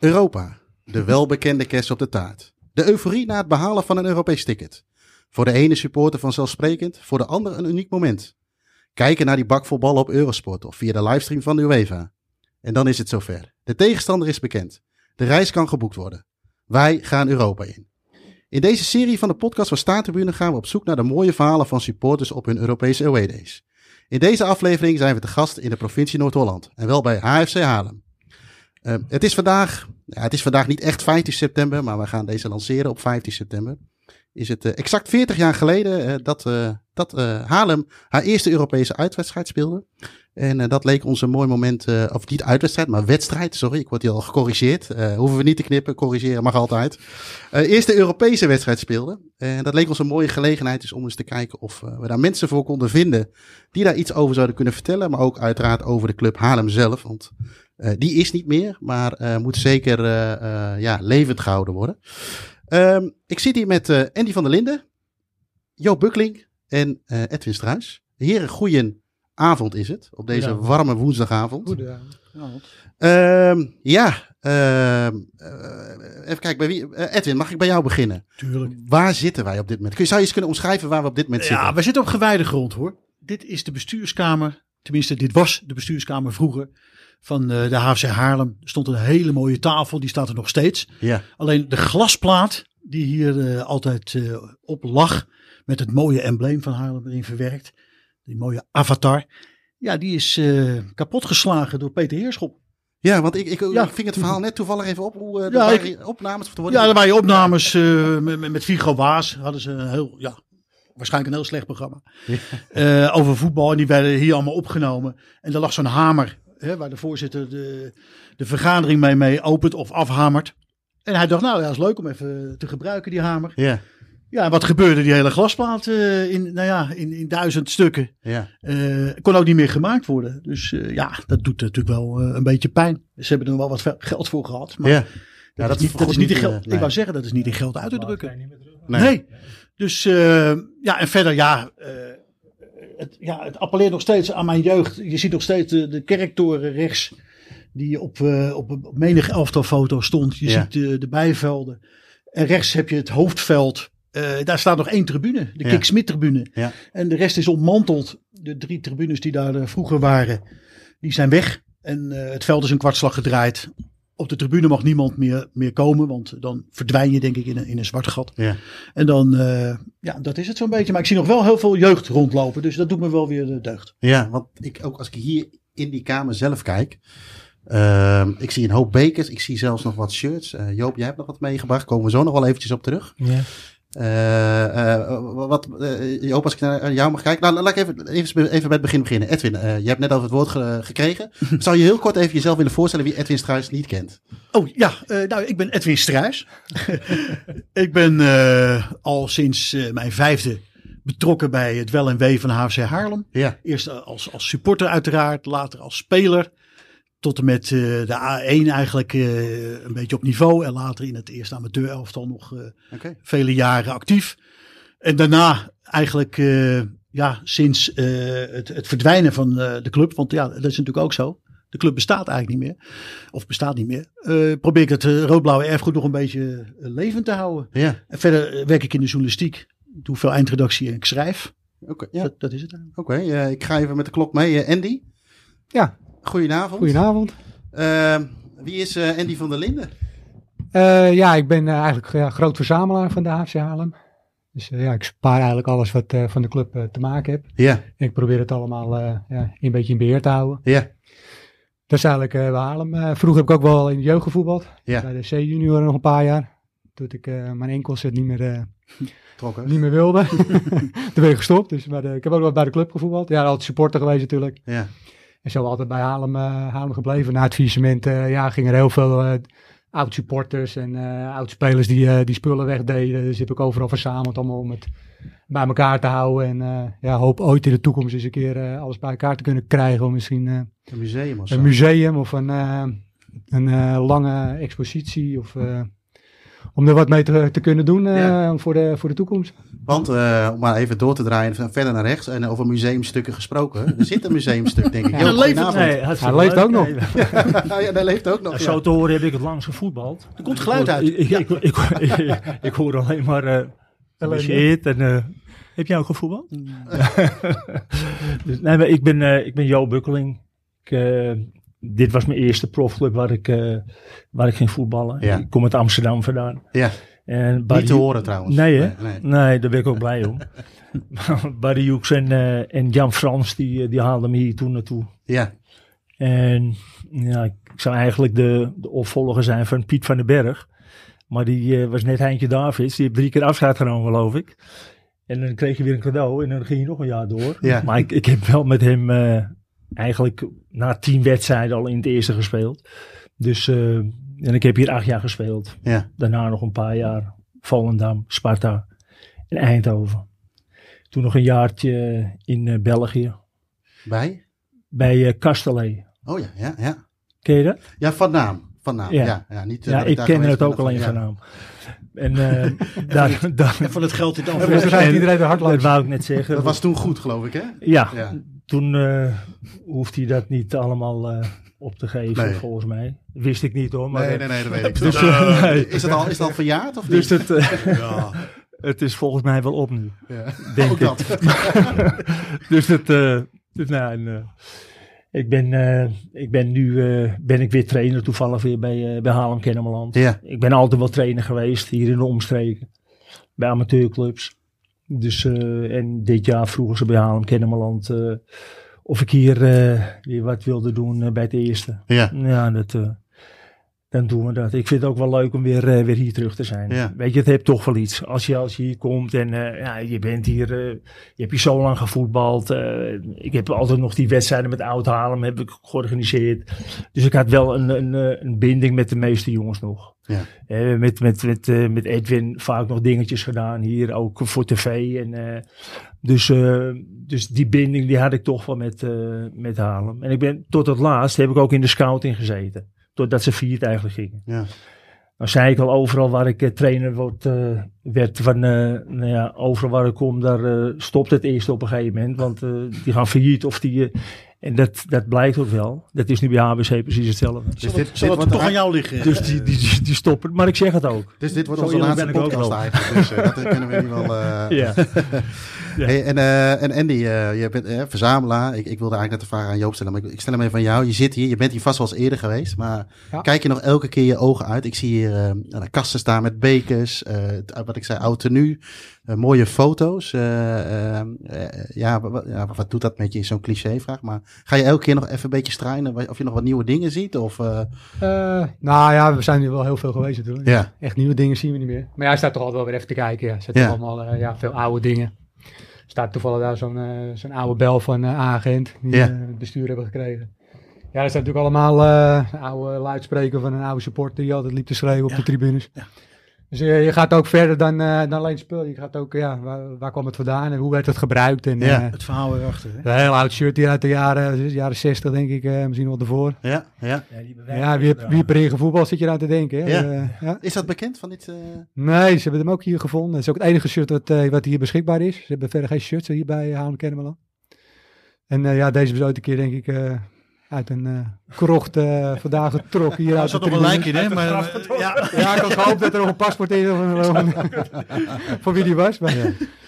Europa. De welbekende kerst op de taart. De euforie na het behalen van een Europees ticket. Voor de ene supporter vanzelfsprekend, voor de ander een uniek moment. Kijken naar die bak vol ballen op Eurosport of via de livestream van de UEFA. En dan is het zover. De tegenstander is bekend. De reis kan geboekt worden. Wij gaan Europa in. In deze serie van de podcast van Staartribune gaan we op zoek naar de mooie verhalen van supporters op hun Europese away days. In deze aflevering zijn we te gast in de provincie Noord-Holland en wel bij HFC Haarlem. Eh, het, is vandaag, ja, het is vandaag niet echt 15 september, maar we gaan deze lanceren op 15 september. Is het eh, exact 40 jaar geleden eh, dat, eh, dat eh, Haarlem haar eerste Europese uitwedstrijd speelde. En eh, dat leek ons een mooi moment, eh, of niet uitwedstrijd, maar wedstrijd. Sorry, ik word hier al gecorrigeerd. Eh, hoeven we niet te knippen, corrigeren mag altijd. Eh eerste Europese wedstrijd speelde. En dat leek ons een mooie gelegenheid dus om eens te kijken of eh, we daar mensen voor konden vinden die daar iets over zouden kunnen vertellen. Maar ook uiteraard over de club Haarlem zelf, want eh, die is niet meer, maar eh, moet zeker eh, eh, ja, levend gehouden worden. Ehm, ik zit hier met eh, Andy van der Linden, Jo Bukling en eh, Edwin Struis. Heren, goeien avond is het, op deze Goedenavond. warme woensdagavond. Goedenavond. Ehm, ja, ehm, eh, even kijken, bij wie, eh, Edwin, mag ik bij jou beginnen? Tuurlijk. Waar zitten wij op dit moment? Kun je- Zou je eens kunnen omschrijven waar we op dit moment Ja, zitten? we zitten op gewijde grond hoor. Dit is de bestuurskamer, tenminste dit was de bestuurskamer vroeger van eh, de HFC Haarlem. Er stond een hele mooie tafel, die staat er nog steeds. Ja, Alleen de glasplaat die hier eh, altijd eh, op lag, met het mooie embleem van Haarlem erin verwerkt. Die mooie avatar. Ja, die is eh kapotgeslagen door Peter Heerschop. ja want ik, ik, Ja. ik ving het verhaal net toevallig even op hoe eh, er Ja, ik- waren opnames te worden. Ja, er waren opnames eh, met, met- met Vigo Waas. Hadden ze een heel, ja, waarschijnlijk een heel slecht programma. Ja. Eh, over voetbal. En die werden hier allemaal opgenomen. En er lag zo'n hamer. Hè, waar de voorzitter de, de vergadering mee, mee opent of afhamert. En hij dacht, nou ja, is leuk om even te gebruiken, die hamer. ja, Ja, en wat gebeurde? Die hele glasplaat eh, in, nou ja, in, in duizend stukken. ja. Eh, kon ook niet meer gemaakt worden. Dus eh, ja, dat doet natuurlijk wel eh, een beetje pijn. Ze hebben er wel wat ve- geld voor gehad. Maar ja. dat, dat is niet, dat vergoedt is niet in niet, geld. eh, nee. Ik wou zeggen, dat is niet in geld uit te drukken. Nee. Nee. Dus eh, ja, en verder ja, eh, het, ja, het appelleert nog steeds aan mijn jeugd. Je ziet nog steeds de, de kerktoren rechts die op, eh, op, op menig elftal foto stond. Je Ja. ziet de, de bijvelden. En rechts heb je het hoofdveld. Eh, daar staat nog één tribune, de Ja. Kik Smit tribune. Ja. En de rest is ontmanteld. De drie tribunes die daar eh, vroeger waren, die zijn weg. En eh, het veld is een kwartslag gedraaid. Op de tribune mag niemand meer, meer komen, want dan verdwijn je denk ik in een, in een zwart gat. Ja. En dan, eh, ja, dat is het zo'n beetje. Maar ik zie nog wel heel veel jeugd rondlopen. Dus dat doet me wel weer de deugd. Ja, want ik, ook als ik hier in die kamer zelf kijk. ehm, ik zie een hoop bekers. Ik zie zelfs nog wat shirts. Eh, Joop, jij hebt nog wat meegebracht. Komen we zo nog wel eventjes op terug. Ja. Eh, eh, wat, eh, Joop, als ik naar jou mag kijken. Nou, laat ik even, even, even bij het begin beginnen. Edwin, eh, je hebt net al het woord ge- gekregen. Zou je heel kort even jezelf willen voorstellen wie Edwin Struis niet kent? Oh ja, eh, nou, ik ben Edwin Struijs. ik ben eh, al sinds eh, mijn vijfde betrokken bij het wel en wee van HFC Haarlem. Ja, Eerst eh, als, als supporter uiteraard, later als speler. Tot en met eh, de A1 eigenlijk eh, een beetje op niveau. En later in het eerste amateurelftal nog eh, oké. vele jaren actief. En daarna eigenlijk eh, ja, sinds eh, het, het verdwijnen van eh, de club, want ja, dat is natuurlijk ook zo. De club bestaat eigenlijk niet meer, of bestaat niet meer. eh, probeer ik het eh, roodblauwe erfgoed nog een beetje eh, levend te houden. Ja, En verder eh, werk ik in de journalistiek. Ik doe veel eindredactie en ik schrijf. oké. ja, Dat, dat is het eigenlijk. oké. Eh, ik ga even met de klok mee. Eh, Andy, Ja, goedenavond. goedenavond. Ehm, wie is eh, Andy van der Linden? Eh, ja, ik ben eh, eigenlijk ja, groot verzamelaar van de HFC Haarlem. Dus eh, ja, ik spaar eigenlijk alles wat eh, van de club eh, te maken heb. Ja, En ik probeer het allemaal eh, ja, een beetje in beheer te houden. ja, Dat is eigenlijk eh, bij Haarlem. Eh, vroeger heb ik ook wel in de jeugd gevoetbald. Ja. Bij de C-junior nog een paar jaar. Toen ik eh, mijn enkels het niet meer, eh, trokken. niet meer wilde. Toen ben ik gestopt. Dus, maar eh, ik heb ook wel bij de club gevoetbald. Ja, altijd supporter geweest natuurlijk. Ja, En zo altijd bij Haarlem, eh, Haarlem gebleven. Na het faillissement eh ja, gingen er heel veel eh, oud-supporters en eh, oud-spelers die, eh, die spullen wegdeden. Dus heb ik overal verzameld allemaal om het bij elkaar te houden. En eh, ja, hoop ooit in de toekomst eens een keer eh, alles bij elkaar te kunnen krijgen. Om misschien eh, een museum of zo. een museum of een, eh, een eh, lange expositie of... eh, om er wat mee te, te kunnen doen eh, Ja. voor, de, voor de toekomst. Want eh, om maar even door te draaien en verder naar rechts en over museumstukken gesproken. Er zit een museumstuk, denk ik. Ja, Joop, dat levert- goedenavond. Nee, hartstikke Hij leeft leuk. ook nog. Nee, ja, daar leeft ook nog. nou, ja. Zo te horen heb ik het langs gevoetbald. Er komt geluid uit. Ik, ik, ik, ik- ik hoor alleen maar eh geblesseerd en eh, heb jij ook gevoetbald? Dus, nee, maar ik ben, eh, ik ben Jo Bukkeling. Ik, eh, dit was mijn eerste profclub waar ik, eh, waar ik ging voetballen. Ja. Ik kom uit Amsterdam vandaan. Ja, En niet te Barry- horen trouwens. Nee, hè? Nee, nee. Nee, daar ben ik ook blij om. Maar Barry Hoeks en, eh, en Jan Frans, die, eh, die haalden me hier toen naartoe. Ja, En ja, ik zou eigenlijk de, de opvolger zijn van Piet van den Berg. Maar die eh, was net Heintje Davids. Die heeft drie keer afscheid genomen, geloof ik. En dan kreeg je weer een cadeau en dan ging je nog een jaar door. Ja. Maar ik, ik heb wel met hem eh, eigenlijk na tien wedstrijden al in het eerste gespeeld. Dus, eh, en ik heb hier acht jaar gespeeld. ja. Daarna nog een paar jaar Volendam, Sparta en Eindhoven. Toen nog een jaartje in eh, België Bij? bij eh Castellet. Oh ja, ja, ja. Ken je dat? Ja, van naam. Van naam. Ja, Ja. ja, niet, eh, Ja, dat ik daar ken geweest het ben, ook dat- alleen ja. van naam. En eh, daar, daar, En van het geld dit Dus dan af. rijdt en- iedereen er hard dat langs. wou ik net zeggen. Dat was toen goed, geloof ik, hè? ja, Ja. toen eh, hoeft hij dat niet allemaal eh, op te geven, Nee. volgens mij. Wist ik niet hoor. Maar, Nee, eh, nee, nee, dat weet ik. Dus, Eh, nee. Is, het al, is het al verjaard of Dus niet? het, eh, ja, het is volgens mij wel op nu. ja. Denk Ook ik. dat. Dus dat, eh, dus, nou, en, eh, ik, ben, eh, ik ben nu eh, ben ik weer trainer toevallig weer bij, eh, bij Haarlem Kennemerland. Ja, Ik ben altijd wel trainer geweest hier in de omstreken. Bij amateurclubs. Dus, eh, en dit jaar vroegen ze bij Haarlem Kennemerland eh, of ik hier eh, weer wat wilde doen eh, bij het eerste. ja. Ja, dat, eh, dan doen we dat. Ik vind het ook wel leuk om weer, eh, weer hier terug te zijn. Ja. Weet je, het heeft toch wel iets. Als je, als je hier komt en eh, ja, je bent hier, eh, je hebt hier zo lang gevoetbald. eh, ik heb altijd nog die wedstrijden met Oud Haarlem heb ik georganiseerd. Dus ik had wel een, een, eh, een binding met de meeste jongens nog. Ja. Eh, met, met, met, eh, met Edwin vaak nog dingetjes gedaan hier, ook voor tv. En, eh, dus, eh, dus die binding die had ik toch wel met, eh met Haarlem. En ik ben, tot het laatst heb ik ook in de scouting gezeten. Totdat ze viert eigenlijk gingen. ja. Nou zei ik al, overal waar ik eh, trainer word, eh, werd, van, eh, nou ja, overal waar ik kom, daar eh, stopt het eerst op een gegeven moment. Want eh, die gaan failliet of die... eh, en dat, dat blijkt ook wel. Dat is nu bij HBC precies hetzelfde. Dus Zal dit, het- dit Zal het wordt, toch de- aan jou liggen? Dus die, die, die, die stoppen. Maar ik zeg het ook. dus dit wordt Zo onze eerlijk laatste ben ik podcast ook wel. eigenlijk. Dus eh, dat kunnen we niet wel... eh, Ja. Ja. Hey, en, eh, en Andy, eh, je bent eh, verzamelaar. Ik, ik wilde eigenlijk net de vraag aan Joop stellen, maar ik, ik stel hem even aan jou. Je zit hier, je bent hier vast wel eens eerder geweest, maar Ja. kijk je nog elke keer je ogen uit? Ik zie hier eh, nou, kasten staan met bekers, eh, het- wat ik zei, oud tenue, eh, mooie foto's. eh, eh, eh, ja, wa- wa- ja, wat doet dat met je, is zo'n clichévraag. Maar ga je elke keer nog even een beetje struinen wa- of je nog wat nieuwe dingen ziet? Of, eh, Eh, nou ja, we zijn nu wel heel veel geweest natuurlijk. ja, Echt nieuwe dingen zien we niet meer. Maar ja, hij staat toch altijd wel weer even te kijken. Ja. Er zitten Ja. allemaal eh, ja, veel oude dingen. Er staat toevallig daar zo'n eh, zo'n oude bel van eh, een agent die Ja. eh, het bestuur hebben gekregen. Ja, er staan natuurlijk allemaal eh, een oude luidspreker van een oude supporter die altijd liep te schreeuwen op de tribunes. Dus eh, je gaat ook verder dan, eh, dan alleen het spul. Je gaat ook, ja, waar, waar kwam het vandaan en hoe werd het gebruikt? En, Ja. eh, Het verhaal erachter. hè? een heel oud shirt hier uit de jaren, eh, jaren 60 denk ik, eh, misschien wel ervoor. ja, ja. Ja, wie, wie per in voetbal zit je nou te denken? Hè? Ja. Eh, ja. Is dat bekend van dit? eh, Nee, ze hebben hem ook hier gevonden. Het is ook het enige shirt wat, eh, wat hier beschikbaar is. Ze hebben verder geen shirts hier bij Haarlem Kennemerland. En eh, ja, deze was ooit een keer denk ik eh, uit een eh, krocht eh, vandaag getrokken. Hier Daar uit de zat nog een tribune. lijk in, hè? Maar, eh, ja. Ja, ik had gehoopt dat er nog een paspoort in of een- of een- van wie die was. Maar,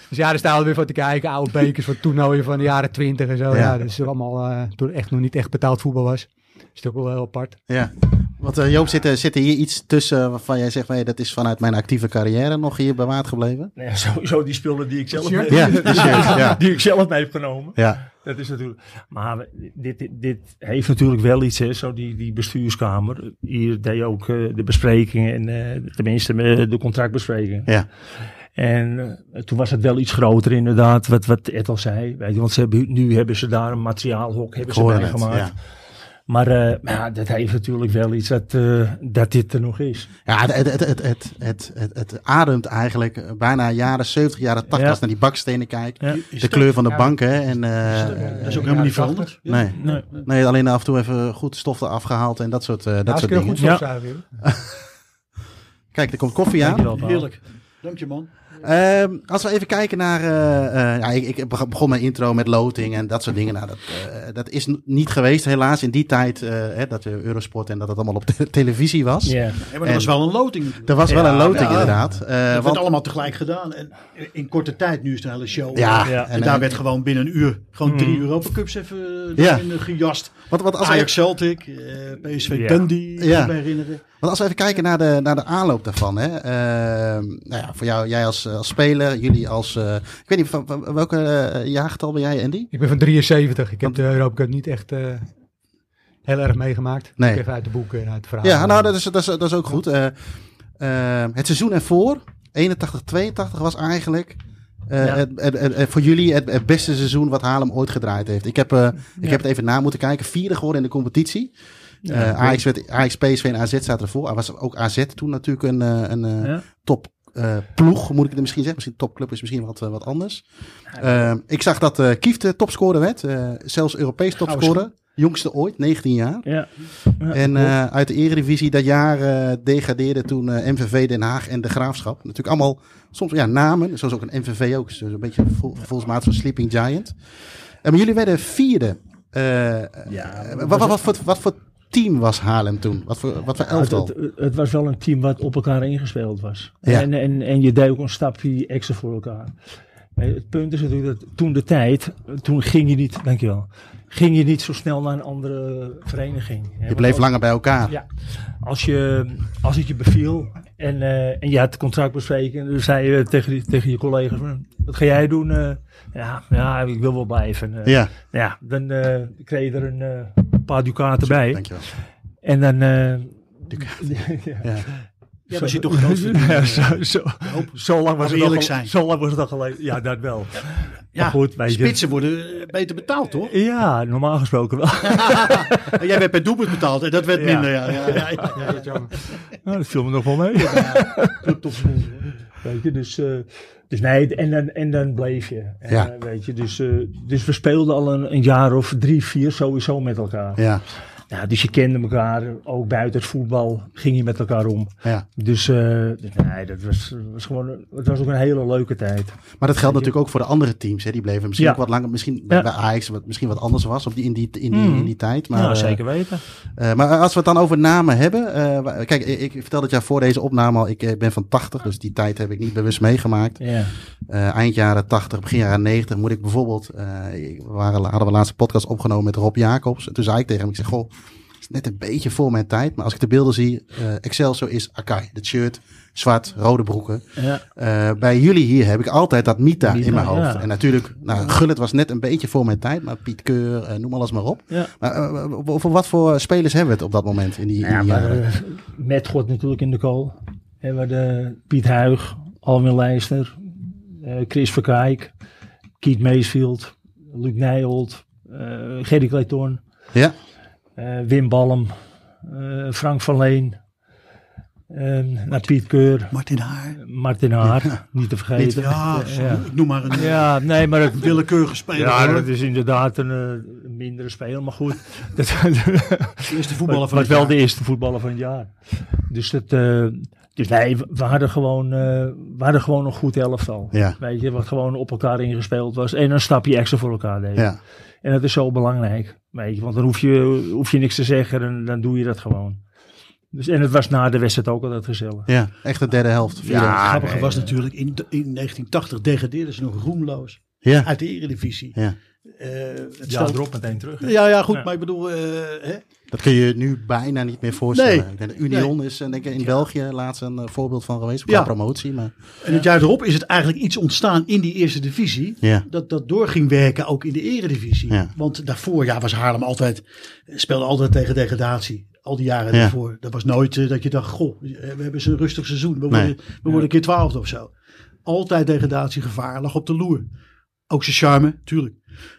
Dus ja, daar staan we weer van te kijken. Oude bekers van toernooien van de jaren 20 en zo. Ja. Ja, dat is allemaal eh, toen echt nog niet echt betaald voetbal was. Dat is toch wel heel apart. Ja, want eh, Joop, zit, er- zit er hier iets tussen waarvan jij zegt, nee, dat is vanuit mijn actieve carrière nog hier bewaard gebleven? Nou ja, sowieso die spullen die ik zelf, Shirt? Ja, de shirt, ja. die ik zelf mee heb genomen. Ja, Dat is natuurlijk. Maar we- dit, dit, dit heeft natuurlijk wel iets, hè, zo die, die bestuurskamer. Hier deed je ook eh, de besprekingen, en, eh, tenminste eh, de contractbesprekingen. ja, En eh, toen was het wel iets groter, inderdaad, wat, wat Ed al zei. Weet je, want ze hebben, nu hebben ze daar een materiaalhok hebben ze hoorde bij het, gemaakt. ja. Maar eh, maar ja, dat heeft natuurlijk wel iets dat, eh, dat dit er nog is. ja het, het, het, het, het, het, het ademt eigenlijk bijna jaren 70, jaren 80 Ja. als ik naar die bakstenen kijkt. Ja. De kleur van de bank, hè. En, eh, Dat is ook helemaal niet veranderd. nee. Nee. nee, alleen af en toe even goed stof eraf gehaald en dat soort, eh, dat Dat soort is heel dingen. goed Ja. zo. Kijk, er komt koffie aan. Dankjewel, Paul. Heerlijk. Dank je man. Ehm, als we even kijken naar. eh, eh, ja, ik, ik begon mijn intro met loting en dat soort dingen. Nou, dat, eh, dat is n- niet geweest, helaas, in die tijd. eh, hè, dat eh, Eurosport en dat het allemaal op de televisie was. Ja. Ja, En- maar dat was wel een loting natuurlijk. Er was wel Ja, een loting, ja. inderdaad. Eh, Het want, werd allemaal tegelijk gedaan. En in korte tijd, nu is het een hele show. ja, Ja. en, En, daar eh, werd gewoon binnen een uur gewoon drie Mm. Europa Cups even Ja. erin, eh, gejast. want, want, als we, Ajax Celtic, eh, PSV Ja. Dundee, kan Ja. ik me herinneren. want als we even kijken naar de, naar de aanloop daarvan. Hè, ehm, nou ja, voor jou, jij als, eh, als speler, jullie als. eh, ik weet niet, van, van welke eh, jaargetal ben jij, Andy? Ik ben van 73. Ik heb de Europa Cup niet echt eh, heel erg meegemaakt. Nee. Ik even uit de boeken en uit de verhalen. Ja, nou, dat is, dat is, dat is ook goed. Eh, eh, het seizoen ervoor, 81-82, was eigenlijk eh, Ja. het, het- het- het- voor jullie het, het beste seizoen wat Haarlem ooit gedraaid heeft. Ik heb, eh, ik Ja. heb het even na moeten kijken. Vierde geworden in de competitie. Eh Ajax, werd, Ajax, PSV en AZ zaten ervoor. Er was ook AZ toen natuurlijk een, eh, een eh, Ja. top eh, ploeg, moet ik het misschien zeggen. Misschien topclub is misschien wat, eh, wat anders. Eh, ik zag dat eh Kieft eh, topscorer werd. eh, zelfs Europees topscorer. Jongste ooit, 19 jaar. Ja. Ja, En klopt. eh, uit de Eredivisie dat jaar eh degradeerden toen eh, MVV Den Haag en De Graafschap. Natuurlijk allemaal soms ja, namen, zoals ook een MVV ook. Dus een beetje vol, volgens van Sleeping Giant. En maar jullie werden vierde. Eh, Ja, eh, maar wat, wat, was wat, voor, wat voor team was Haarlem toen? Wat voor, wat voor Het, elftal? het- het was wel een team wat op elkaar ingespeeld was. Ja. En, en, en je deed ook een stapje extra voor elkaar. Eh, Het punt is natuurlijk dat toen de tijd, toen ging je niet, dankjewel, ging je niet zo snel naar een andere vereniging. hè. Je Want bleef als- langer bij elkaar. Ja, als, je, als het je beviel en, eh, en je had het contract bespreken, dan zei je tegen, die- tegen je collega's, wat ga jij doen? Eh, ja, ja, ik wil wel blijven. Eh, Ja, ja, dan eh, kreeg je er een eh, paar ducaten bij. dankjewel. En dan. eh ja, Ja. Ja, maar je toch groot verdienen. Ja, zo, zo, zo lang was we het al eerlijk gel- zijn. Zo lang was het al geleden. Ja, dat wel. Ja, maar goed, weet je. spitsen worden eh, beter betaald, toch? Ja, normaal gesproken wel. En jij werd per doelpunt betaald en dat werd Ja. minder. Ja, ja, ja, ja. Ja, dat is jammer. Nou, dat viel me nog wel mee. Weet je, dus, eh, dus nee, en dan, en dan bleef je. En, Ja. eh, weet je, dus, eh, dus we speelden al een, een jaar of drie, vier sowieso met elkaar. Ja, Ja, dus je kende elkaar, ook buiten het voetbal ging je met elkaar om. ja. Dus, eh, dus nee, dat was, was gewoon, een- het was ook een hele leuke tijd. Maar dat geldt natuurlijk ook voor de andere teams. Hè. Die bleven misschien Ja. ook wat langer. Misschien Ja. bij Ajax wat, misschien wat anders was op die, in, die, in, die, in die tijd. Maar, nou, eh, zeker weten. Eh, maar als we het dan over namen hebben. eh, wa- kijk, ik, ik vertel het jou voor deze opname al. Ik eh, ben van 80, dus die tijd heb ik niet bewust meegemaakt. Ja. Eh, eind jaren 80, begin jaren 90 moet ik bijvoorbeeld. eh, ik- we waren, hadden we een laatste podcast opgenomen met Rob Jacobs. En toen zei ik tegen hem: Ik zeg, Goh, het is net een beetje voor mijn tijd. Maar als ik de beelden zie, eh Excelsior is Akai. Dat shirt, zwart, rode broeken. Ja. Eh, bij jullie hier heb ik altijd dat Mita, Mita, in mijn hoofd. ja. En natuurlijk, nou, Gullit was net een beetje voor mijn tijd, maar Piet Keur, eh, noem alles maar op. Ja. Maar eh, eh, over wat voor spelers hebben we het op dat moment in die, in Ja, die maar jaren? eh, met God natuurlijk in de kool. En we de Piet Huig, Alwin Leijster, eh, Chris Verkijk, Kiet Meesfield, Luc Nijholt, eh Gerry Clayton, Ja, eh, Wim Ballem, eh, Frank van Leen, eh, naar Piet Keur, Martin Haar. Martin Haar, niet te vergeten. Ja, ja. ik noem maar een eh, Ja, nee, maar het, willekeurige speler. ja, hoor. dat is inderdaad een eh, mindere speler, maar goed. Dat, de eerste voetballer van maar het wel jaar. de eerste voetballer van het jaar. Dus, dat, eh, dus nee, we- we hadden, gewoon, eh, we hadden gewoon een goed elftal. Ja. Weet je, wat gewoon op elkaar ingespeeld was. En een stapje extra voor elkaar deed. ja. En dat is zo belangrijk. Weet je, want dan hoef je, hoef je niks te zeggen en dan doe je dat gewoon. Dus, en het was na de wedstrijd ook altijd gezellig. ja. echt de derde helft. vierde Ja. helft. Het grappige nee, was ja. natuurlijk, in, de- in 1980 degradeerden ze nog roemloos ja. uit de eredivisie. ja. Eh, het stelt- meteen terug. ja, ja, goed, Ja. maar ik bedoel, eh, hè? Dat kun je nu bijna niet meer voorstellen. Nee. Ik denk, de Union is eh, denk ik, in België laatst een eh, voorbeeld van geweest. Qua Ja. promotie, maar En het jaar erop is het eigenlijk iets ontstaan in die eerste divisie. Ja. Dat dat door ging werken ook in de eredivisie. Ja. Want daarvoor ja, was Haarlem altijd, speelde altijd tegen degradatie. Al die jaren Ja. daarvoor. Dat was nooit eh, dat je dacht, goh, eh, we hebben ze een rustig seizoen. We Nee. worden, we worden een keer twaalfde of zo. Altijd degradatiegevaar lag op de loer. Ook zijn charme, tuurlijk.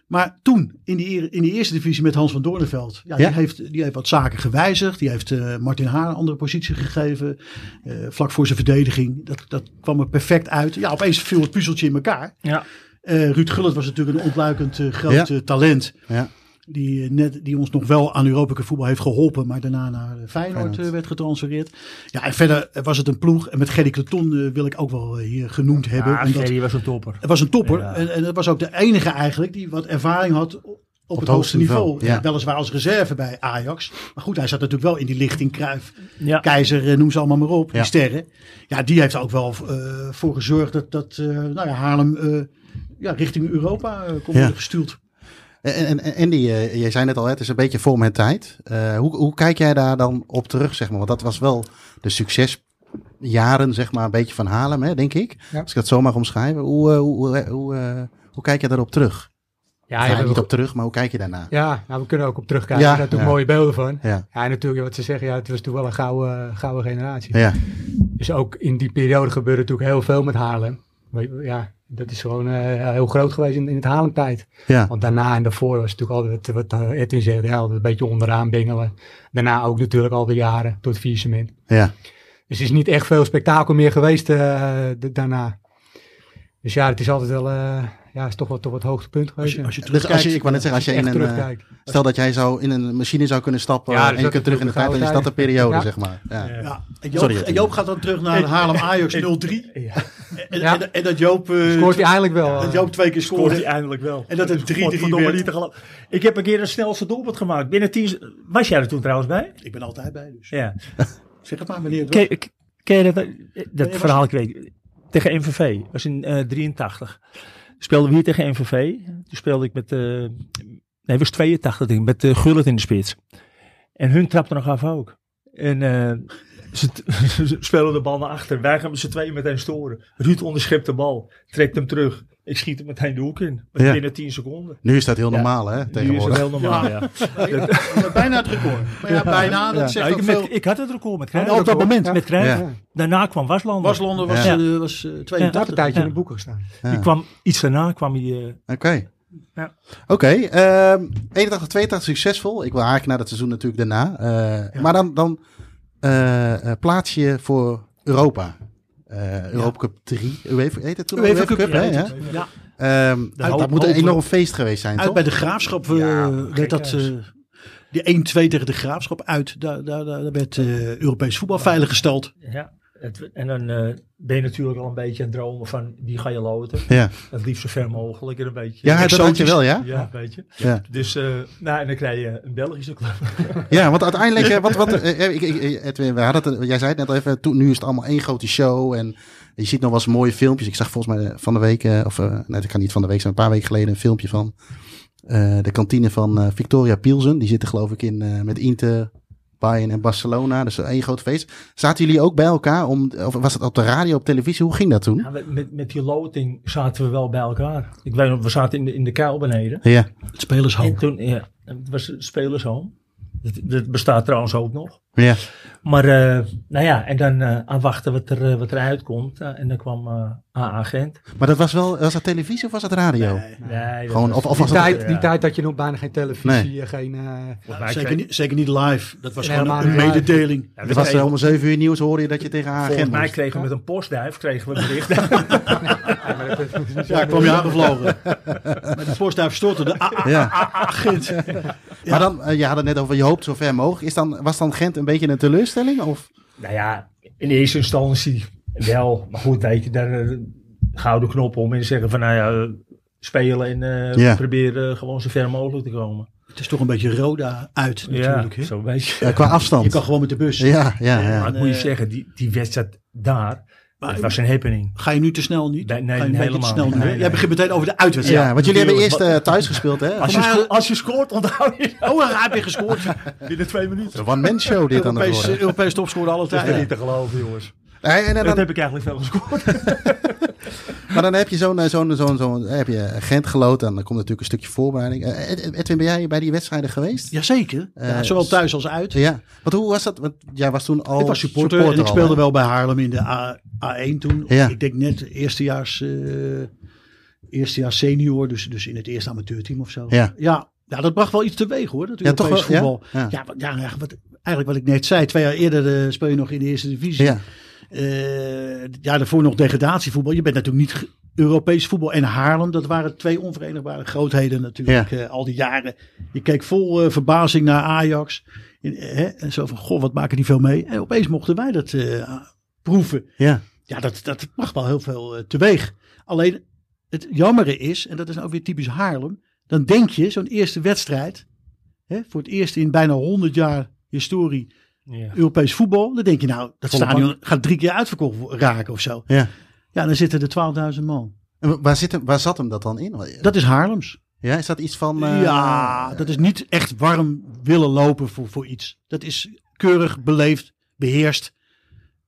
Maar toen, in die, eer- in die eerste divisie met Hans van Doornenveld. Ja, Ja. Die, heeft, die heeft wat zaken gewijzigd. Die heeft eh, Martin Haar een andere positie gegeven. eh, vlak voor zijn verdediging. Dat, dat kwam er perfect uit. Ja, opeens viel het puzzeltje in elkaar. Ja, Eh, Ruud Gullit was natuurlijk een ontluikend eh, groot Ja. eh, talent. ja. Die, eh, net, die ons nog wel aan Europese voetbal heeft geholpen, maar daarna naar eh, Feyenoord Feyenoord. eh, werd getransfereerd. Ja, en verder eh, was het een ploeg. En met Gerry Cleton eh, wil ik ook wel eh, hier genoemd hebben. Ja, omdat- Gerry was een topper. het was een topper. Ja. En, en het was ook de enige eigenlijk die wat ervaring had op, het hoogste niveau. Eh, ja. Weliswaar als reserve bij Ajax. Maar goed, hij zat natuurlijk wel in die lichting. Kruif, Ja. Keizer, eh, noem ze allemaal maar op. Ja. Die sterren. Ja, die heeft er ook wel eh, voor gezorgd dat, dat eh, nou ja, Haarlem eh, ja, richting Europa eh, kon Ja. worden gestuurd. En, en, en Andy, eh, jij zei net al, het is een beetje voor mijn tijd. Eh, hoe, hoe kijk jij daar dan op terug, zeg maar? Want dat was wel de succesjaren, zeg maar, een beetje van Haarlem, hè, denk ik. Ja. Als ik dat zo mag omschrijven. Hoe, eh, hoe, eh, hoe, eh, hoe kijk jij daarop terug? Ja, Ja, ja, niet we, op terug, maar hoe kijk je daarna? ja nou, we kunnen ook op terugkijken. Ja, Daar zijn natuurlijk ja. mooie beelden van. Ja, Ja, en natuurlijk wat ze zeggen, ja, het was toen wel een gouden, eh, gouden generatie. ja, Dus ook in die periode gebeurde natuurlijk heel veel met Haarlem. We- Ja, dat is gewoon eh, heel groot geweest in, in het Haarlem-tijd. ja. Want daarna en daarvoor was het natuurlijk altijd wat eh, Edwin zegt, ja, altijd een beetje onderaan bengelen. Daarna ook natuurlijk al de jaren tot viercement. ja. Dus er is niet echt veel spektakel meer geweest eh, d- daarna. Dus ja, het is altijd wel, eh, ja, het is toch wel toch wat hoogtepunt Als geweest. je, als je Dus terugkijkt. als je, ik wou net zeggen, als je in echt een, eh, terugkijkt. stel dat jij zou in een machine zou kunnen stappen Ja, dus en je dat kunt terug in de is tijd, dan is dat de gouden tijd. periode, Ja. zeg maar. Ja. ja, en Joop, Sorry, Joop. en Joop gaat dan terug naar Haarlem Ajax 0-3. Ja. En, Ja. en, en dat Joop, eh, Scoort hij eigenlijk wel. dat eh. Joop twee keer Scoort hij scoorde. eindelijk wel. En dat het is 3-3 godverdomme werd. niet te geloven. Ik heb een keer de snelste doelpunt gemaakt. Binnen 10... se- Was jij er toen trouwens bij? Ik ben altijd bij, dus Ja. zeg het maar meneer. het was. Ken, ken je dat, eh, dat was- verhaal? Ik weet, tegen MVV, dat was in eh 83. Speelden we hier tegen MVV. Toen speelde ik met, eh nee, het was 82 denk ik, met eh, Gullit in de spits. En hun trapte nog af ook. En eh, ze, t- ze spelen de bal naar achter. Wij gaan met z'n tweeën meteen storen. Ruud onderschept de bal, trekt hem terug. Ik schiet hem meteen de hoek in. Ja. Binnen 10 seconden. Nu is dat heel Ja. normaal, hè, Nu is tegenwoordig. het heel normaal, ja. Bijna het record. Maar ja, bijna. Dat Nou, zegt ook ik, met- veel. ik had het record met Cruijff. En op dat moment. Met Cruijff. Ja. Daarna kwam Waslander. Was Londen was, Ja. eh, was eh, Ik heb 82. een tijdje Ja. in de boeken gestaan. Ja. Die kwam, iets daarna kwam hij... eh, Oké. Ja. Oké, ehm, 81, 82 succesvol. Ik wil haken naar dat seizoen natuurlijk daarna. Eh, Maar dan, dan eh, eh, plaats je voor Europa. Eh Europa Cup 3. UEFA heet het toen? al? UEFA Cup, hè? ja, Ja. heet Ja, Ehm, hoop- dat moet een hopen- enorm feest geweest zijn, uit toch? bij de graafschap eh, Ja, werd dat. gekhuis. eh, die 1-2 tegen de graafschap uit. Daar, daar, daar werd eh, Europees voetbal veiliggesteld. Ja, het- en dan eh, ben je natuurlijk al een beetje aan het dromen van die ga je loten. Ja, Het liefst zo ver mogelijk en een beetje. ja dat had je Exotisch. wel, ja? Ja, weet je. Ja, Dus, eh, nou, en dan krijg je een Belgische club. ja want uiteindelijk... eh, wat, wat, eh, eh, ik, ik- eh, Edwin, we hadden het, eh, jij zei het net al even. Toen, nu is het allemaal één grote show. En je ziet nog wel eens mooie filmpjes. Ik zag volgens mij eh, van de week... eh, of eh, nee, dat kan niet van de week zijn. Een paar weken geleden een filmpje van... eh, de kantine van eh, Victoria Pilsen. Die zitten geloof ik in eh, met Inter, Bayern en Barcelona. Dus één groot feest. Zaten jullie ook bij elkaar? Om, of was het op de radio, op televisie? Hoe ging dat toen? Ja, Nou, met- met, met die loting zaten we wel bij elkaar. Ik weet nog, we zaten in de, in de kuil beneden. Ja, Het Oh. spelershal. En toen, ja, het was het spelershome. Dat, dat bestaat trouwens ook nog. ja. Maar, eh, nou ja, en dan eh, afwachten wat, er, eh, wat eruit komt. Eh, en dan kwam eh A-agent. Maar dat was wel... Was dat televisie of was dat radio? Nee, dat Gewoon, of, of die was Die dat... tijd, die ja. tijd dat je nog bijna geen televisie, eh, geen... eh, Volgens mij Zeker, kreeg- niet- zeker niet live. Dat was Nee, gewoon maar een live. mededeling. Ja, we Het was kregen- eh, om 7 uur nieuws hoorde je dat je tegen haar Volgens agent mij moest. kregen we met een postduif kregen we bericht. ja, maar dat- Ja, ik kwam je aangevlogen. Met de voorstuif stortte de a- a- Ja. agent. Maar dan, eh, je had het net over je hoopt zo ver mogelijk. Is dan, was dan Gent een beetje een teleurstelling? Of? nou ja, in eerste instantie wel. Maar goed, weet je, daar eh, gouden knop om en zeggen van nou ja, eh, spelen en eh, Ja. proberen gewoon zo ver mogelijk te komen. Het is toch een beetje Roda uit natuurlijk. ja, hè? zo een beetje. Eh, qua Je afstand? kan gewoon met de bus. Ja, ja, ja. Maar ik moet je eh, zeggen, die, die wedstrijd daar, Maar- het was een happening. Ga je nu te snel niet? Nee, nee, Ga je een beetje te helemaal snel niet. nu? hè? Nee, Jij nee. begint meteen over de uitwedstrijd. ja, want jullie hebben natuurlijk, eerst eh, thuis gespeeld, hè? Als je, maar- sco- als je scoort, onthoud je dat. Oh, hij heb je gescoord. binnen twee minuten. Een one-man show dit aan het Europees, worden. Europees topscorer alle Dat is tijden. niet te geloven, jongens. Nee, en eh, Dat dan, heb ik eigenlijk wel gescoord. maar dan heb je zo'n eh, zo'n zo'n zo'n heb je Gent geloot. En dan komt natuurlijk een stukje voorbereiding. Eh, Ed- Edwin, ben jij bij die wedstrijden geweest? Jazeker. Ja, Eh, zowel thuis als uit. Ja. Want hoe was dat? Want jij was toen al ik was supporter, en ik al, speelde hè? wel bij Haarlem in de A, A1 toen. Ja. Ik denk net eerstejaars, eh eerstejaars senior, dus, dus in het eerste amateurteam of zo. Ja. ja. Ja, dat bracht wel iets teweeg hoor, dat Ja, toch Europees wel, ja? voetbal. Ja. Ja, wat- ja, ja, wat, eigenlijk wat ik net zei, twee jaar eerder eh, speel je nog in de eerste divisie. Ja. Eh, ja, daarvoor nog degradatievoetbal. Je bent natuurlijk niet ge- Europees voetbal en Haarlem. Dat waren twee onverenigbare grootheden natuurlijk eh, al die jaren. Je keek vol eh, verbazing naar Ajax. En, eh, hè, en zo van, goh, wat maken die veel mee? En opeens mochten wij dat eh, proeven. Ja, Ja, dat, dat mag wel heel veel eh, teweeg. Alleen het jammere is, en dat is ook weer typisch Haarlem, dan denk je zo'n eerste wedstrijd, hè, voor het eerst in bijna 100 jaar historie Ja. Europees voetbal, dan denk je nou, dat Volle stadion gaat drie keer uitverkocht wo- raken of zo. ja. Ja, dan zitten er 12.000 man. En wa- waar, zit hem, waar zat hem dat dan in? Dat is Haarlems. Ja, is dat iets van... eh, ja, dat is niet echt warm willen lopen voor, voor iets. Dat is keurig, beleefd, beheerst.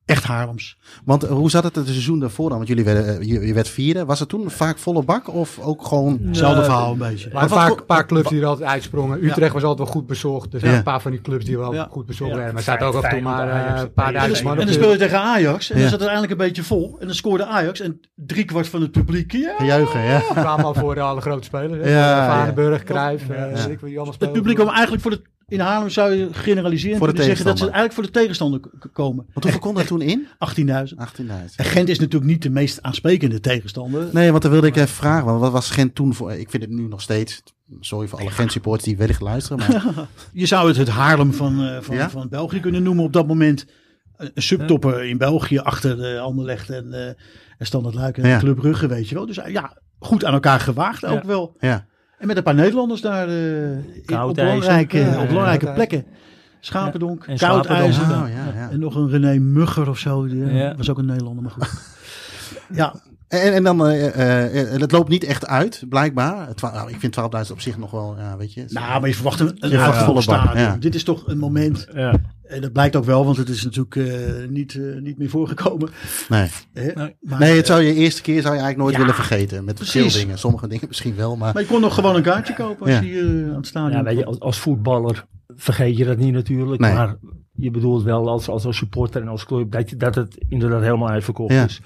Echt Haarlems. Want eh, hoe zat het het seizoen daarvoor dan? Want jullie werden, eh, je, je werd vierde. Was het toen vaak volle bak of ook gewoon... Hetzelfde verhaal een beetje. Maar een wat paar, voor- paar clubs die er altijd uitsprongen. Utrecht was altijd wel goed bezocht. Er zijn Ja. een paar van die clubs die wel Ja. goed bezocht Ja. werden. Maar er zaten ook af en toe maar Feyenoord, eh, Ajax, een paar duizend PSV. man. En op dan de- speel je tegen Ajax. En Ja. dan zat het eigenlijk een beetje vol. En dan scoorde Ajax. En driekwart van het publiek. Ja, Gejuichen, ja. Die kwamen al voor de alle grote spelers. Ja, Ja, ja. Varenburg, Cruijff, eh, weet ik wil die allemaal het spelen. publiek kwam eigenlijk voor de. In Haarlem zou je generaliseren. Voor de kunnen zeggen dat ze tegenstander. eigenlijk voor de tegenstander k- k- komen. Want hoeveel kon dat toen in? 18.000. 18.000. En Gent is natuurlijk niet de meest aansprekende tegenstander. Nee, want dan wilde ik even vragen. Want wat was Gent toen voor... Ik vind het nu nog steeds... Sorry voor alle Gent supporters die wellicht luisteren. Maar Je zou het het Haarlem van, eh, van, Ja? van België kunnen noemen op dat moment. Een een subtopper in België achter eh Anderlecht en, eh en Standard Luik en Ja. Club Brugge, weet je wel. Dus eh, ja, goed aan elkaar gewaagd ook Ja. wel. ja, En met een paar Nederlanders daar eh, in- op Koudijzer. belangrijke, Ja, op belangrijke Koudijzer. plekken. Schapendonk, eh, Ja, en Koudijzer. Schapendonk. Oh, ja, ja. En nog een René Mugger of zo. Die, eh, Ja. was ook een Nederlander, maar goed. ja, En, en dan, eh, eh, eh, het loopt niet echt uit, blijkbaar. Twa- nou, ik vind 12.000 op zich nog wel, ja, weet je. nou, maar je verwacht een, een Je verwacht uitverkocht volle bak, stadion. ja. Dit is toch een moment, Ja. en dat blijkt ook wel, want het is natuurlijk eh, niet, eh, niet meer voorgekomen. nee. Hè? Nee. Maar, nee, het zou je eerste keer zou je eigenlijk nooit Ja, willen vergeten. Met veel precies. dingen. Sommige dingen misschien wel, maar... maar je kon nog gewoon een kaartje kopen als Ja. je hier eh, aan het stadion Ja, weet je, kwam. als, als voetballer vergeet je dat niet natuurlijk. Nee. Maar je bedoelt wel als, als, als supporter en als club dat, je- dat het inderdaad helemaal uitverkocht Ja. is.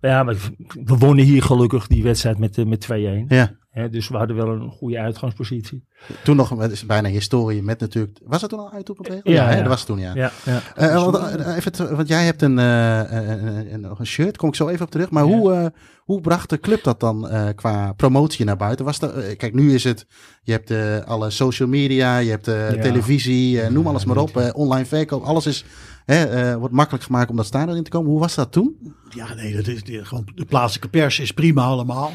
Maar ja, maar we wonnen hier gelukkig die wedstrijd met, eh, met 2-1. Ja, Hè, dus we hadden wel een goede uitgangspositie. toen nog, het is bijna historie met natuurlijk... Was het toen al uit op het regel? Ja, hè, ja. dat was het toen, ja. Ja, ja. Eh, eh, want, eh, even, te- want jij hebt een, eh, eh, eh, een, nog een shirt, kom ik zo even op terug. Maar Ja. hoe, eh, hoe bracht de club dat dan eh, qua promotie naar buiten? Was dat, eh, kijk, nu is het, je hebt eh, alle social media, je hebt eh, Ja. televisie, eh, noem Ja, alles maar op. eh, online verkoop, alles is, hè, eh, wordt makkelijk gemaakt om dat stadion in te komen. Hoe was dat toen? Ja, nee, dat is die- gewoon de plaatselijke pers is prima allemaal.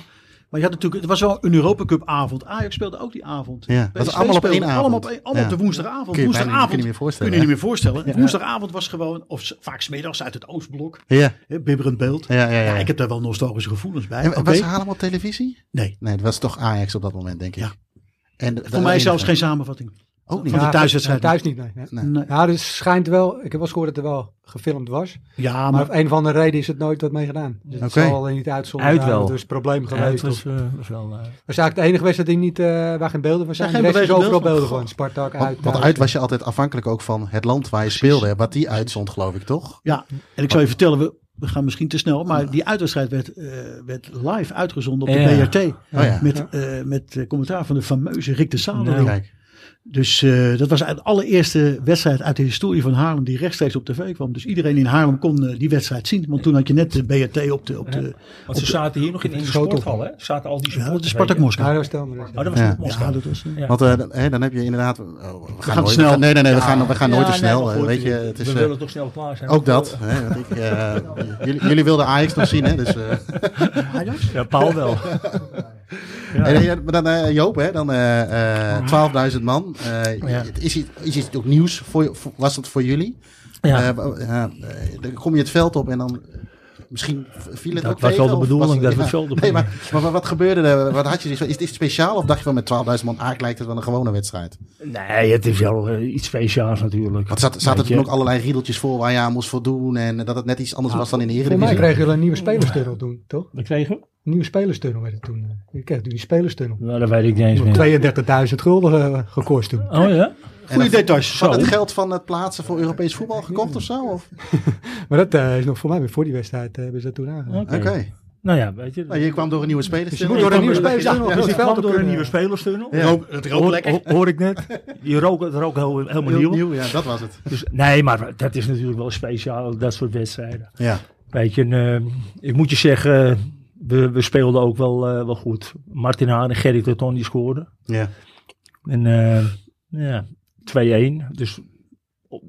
Maar je had natuurlijk, het was wel een Europa Cup avond. Ajax speelde ook die avond. Ja, dat PSV was allemaal op één speelde Allemaal op, avond. één- allemaal op Ja. de woensdagavond. Kun je bijna niet- woensdagavond kun je niet meer voorstellen, Kun je hè? niet meer voorstellen. Woensdagavond was gewoon, of s- vaak smiddags uit het Oostblok, Ja, hè, bibberend beeld. ja, ja. ja, Ja, ik heb daar wel nostalgische gevoelens bij. En Oké. was Haarlem op televisie? Nee, Nee, dat was toch Ajax op dat moment, denk ik. Ja. En, voor mij zelfs geen samenvatting. Ook niet. van de thuiswedstrijd. Thuis niet, nee. nee. Nee. Nee. Ja, dus schijnt wel, ik heb wel eens gehoord dat er wel gefilmd was. Ja, Maar maar op een van de reden is het nooit wat mee gedaan. Dus het Oké. zal alleen niet uitzonderen. Uit zijn, wel. want Dat is het probleem Ja, het geweest. was, eh, was wel, eh, Dat is eigenlijk de enige wedstrijd die niet, eh, waar geen beelden van zijn. geen de rest is bewegende overal beelden beelden van. van. Spartak Want- uit. Want thuis. uit was je altijd afhankelijk ook van het land waar je speelde, hè, wat die uitzond, geloof ik, toch? ja, Hm. en ik zou je vertellen, we, we gaan misschien te snel, maar die uitwedstrijd werd, eh, werd live uitgezonden op de Ja. BRT. Oh ja. Met, eh, met eh, commentaar van de fameuze Rick de Zadeling. Nou. Kijk. Dus eh, dat was de allereerste wedstrijd uit de historie van Haarlem die rechtstreeks op tv kwam. Dus iedereen in Haarlem kon eh, die wedstrijd zien. Want toen had je net de BRT op de, op de, Want ze zaten hier nog in, in de Schotel. sporthal, hè? Zaten al die ja, supporters. de Spartak Ja, Moskou. dat was het helemaal niet. Oh, dat was Ja. niet Moskou. Ja, dat was... eh, Ja. Want eh, dan- hè, dan heb je inderdaad. eh, we, gaan nooit, snel. Nee, nee, nee, we Ja. gaan, we gaan Ja, nooit te nee, snel. maar eh, goed, weet je, het is, we eh, willen toch snel klaar zijn. ook dat. Hè, want ik, eh, jullie, jullie wilden Ajax nog zien, hè? Dus, eh, Ja, Paul wel. en, eh, maar dan eh, Joop, hè? Dan eh, eh, 12.000 man. Eh, het Is iets, is iets ook nieuws? Voor, voor- was dat voor jullie? Ja. Eh, w- eh, eh, dan kom je het veld op en dan. eh, Misschien viel het Dat ook was tegen, wel de of bedoeling, was dat we het veld op Nee, maar, maar wat gebeurde er? Wat had je? Is het speciaal of dacht je van met 12.000 man eigenlijk lijkt het wel een gewone wedstrijd? Nee, het is wel eh, iets speciaals natuurlijk. Want zat, zaten Weet er je? toen ook allerlei riedeltjes voor waar je aan moest voldoen en dat het net iets anders was dan in de Voor mij Eredivisie? kregen jullie een nieuwe spelerstunnel toen, toch? We kregen? Nieuwe spelerstunnel werd het toen. eh. Je kreeg toen die spelerstunnel. Nou, dat weet ik niet eens meer. 32.000 gulden eh, gekost toen. Oh ja? Goede details. Had Zo. het geld van het plaatsen voor Europees voetbal gekocht of zo? Of? Maar dat eh, is nog voor mij weer voor die wedstrijd eh, hebben ze dat toen aangedaan. Oké. Nou ja, weet je. Nou, je kwam door een nieuwe speler. Dus je moet door een nieuwe spelerstunnel. dus om ik het veld kwam te door een kunnen- nieuwe spelerstunnel. Ja. Rook- het rookt Hoor, lekker. ho- hoor ik net. Je rook, het rook heel- helemaal Heel nieuw. nieuw, ja, dat was het. Dus, nee, maar dat is natuurlijk wel speciaal, dat soort wedstrijden. Ja. Weet je, en, eh, ik moet je zeggen, eh, we, we speelden ook wel, eh, wel goed. Martin Haan en Gerrit de Ton die scoorden. Ja. En eh, ja, 2-1. Dus op-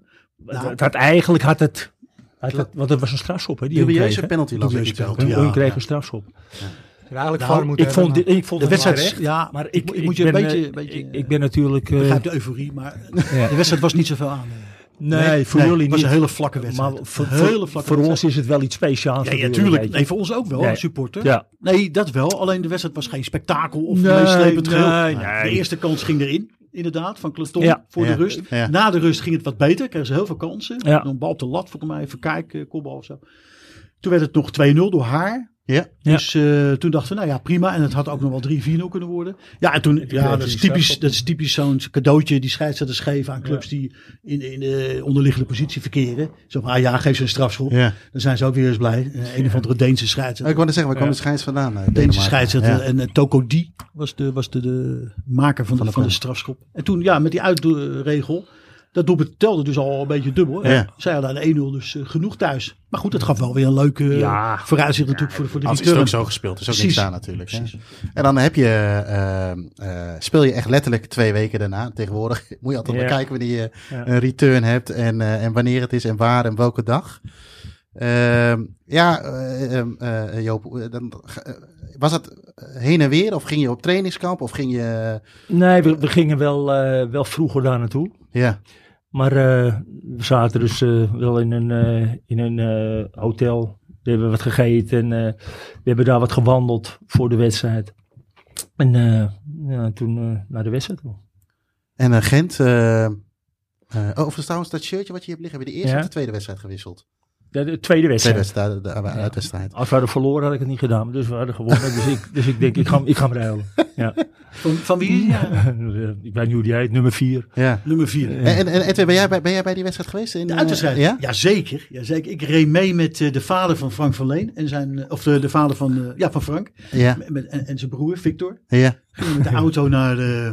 het, het had eigenlijk had het, had het- want het was een strafschop hè, die hun kreeg. Dubieuze hè? penalty las ik Dubieuze iets over. penalty, Ja. ja. Hun kreeg een strafschop. eh, Eigenlijk Nou, VAR moet Ik hebben, vond, maar- dit- ik vond De het wedstrijd, wel recht. ja, Maar ik, Ah, ik, ik, ik moet je een ben, beetje, eh, beetje ik, ik ben natuurlijk... ik eh, begrijp de euforie, maar ja. de wedstrijd was niet zoveel aan. eh. Nee, voor jullie het was niet. een hele vlakke Maar wedstrijd. voor, Een hele voor, vlakke voor ons wedstrijd. is het wel iets speciaals. Ja, ja, natuurlijk, tuurlijk. weet je. Nee, voor ons ook wel, Ja. als supporter. Ja. Nee, dat wel. Alleen de wedstrijd was geen spektakel of Nee, meeslepend geheel. nee, De nee. eerste kans ging erin, inderdaad, van Kleton Ja. voor Ja. de rust. Ja. Na de rust ging het wat beter, kregen ze heel veel kansen. Ja. Een bal op de lat, volgens mij, even kijken, kopbal of zo. Toen werd het nog 2-0 door haar. Ja. Dus eh, toen dachten we, nou ja, prima. En het had ook nog wel 3-4-0 kunnen worden. Ja, en toen, ja, dat, is typisch, dat is typisch zo'n cadeautje die scheidsrechters geven aan clubs die in, in de onderliggende positie verkeren. Zo van, ah ja, geef ze een strafschop. Ja. Dan zijn ze ook weer eens blij. Eh, een of andere Deense Ik scheidsrechter. wou net zeggen, waar kwam de scheids vandaan? eh, Deense Denemarken? scheidsrechter. Ja. En eh, Toko Di was de, was de, de maker van, Van de, de van de goal. strafschop. En toen, ja, met die uitregel. Dat doelpunt telde dus al een beetje dubbel. hè. Ja. Zij hadden aan de 1-0 dus eh, genoeg thuis. Maar goed, dat gaf wel weer een leuke eh, Ja. vooruitzicht natuurlijk voor, voor de Anders is het ook return. zo gespeeld. is ook Precies. niks aan natuurlijk. hè. Precies. En dan heb je, eh, eh, speel je echt letterlijk twee weken daarna. Tegenwoordig moet je altijd Ja. maar kijken wanneer je Ja. een return hebt. En, eh, en wanneer het is en waar en welke dag. Ehm, ja, eh, ehm, eh, Joop, eh, dan, eh, was het heen en weer? Of ging je op trainingskamp? Of ging je... Nee, we, we gingen wel, eh, wel vroeger daar naartoe. Ja, Maar eh, we zaten dus eh, wel in een, eh, in een eh, hotel. We hebben wat gegeten en eh, we hebben daar wat gewandeld voor de wedstrijd. En eh, ja, toen eh, naar de wedstrijd toe. en eh, Gent... eh eh, overigens trouwens, dat shirtje wat je hebt liggen, heb je de eerste Ja. of de tweede wedstrijd gewisseld? De, de tweede Tweede wedstrijd. wedstrijd, de, de, uitwedstrijd. Als we hadden verloren had ik het niet gedaan, maar dus we hadden gewonnen. dus, ik, dus ik denk, ik ga, hem- ik ga hem ruilen. Ja. Van, van wie? Ja. ik ben hoe die heet, nummer vier. Ja. Nummer 4. En, en Edwin, ben jij, bij- ben jij bij die wedstrijd geweest? In, De eh, uitwedstrijd? Ja? Jazeker, jazeker. Ik reed mee met eh, de vader van Frank van Leen. En zijn, eh, of de, de vader van, eh, ja, van Frank. Ja. Met, met- en, en zijn broer, Victor. Ja. Gingen met de auto naar, eh,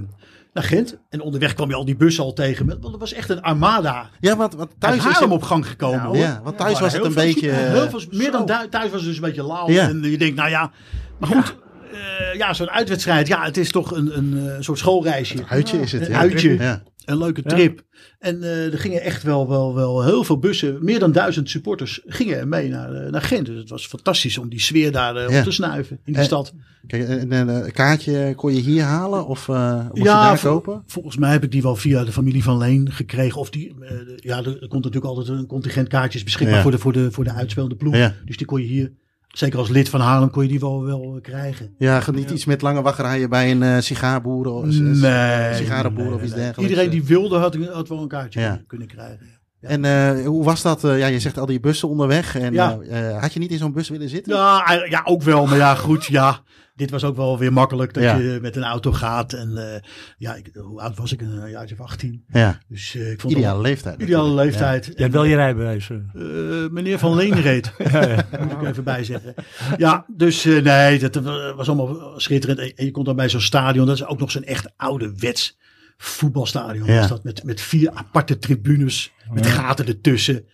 naar Gent. En onderweg kwam je al die bussen al tegen. Want het was echt een armada. ja, want, want Thuis thuis Uit is Haarlem het... op gang gekomen. hoor. Ja, want thuis Ja, was het heel een veel beetje... eh, Heel veel, meer zo. dan du- thuis was het dus een beetje lauw. Ja. En je denkt, nou ja. Maar goed, eh, ja, zo'n uitwedstrijd. Ja, het is toch een, een eh, soort schoolreisje. eh, Uitje is het, Een ja. uitje. Ja. Een leuke trip. En eh, er gingen echt wel, wel, wel heel veel bussen. Meer dan duizend supporters gingen er mee naar, eh, naar Gent. Dus het was fantastisch om die sfeer daar eh, Ja. op te snuiven in die Eh, stad. Kijk, en en, eh, een kaartje kon je hier halen of eh moest Ja, je daar vol- kopen? Volgens mij heb ik die wel via de familie van Leen gekregen. Of die, eh, de- ja, er er komt natuurlijk altijd een contingent kaartjes beschikbaar Ja. voor, de, voor, de, voor de uitspelende ploeg. Ja. Dus die kon je hier, zeker als lid van Haarlem, kon je die wel, wel eh, krijgen. Ja, ge- niet iets met lange wachtrijen bij een eh sigaarboer of Nee. sigarenboer of iets dergelijks. eh. Iedereen die wilde had, had wel een kaartje Ja. kunnen- kunnen krijgen. En eh, hoe was dat? Eh, ja, je zegt al die bussen onderweg. En, Ja. eh, eh, had je niet in zo'n bus willen zitten? Ja, eigenlijk- ja, ook wel. Maar ja, goed, ja. Dit was ook wel weer makkelijk dat Ja. je met een auto gaat. En eh, ja, ik, hoe oud was ik? Een jaartje of 18. Ja, Dus eh, ik vond het ideale leeftijd. wel- ideale natuurlijk. leeftijd. Jij hebt wel je rijbewijs. eh. Eh, meneer Van Leen reed. Moet ik even bijzeggen. Ja, dus eh, nee, dat eh, was allemaal schitterend. En en je komt dan bij zo'n stadion. Dat is ook nog zo'n echt ouderwets voetbalstadion. Ja. Was dat met, met vier aparte tribunes. Met gaten ertussen.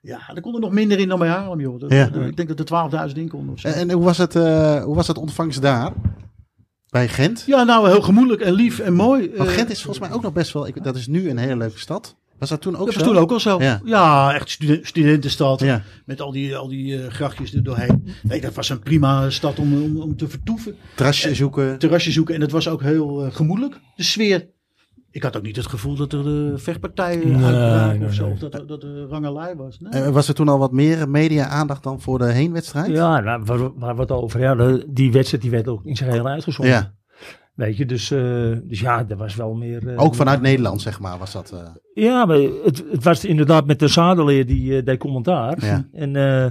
Ja, er kon er nog minder in dan bij Haarlem, joh. Dat- Ja. dat- Ik denk dat er 12.000 in konden of zo. Ja. En, en hoe, was het, eh, hoe was het ontvangst daar? Bij Gent? Ja, nou, heel gemoedelijk en lief en mooi. Want Eh, Gent is volgens mij ook nog best wel... Ik, dat is nu een hele leuke stad. Was dat toen ook dat zo? was toen ook al zo. Ja. Ja, echt studen- studentenstad. Ja. Met al die, al die eh, grachtjes er doorheen. Nee, dat was een prima stad om, om, om te vertoeven. Terrasje zoeken. Terrasje zoeken. En het was ook heel eh, gemoedelijk, de sfeer. Ik had ook niet het gevoel dat er eh, vechtpartijen Nee, uitbraken nee, of zo. nee. Of dat, er- dat er rangelij was. Nee. Eh, was er toen al wat meer media-aandacht dan voor de heenwedstrijd? Ja, nou, waar, waar wat over. Ja, de- die wedstrijd die werd ook in zijn geheel uitgezonden. Ja. Weet je, dus, eh, dus ja, er was wel meer... eh, Ook vanuit Nederland, zeg maar, was dat. eh. Ja, maar het, het was inderdaad met de zadeleer die eh deed commentaar. Ja. En eh,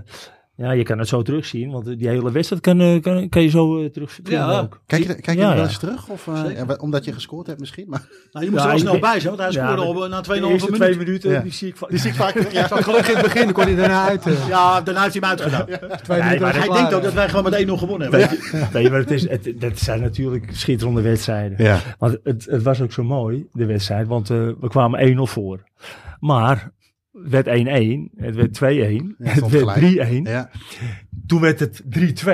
Ja, je kan het zo terugzien, want eh, die hele wedstrijd kan, eh, kan, kan je zo eh, terug Ja. ja. ook. Kijk je, kijk je Ja, nog wel ja. eens terug? Of, eh, Zeker. ja, wa- omdat je gescoord hebt misschien. Maar Nou, je moest Ja, er wel ik snel denk- bij zijn, want hij Ja, scoorde maar- al eh, na 2,5 De eerste minuten. twee minuten, Ja. die zie ik vaak. vaak Ik zag gelukkig in het begin, dan kon hij daarna uit. eh. Ja, daarna heeft hij hem uitgedaan. Twee Nee, minuten maar was Hij klaar, denkt ook eh. dat wij gewoon met 1-0 gewonnen hebben. Weet je- weet je wat het is? Het, dat zijn natuurlijk schitterende wedstrijden. Ja. Want het, het was ook zo mooi, de wedstrijd, want eh, we kwamen 1-0 voor. Maar het werd 1-1, het werd 2-1, het stond werd gelijk. 3-1. Ja. Toen werd het 3-2.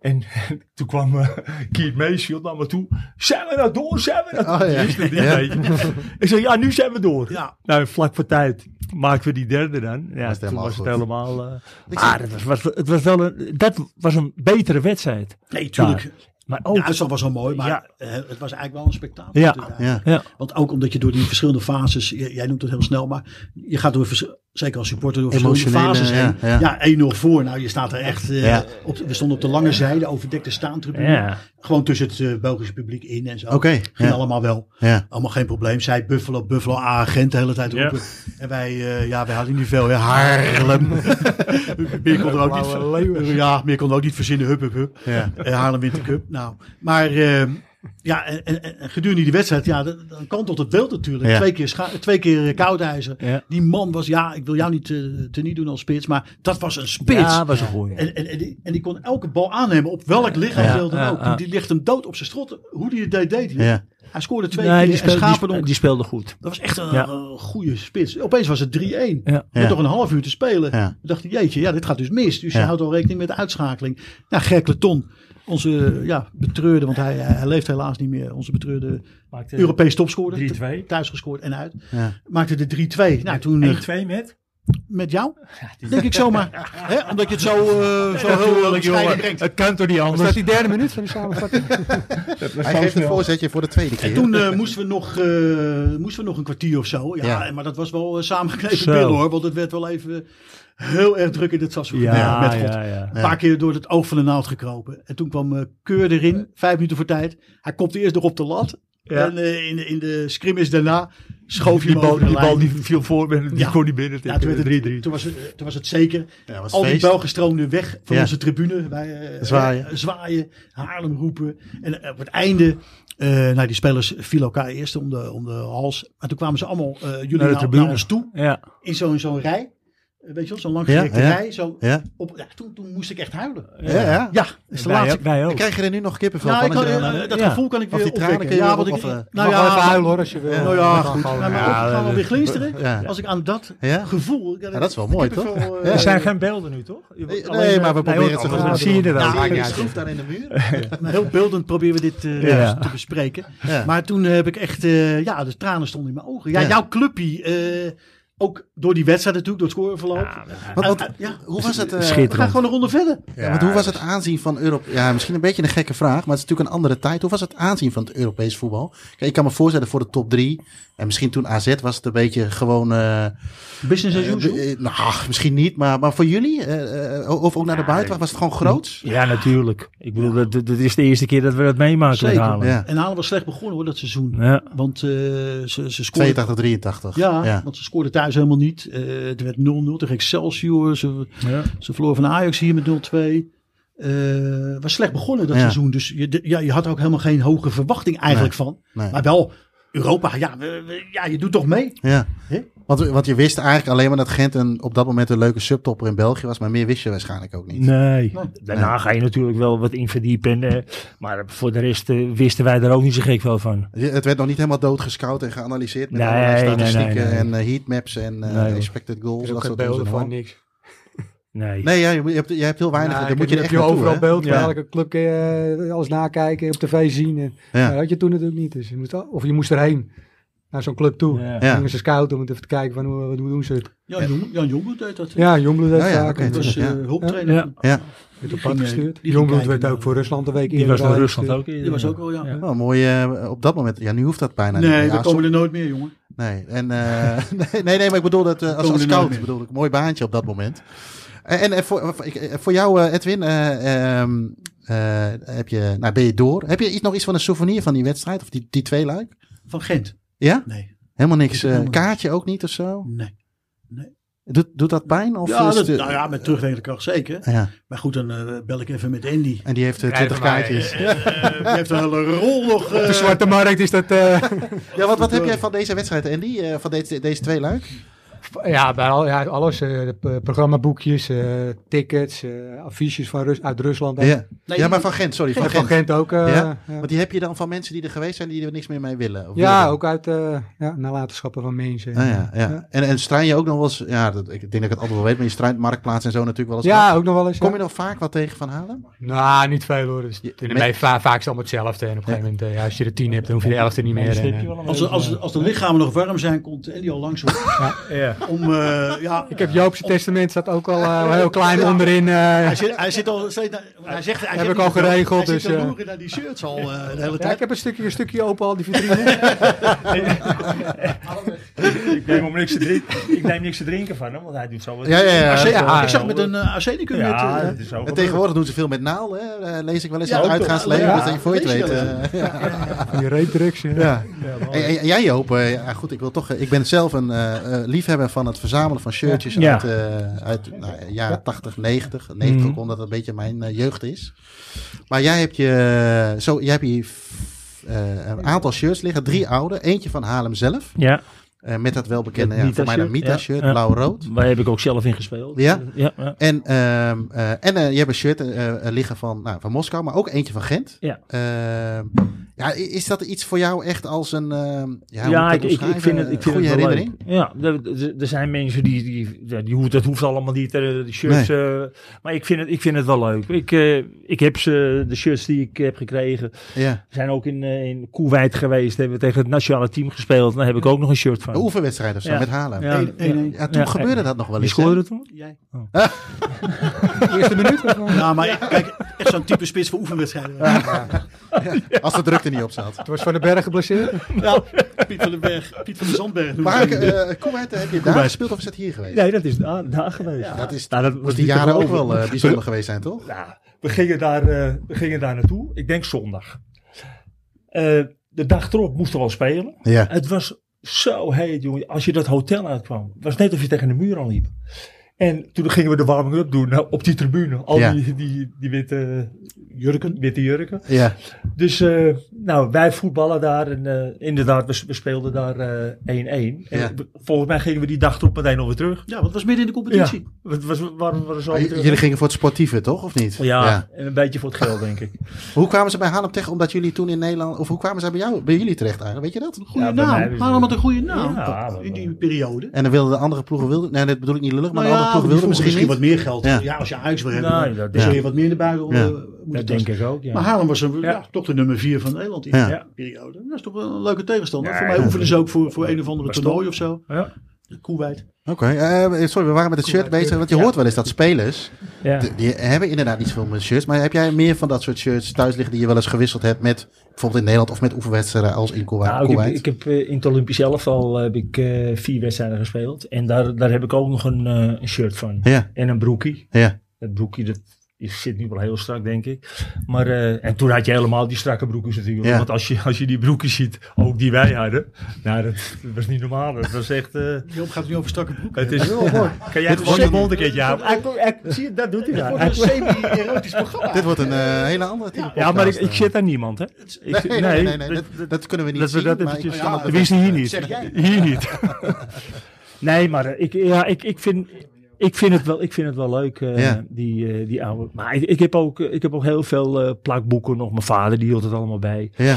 En toen kwam eh Keith Mayfield naar me toe. Zijn we nou door? Zijn we nou Oh, ja. Die is er niet, weet je. Ik zei, ja, nu zijn we door. Ja. Nou, vlak voor tijd maken we die derde dan. Ja, het toen helemaal was het goed. helemaal... eh, Ik maar het was, was- het was wel een, dat was een betere wedstrijd. Nee, tuurlijk. Maar ook... De Ja, uitslag was al mooi, maar Ja. eh, het was eigenlijk wel een spektakel. Ja. natuurlijk. Ja. Want ook omdat je door die verschillende fases, j- jij noemt het heel snel, maar je gaat door, vers- zeker als supporter, door verschillende Emotionele, fases heen. ja, Ja, 1-0 voor. Nou, je staat er echt, eh, Ja. op, we stonden op de lange zijde, overdekte staantribune. Ja. Gewoon tussen het eh, Belgische publiek in en zo. Oké, Ging ja. allemaal wel. Ja. Allemaal geen probleem. Zij Buffalo, Buffalo, agent de hele tijd Ja. roepen. En wij, eh, ja, wij hadden niet veel. Hè. Haarlem. meer kon er ook Blauwe niet, leeuwen. ja, meer kon er ook niet verzinnen. Hup, hup, hup. Ja. Eh, Haarlem wint de cup. Nou, maar eh, ja, en, en- en gedurende die wedstrijd, ja, dan, dan kantelt het beeld natuurlijk. Ja. Twee keer, scha- twee keer eh, koudijzer. Ja. Die man was, ja, ik wil jou niet eh, te teniet doen als spits, maar dat was een spits. was een goeie. En, en, en, die, en die kon elke bal aannemen, op welk lichaamsdeel Ja, dan ook. ja, ja. Die, die ligt hem dood op zijn strot. Hoe die het deed, deed hij. Ja. Hij scoorde twee Nee, die, keer en speelde, die, Schapendonk. spe- die speelde goed. Dat was echt een Ja. eh, goede spits. Opeens was het 3-1. Met Ja. Ja. nog een half uur te spelen. Ja. Toen dacht ik, jeetje, ja, dit gaat dus mis. Dus je Ja. houdt al rekening met de uitschakeling. Nou, Gerkleton, onze ja, betreurde, want hij, hij leeft helaas niet meer. Onze betreurde Maakte Europees topscorer. 3-2. Thuis gescoord en uit. Ja. Maakte de 3-2. Nou, toen eh, 1-2 met? met jou, denk ik zomaar. Hè? Omdat je het zo, eh zo heel eh, bescheiden brengt. Het kan toch niet Was dat anders? die derde minuut van de samenvatting? Hij geeft het voorzetje voor de tweede keer. En toen eh, moesten, we nog, eh, moesten we nog een kwartier of zo. Ja, Ja. maar dat was wel eh, samengeknepen Zo. billen hoor. Want het werd wel even heel erg druk in het Ja, Sassengebied. ja, met God. ja, ja. Een paar keer door het oog van de naald gekropen. En toen kwam eh, Keur erin, vijf minuten voor tijd. Hij kopte eerst nog op de lat. Ja. En eh, in, de- in de scrimmage daarna schoof je Die hem bal, over de die bal lijn. die viel voor, maar die Ja. kon niet binnen. Ja, toen, werd het, 3-3. toen, was het, eh, toen was het zeker. Ja, was Al die feest. Belgen stroomden weg van Ja. onze tribune. Wij, eh, Zwaaien. eh, zwaaien, Haarlem roepen. En eh, op het einde, eh nou, die spelers vielen elkaar eerst om de, om de hals. Maar toen kwamen ze allemaal, eh, jullie Naar de naar, naar tribune. ons toe. Ja. In zo'n zo'n rij. Eh, weet je wel, zo'n langgerekte Ja, ja. rij. Zo Ja. op, ja, toen, toen moest ik echt huilen. Ja, ja. Ja, dat is de Wij, laatste ook- wij ook. Dan krijg je er nu nog kippen van. nou, ik kan, als je eh, dan- eh, dat Ja. gevoel kan ik Of weer die tranen kun opwekken. je Ja, weer want op- ik, of, eh, nou Nou ja, even huilen hoor, als je wil. Nou Dat ja, mag goed. gewoon. Nou, maar Ja, ook, ik ga wel dat- weer glinsteren. ja. Als ik aan dat Ja. gevoel... Ja, dat is wel mooi, toch? kippenvel, eh, Ja. Er zijn geen beelden nu, toch? Je- Nee, alleen, eh, maar we proberen want het zo anders goed zie je er mogelijk wel. te doen. Ja, maakt ik niet schroef uit. daar in de muur. eh, Maar heel beeldend proberen we dit eh, Ja. te bespreken. Ja. Maar toen heb ik echt, eh, ja, de tranen stonden in mijn ogen. Ja, Ja. jouw clubje, eh, ook door die wedstrijd natuurlijk, door het scoreverloop. Ja, maar- Want- want- Eh, eh, ja, Hoe was het? eh, Schitterend. we gaan gewoon een ronde verder. ja, want hoe was dus- het aanzien van Europa? Ja, misschien een beetje een gekke vraag, maar het is natuurlijk een andere tijd. Hoe was het aanzien van het Europees voetbal? Kijk, ik kan me voorstellen voor de top drie. En misschien toen AZ was het een beetje gewoon. eh, Business as eh, usual. eh, nou, misschien niet, maar, maar voor jullie? eh, eh, of ook naar de buitenwacht? Was het gewoon groots? Ja, natuurlijk. Ik bedoel, dat, dat is de eerste keer dat we dat meemaken Zeker. met Haaland. Ja. En Halen was slecht begonnen hoor, dat seizoen. Ja. Want eh, ze, ze scoorden 82, 83. Ja, ja. want ze scoorden thuis helemaal niet. Eh, het werd 0-0 tegen Excelsior. Ze, Ja. ze verloren van Ajax hier met 0-2. Eh was slecht begonnen dat Ja. seizoen. Dus je, de- ja, je had er ook helemaal geen hoge verwachting eigenlijk van. nee. Maar wel Europa. Ja, we- we- ja, je doet toch mee. Ja. Hè? Want, want je wist eigenlijk alleen maar dat Gent een, op dat moment een leuke subtopper in België was. Maar meer wist je waarschijnlijk ook niet. Nou. Nee. Daarna ga je natuurlijk wel wat in verdiepen. eh, maar voor de rest eh, wisten wij er ook niet zo gek veel van. Je- Het werd nog niet helemaal doodgescout en geanalyseerd met Nee, allerlei nee, statistieken nee, en nee. eh, heatmaps en eh, Nee, hoor. expected goals. Er en is ook Dat geen soort beelden van dingen. niks. Nee. Nee, ja, je, moet- je hebt, je hebt heel weinig. Nou, daar moet ik je heb er echt naartoe, overal hè? beeld van Ja. elke club kun je eh, alles nakijken, op tv zien. En, Ja. Maar dat had je toen natuurlijk niet. Dus je moest, al- of je moest erheen, naar zo'n club toe. Ja. Ja. Ja. Gingen ze scouten om het even te kijken van hoe, wat- hoe doen ze het. Jan, Jong, Jan Jongbloed deed dat. Ja, Jongbloed heeft Ja, ja, vaak oké. Dat werd was eh, Ja. hulptrainer. Ja. Ja. op ging, pad eh, gestuurd. die Jongbloed ging werd kijken ook voor Rusland een week Die was naar al Rusland gestuurd. ook. Die was ook wel, ja. Ja. Wel mooi eh, op dat moment. Ja, nu hoeft dat bijna Nee, niet. we Ja, komen er nooit meer, jongen. som- nee. En, eh, nee, nee, nee, maar ik bedoel dat eh, als, komen als er nooit scout meer. bedoel ik. Mooi baantje op dat moment. En, en, eh, voor, voor- ik- eh, voor jou, eh, Edwin, eh, ehm, eh, heb je, nou, ben je door? Heb je iets, nog iets van een souvenir van die wedstrijd? Of die, die twee luik? Van Gent. Ja? Nee, Helemaal niks. Helemaal eh, niks. kaartje ook niet of zo? nee. nee. Doet, doet dat pijn? Of ja, is dat, de- nou ja, met terugwerkende kracht zeker. Ja, Maar goed, dan eh, bel ik even met Andy. en die heeft eh, Krijgen 20 maar, kaartjes. Eh, die heeft een hele rol nog. Op eh, de zwarte markt is dat... eh, Ja, wat, wat heb jij van deze wedstrijd, Andy? Eh, van deze, deze twee luik? Ja, bij al, ja, alles. eh, de p- programmaboekjes, eh, tickets, eh, affiches van Rus uit Rusland. hè. Ja. Nee, ja, maar die- van Gent, sorry. Van En van Gent. Gent ook. eh, Ja? ja, Want die heb je dan van mensen die er geweest zijn die er niks meer mee willen? Of Ja, willen? ook uit eh, ja, nalatenschappen van mensen. Ah, ja, ja. Ja. En, en struin je ook nog wel eens... Ja, dat, ik denk dat ik het altijd wel weet, maar je struint marktplaats en zo natuurlijk wel eens af. Ja, ook nog wel eens. Kom ja. je nog vaak wat tegen van Halen? Nou, niet veel hoor. Dus, Je- in de met- me- va- vaak is het allemaal hetzelfde. En op een gegeven moment, eh, ja, als je er tien hebt, dan hoef je de elfde niet meer. En, eh, Als, als, als de lichamen nog warm zijn, komt Andy al langs hoor. Ja. om. eh, ja, ik heb Joop's testament, staat ook al eh, heel klein onderin. eh. hij, zit, hij zit al steeds. naar- Hij zegt, hij Heb zegt ik niet al zo- geregeld, Hij dus, zit te eh. loeren naar die shirts al eh, de hele ja, tijd. ik heb een stukje, een stukje open al die vitrine. Ik neem om niks te drinken. Ik neem niks te drinken van hem, want hij doet zo wat. Ja, ja, ja. Arsen- Ja, ik zag met een eh, arsenicum. net, eh, Ja, dat is ook. En tegenwoordig doen ze veel met naal, hè? Eh, lees ik wel eens Ja, aan ook het toch? uitgaansleven. Ja, dat je voor je het lees je weet. wel eh, ja. Van die reepdrugs. eh. Ja. En- en- en jij Joop, eh, ja, goed, ik wil toch, eh, ik ben zelf een eh, eh, liefhebber van het verzamelen van shirtjes Ja. uit, eh uit nou, eh, jaren 80, 90. 90 Mhm. omdat dat een beetje mijn eh, jeugd is. Maar jij hebt je, eh, zo, jij hebt hier f- eh, een aantal shirts liggen, drie oude, eentje van Haarlem zelf, Ja, eh, met dat welbekende, Het ja, voor Mita mij een shirt, Mita ja. shirt, Ja. blauw-rood. waar heb ik ook zelf in gespeeld. Ja? ja, ja. En, ehm, eh, en eh, je hebt een shirt eh, eh, liggen van, nou, van Moskou, maar ook eentje van Gent. Ja. Ehm, ja, i- is dat iets voor jou echt als een ehm, ja, hoe moet Ja, dat ik, ik, ik omschrijven? vind het, ik Een vind goede het wel herinnering? leuk. Ja, er- er- er zijn mensen die, die, ja, die hoe- dat hoeft allemaal niet, eh, de shirts. eh, maar ik vind, het, ik vind het wel leuk. Ik, eh, ik heb ze, de shirts die ik heb gekregen, Ja. zijn ook in, eh, in Koeweit geweest. Hebben we tegen het nationale team gespeeld. Daar heb ik ook nog een shirt van. Een oefenwedstrijd of zo Ja. met Haarlem. Ja, Ja, Eén- één- ja. één. toen Ja, gebeurde dat nog wel Wie eens. hè? scoorde toen? Jij. Oh. Eerste minuut. of, eh? Nou, maar ik- kijk, echt zo'n type spits voor oefenwedstrijden. Als de druk er niet op zat. Het was van de berg geblesseerd. Eh, Ja, Piet van den Berg, Piet van de Zandberg. doet Maar het. eh Koewaert, heb je daar gespeeld of is dat hier geweest? Nee, dat is daar, daar geweest. Dat is Nou, dat moet was die niet te jaren ook geloven. wel eh, bijzonder geweest zijn, toch? Nou, we gingen daar, eh, we gingen daar naartoe. Ik denk zondag. Eh, de dag erop moesten we al spelen. Ja. Het was zo heet, jongen. Als je dat hotel uitkwam, het was net of je tegen de muur aan liep. En toen gingen we de warming-up doen nou, op die tribune. Al Ja. die, die, die witte jurken. Witte jurken. Ja. Ah, Dus eh, nou, wij voetballen daar. En eh, inderdaad, we, we speelden daar eh, 1-1. En Ja. we- volgens mij gingen we die dag erop meteen alweer terug. Ja, want het was midden in de competitie. Het was, we waren, we waren zo Maar weer Ah, j- terug. jullie gingen voor het sportieve, toch? Of niet? ja, ja, en een beetje voor het geld, denk ik. Hoe kwamen ze bij Haarlem terecht? Omdat jullie toen in Nederland... Of hoe kwamen zij bij, jou, bij jullie terecht eigenlijk? Weet je dat? Goede Ja, bij mij naam. hebben ze- Waarom had een goede naam Ja, maar- in die periode? En dan wilden de andere ploegen... Wilden, nee, dat bedoel ik niet lullig, maar de Nou ja, andere ploegen die wilden vroegen misschien wat niet. meer geld. Ja. Ja, als je Ajax wil hebben, Nou, dan- dat dan denk zul je ik. wat meer in de eh, buiten Ja. Dat denk ik ook, Maar ja. Haarlem was een, Ja. ja, toch de nummer 4 van Nederland in Ja. die periode. Dat is toch wel een leuke tegenstander. Ja, voor mij ja. oefenen ze ook voor, voor een of andere Was toernooi top. of zo. Ja. Koeweit. Oké, eh, sorry, we waren met het shirt bezig. Want je hoort wel eens dat spelers... Ja. De- Die hebben inderdaad niet veel met shirts. Maar heb jij meer van dat soort shirts thuis liggen die je wel eens gewisseld hebt met bijvoorbeeld in Nederland of met oefenwedstrijden als in Koewait? Nou, ik, heb, ik heb, eh, in het Olympisch elftal heb ik eh, vier wedstrijden gespeeld. En daar, daar heb ik ook nog een, eh, een shirt van. Ja, En een broekie. ja. Dat broekje dat is, zit nu wel heel strak, denk ik. Maar, eh, en toen had je helemaal die strakke broekjes natuurlijk. Ja. Want als je, als je die broekjes ziet, ook die wij hadden. Nou, dat was niet normaal. Dat was echt... eh, Joop gaat het nu over strakke broeken. het is heel mooi. Kan jij gewoon je mond een keertje houden? Hij kon- hij- Zie je, dat doet hij Het daar. wordt een Hij- semi-erotisch programma. Dit wordt een eh, hele andere type Ja, maar ik, podcast, ik eh. zit aan niemand, hè? Ik zit- Nee, nee, nee, nee, dat- dat, dat kunnen we niet dat we zien. dat maar eventjes ik kan ja, het wist wel- hier niet. Zeg jij. Hier niet. nee, maar eh, ik, ja, ik, ik, vind, ik, vind het wel, ik vind het wel leuk, eh, Ja. die, eh, die oude. Maar ik, ik, heb ook, eh, ik heb ook heel veel eh, plakboeken nog. Mijn vader die hield het allemaal bij. Ja,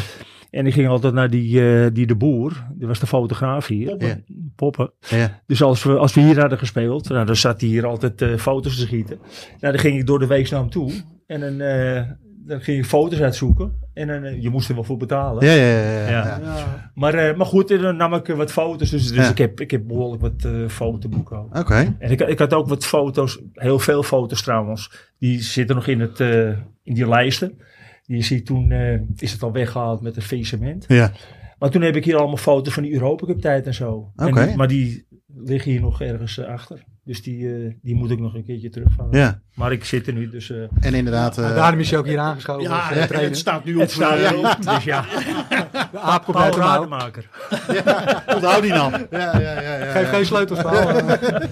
En ik ging altijd naar die, eh, die de boer. Die was de fotograaf hier. Poppen. Poppen. ja. Dus als we, als we hier hadden gespeeld, nou, dan zat hij hier altijd eh, foto's te schieten. Nou, dan ging ik door de week naar hem toe. En dan, eh, dan ging ik foto's uitzoeken. En dan, eh, je moest er wel voor betalen. Ja, ja, ja, ja, ja. Ja. Maar, eh, maar goed, en dan nam ik eh, wat foto's. Dus, dus Ja. ik, heb, ik heb behoorlijk wat eh, fotoboeken ook. Oké. En ik, ik had ook wat foto's, heel veel foto's trouwens. Die zitten nog in, het, eh, in die lijsten. Die je ziet toen eh, is het al weggehaald met het faillissement. Ja. Maar toen heb ik hier allemaal foto's van die Europa Cup tijd en zo. En Oké. die- maar die liggen hier nog ergens eh, achter. Dus die, eh, die moet ik nog een keertje terugvangen. Ja. Maar ik zit er nu, dus eh, En inderdaad, eh, daarom is je ook hier aangeschoven. Ja, als, eh, het, trainer. het staat nu op. het staat eh, erop. Dus ja, de aap komt Paul uit de mouw. Rademaker. Onthoud die nou. ja, ja, ja, ja, Geef ja. geen sleutels Paul. Eh,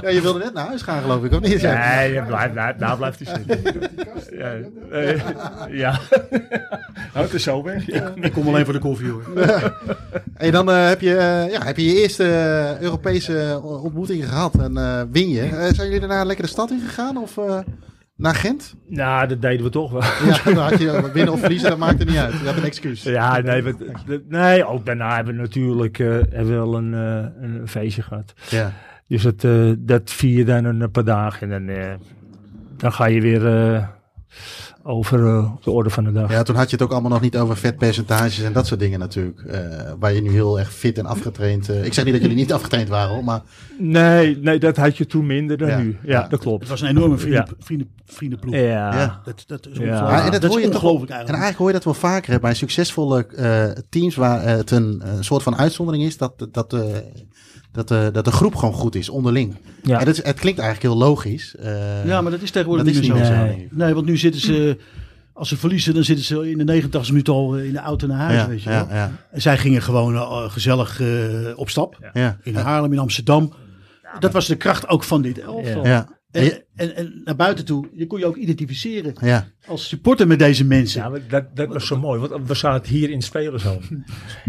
Ja, je wilde net naar huis gaan, geloof ik, of niet? Nee, ja, blijf, blijf, daar blijft hij zitten. Ja, eh, ja. nou, het is zo weg. Ja. Ik kom alleen voor de koffie hoor. En dan eh, heb, je, eh, ja, heb je je eerste eh, Europese ontmoeting gehad en eh, win je. Eh, zijn jullie daarna lekker de stad ingegaan of eh, naar Gent? Nou, dat deden we toch wel. Ja, dan had je eh, winnen of verliezen, dat maakt er niet uit. Je had een excuus. Ja, nee, we- d- nee, ook daarna hebben we natuurlijk eh, hebben we wel een, eh, een feestje gehad. Ja. Dus dat, eh, dat vier je dan een paar dagen en dan, eh, dan ga je weer eh, over eh, op de orde van de dag. ja, toen had je het ook allemaal nog niet over vetpercentages en dat soort dingen natuurlijk. eh, waar je nu heel erg fit en afgetraind... eh, ik zeg niet dat jullie niet afgetraind waren, hoor, maar Nee, nee, dat had je toen minder dan Ja. nu. Ja, Ja. dat klopt. Het was een enorme vrienden, Ja. vrienden, vriendenploeg. Ja. Ja. Dat, dat is Ja. ongelooflijk. Maar en dat dat, hoor is je toch- ongelooflijk En eigenlijk. eigenlijk hoor je dat wel vaker hè, bij succesvolle eh, teams waar eh, het een, een soort van uitzondering is dat, dat, eh, dat, eh, dat de groep gewoon goed is onderling. Ja. En dat is, het klinkt eigenlijk heel logisch. eh, Ja, maar dat is tegenwoordig dat niet is meer niet zo. meer zo, Nee. nee. Nee, want nu zitten ze, als ze verliezen, dan zitten ze in de 90 minuut al eh, in de auto naar huis. ja, weet je wel. ja, ja, En zij gingen gewoon eh, gezellig eh, op stap. ja, In Haarlem, in Amsterdam. Dat was de kracht ook van dit elftal. ja, ja, En, en, en naar buiten toe, je kon je ook identificeren ja. als supporter met deze mensen. Ja, maar dat, dat was zo mooi, want we zaten hier in de spelerzoon.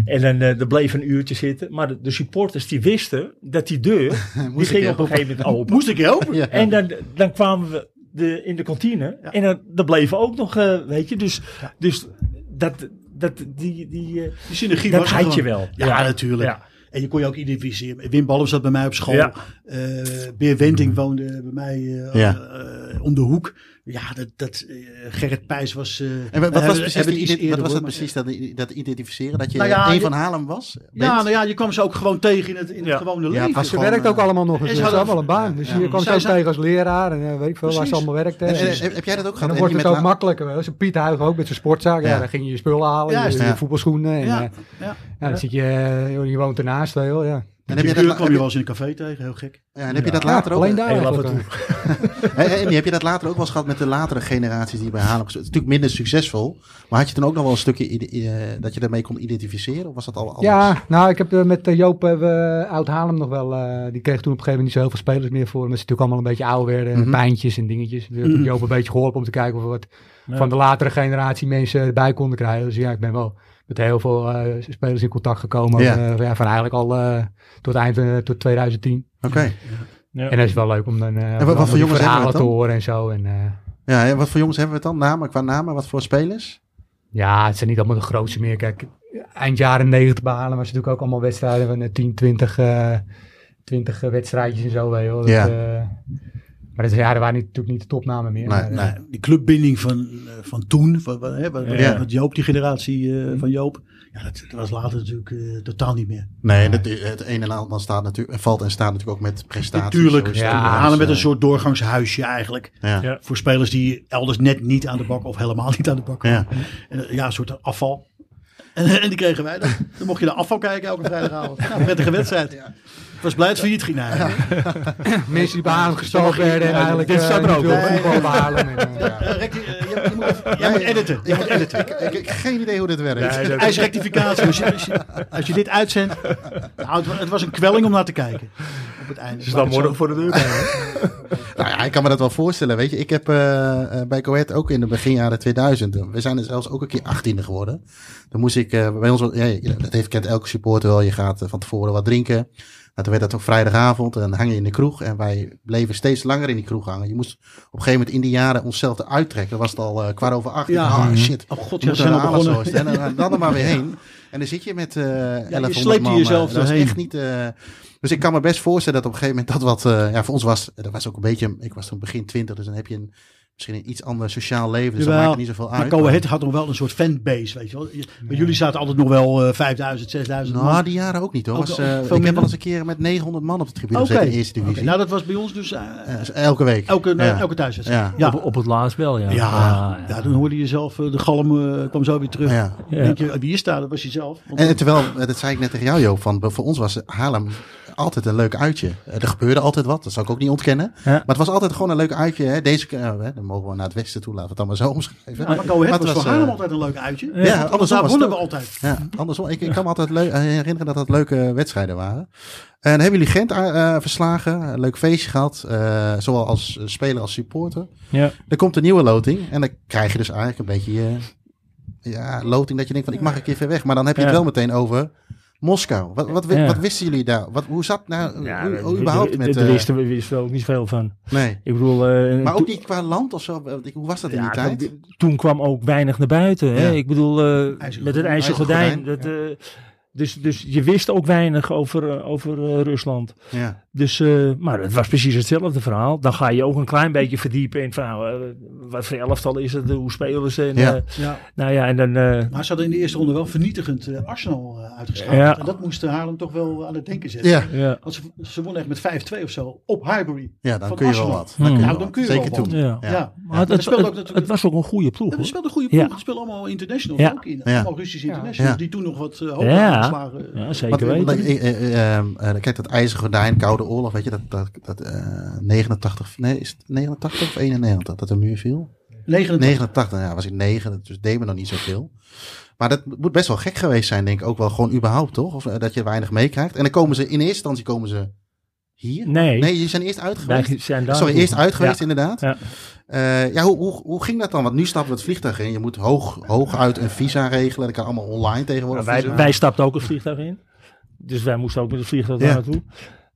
En dan eh, er bleef een uurtje zitten. Maar de, de supporters die wisten dat die deur, die ik ging heel op een gegeven moment open. Moest ik je helpen? Ja. En dan, dan kwamen we de, in de kantine. En dan, dan bleven ook nog, eh, weet je. Dus, dus dat, dat, die, die, eh, Die synergie dat was er had je gewoon. wel. Ja, natuurlijk. Ja. En je kon je ook identificeren. Wim Ballum zat bij mij op school. Ja. Eh, Beer Wenting woonde bij mij eh, Ja. eh, om de hoek. Ja, dat, dat, eh, Gerrit Pijs was... eh, En wat- wat hebben- was precies, hebben die, het iets ident- wat was eerder, dat, hoor, maar- precies dat, dat identificeren? Dat je Nou ja, een je- van Haarlem was? Ja, Bent? nou ja, je kwam ze ook gewoon tegen in het, in het Ja. gewone Ja, leven. het was Ze gewoon, werkt ook eh, allemaal nog en eens. Ze ze is hadden- allemaal een baan. Dus Ja. je kwam Zij zo zijn- tegen als leraar en eh, weet ik veel waar ze Precies. allemaal werkte. En- en- En- heb jij dat ook En gehad? dan Heb wordt je het met ook haar- makkelijker. Wel. Zo'n Piet Huig ook met zijn sportzaak. Ja. Ja. dan ging je je spullen halen, Juist, je, je ja. voetbalschoenen. En, Ja, eh, ja. ja, dan zit je, eh, joh, je woont ernaast wel. Ja. En En heb je heb dat, heb kwam je je, wel eens in een café tegen, heel gek. ja, en heb je dat Ja, later ook? alleen daar Heel af en eigenlijk, toe. eh. Hé, hé, Andy, heb je dat later ook wel eens gehad met de latere generaties die bij Haarlem... Het is natuurlijk minder succesvol, maar had je dan ook nog wel een stukje ide- eh, dat je daarmee kon identificeren? Of was dat al anders? Ja, nou, ik heb eh, met eh, Joop hebben we Oud Haarlem nog wel. eh, die kreeg toen op een gegeven moment niet zo heel veel spelers meer voor. Omdat ze natuurlijk allemaal een beetje ouder werden. Mhm. Pijntjes en dingetjes. Dus ik heb Joop een beetje geholpen om te kijken of we wat Ja. van de latere generatie mensen erbij konden krijgen. Dus ja, ik ben wel met heel veel eh, spelers in contact gekomen. Ja. Eh, ja, van eigenlijk al eh, tot eind eh, tot 2010. Oké. Ja. En dat is wel leuk om dan, eh, wat voor dan die jongens hebben we verhalen het te dan? horen en zo. En, eh, Ja, en wat voor jongens hebben we het dan? Namen, qua namen, wat voor spelers? Ja, het zijn niet allemaal de grootste meer. Kijk, eind jaren 90 behalen was natuurlijk ook allemaal wedstrijden van eh, 10, 20, eh, 20 wedstrijdjes en zo. weet je wel. Dat, Ja. eh, maar dat, ja, dat waren niet- natuurlijk niet de topnamen meer. Nee, maar, eh, nee. Nou, Die clubbinding van, eh, van toen, van, van, hè, wat, Ja. wat Joop, die generatie Mhm. eh, van Joop. Ja, dat, dat was later natuurlijk eh, totaal niet meer. Nee, dat, eh, het een en ander staat natuurlijk, valt en staat natuurlijk ook met prestaties. Natuurlijk, Zo is we het ja, ook. halen met Dus, een soort doorgangshuisje eigenlijk. eh, Ja. Ja. Voor spelers die elders net niet aan de bak of helemaal niet aan de bak komen. Ja. En, eh, ja, een soort afval. En, en die kregen wij dan. Dan mocht je naar afval kijken elke vrijdagavond. Nou, prettige wedstrijd. Ik was blij dat het failliet ging eigenlijk. Mensen die behalen gestolen mag je- werden en ja, eigenlijk dit eh, staat er niet ook wilden op. voetbal behalen. En, eh, Eh, Rick, eh, jij, jij moet, even- jij moet editen. Ik moet editen. Ik, ik, ik heb geen idee hoe dit werkt. Nee, dat- IJsrectificatie. Als je, als je, als je dit uitzendt. Nou, het, wa- het was een kwelling om naar te kijken. Op het einde. Ze staan morgen voor de deur. Nou ja, ik kan me dat wel voorstellen. Weet je, ik heb eh, eh, bij Coët ook in de beginjaren 2000. eh, We zijn er zelfs ook een keer 18e geworden. Dan moest ik eh, bij ons, wel- ja, je- dat heeft kent elke supporter wel. Je gaat eh, van tevoren wat drinken. Nou, toen werd dat ook vrijdagavond en dan hang je in de kroeg. En wij bleven steeds langer in die kroeg hangen. Je moest op een gegeven moment in die jaren onszelf eruit trekken. Dan was het al eh kwart over acht. Ja. Ah, shit. Oh god, Je ja, moet zijn er we halen zo begonnen. is het. En dan, eh, dan er maar weer heen. En dan zit je met eh 1100 sleept man. je jezelf eh, dat is doorheen. echt niet... eh, dus ik kan me best voorstellen dat op een gegeven moment dat wat... eh, ja, voor ons was... Dat was ook een beetje... Ik was toen begin twintig, dus dan heb je een, misschien een iets ander sociaal leven. Dus dat Jawel, maakt het niet zoveel Maar uit. Go Ahead had nog wel een soort fanbase. Weet je wel. Je- Maar jullie zaten altijd nog wel eh, 5000, 6000 man. Nou, die jaren ook niet hoor. Ook Was, al- eh, veel ik heb minder? wel eens een keer met 900 man op de tribune gezeten in de eerste divisie. Oké, Nou, dat was bij ons dus eh, Eh, dus elke week. elke, nou, eh, Ja. elke thuiswedstrijd. Ja. Ja. Op, op het laatst wel, ja. Ja, ja. dan hoorde je zelf, eh, de galm eh, kwam zo weer terug. Ja. Dan Denk je, wie is daar? Dat was jezelf. Want- En terwijl, eh, dat zei ik net tegen jou Joop, van, voor ons was Haarlem altijd een leuk uitje. Eh, Er gebeurde altijd wat, dat zou ik ook niet ontkennen. Ja. Maar het was altijd gewoon een leuk uitje. Hè. Deze keer, eh, hè, dan mogen we naar het westen toe, laten we het dan maar zo omschrijven. maar Go Ahead het was was, voor Haarlem eh, altijd een leuk uitje. Ja, andersom Want was daar het wonnen we ook. altijd. Ja, andersom. Ik, ik kan me altijd leu- eh, herinneren dat dat leuke wedstrijden waren. En hebben jullie Gent eh, eh, verslagen? Een leuk feestje gehad. eh, zowel als eh, speler als supporter. Ja. Er komt een nieuwe loting. En dan krijg je dus eigenlijk een beetje... eh, ja, loting dat je denkt van ik mag een keer ver weg. Maar dan heb je het Ja. wel meteen over Moskou. Wat, wat, wi- Ja. wat wisten jullie daar? Wat, hoe zat nou Ja, hoe- we- hoe überhaupt we- met... Daar eh, wisten we wisten we ook niet veel van. nee. Ik bedoel, eh, Maar toen- ook niet qua land of zo. Want ik- Hoe was dat in Ja, die tijd? dat- toen kwam ook weinig naar buiten. Hè? Ja. Ik bedoel, eh, IJzeren met het gordijn. ijzeren gordijn. IJzeren Dat, eh, dus, dus je wist ook weinig over, eh, over eh, Rusland. Ja. Dus, eh, maar het was precies hetzelfde verhaal. Dan ga je ook een klein beetje verdiepen in van, nou, eh, wat voor elftal is het, eh, hoe spelen ze. En, Ja. eh, Ja. nou ja, en dan, eh, Maar ze hadden in de eerste ronde wel vernietigend eh, Arsenal eh, uitgeschakeld. Ja. En dat moest Haarlem toch wel aan het denken zetten. Ja. ja, Want ze, ze wonnen echt met 5-2 of zo op Highbury. ja, dan Van kun je wel Arsenal. wat. Dan kun je wel Nou, dan wat. kun je Zeker wel wat. toen. ja. Ja. Ja. Hmm. Maar Maar het, er het, speelde ook het, natuurlijk... was ook een goede ploeg. Ja, er hoor. speelden goede ploegen. Ja. Er speelden allemaal internationals Ja. ook in. Ja. Allemaal Russische Ja. internationals Ja. die toen nog wat eh, hoger Ja. aanslagen. Ja, Maar, zeker want, weten. eh, eh, ehm, eh, kijk, dat ijzeren gordijn, Koude Oorlog, weet je, dat, dat, dat eh, 89, nee, is het 89 of 91 dat de muur viel? 29. 89, ja, was ik 9, dus deed me nog niet zoveel. Maar dat moet best wel gek geweest zijn, denk ik, ook wel gewoon überhaupt, toch? Of eh, dat je weinig meekrijgt. En dan komen ze, in eerste instantie komen ze hier? Nee, Nee, die zijn eerst uit wij geweest. zijn daar. Sorry, eerst uit geweest, inderdaad. Ja. Ja, ja hoe, hoe, hoe ging dat dan? Want nu stappen we het vliegtuig in. Je moet hoog, hooguit een visa regelen. Dat kan allemaal online Nou, tegenwoordig. wij, visa. wij stapten ook het vliegtuig in. Dus wij moesten ook met het vliegtuig daar Ja. naartoe.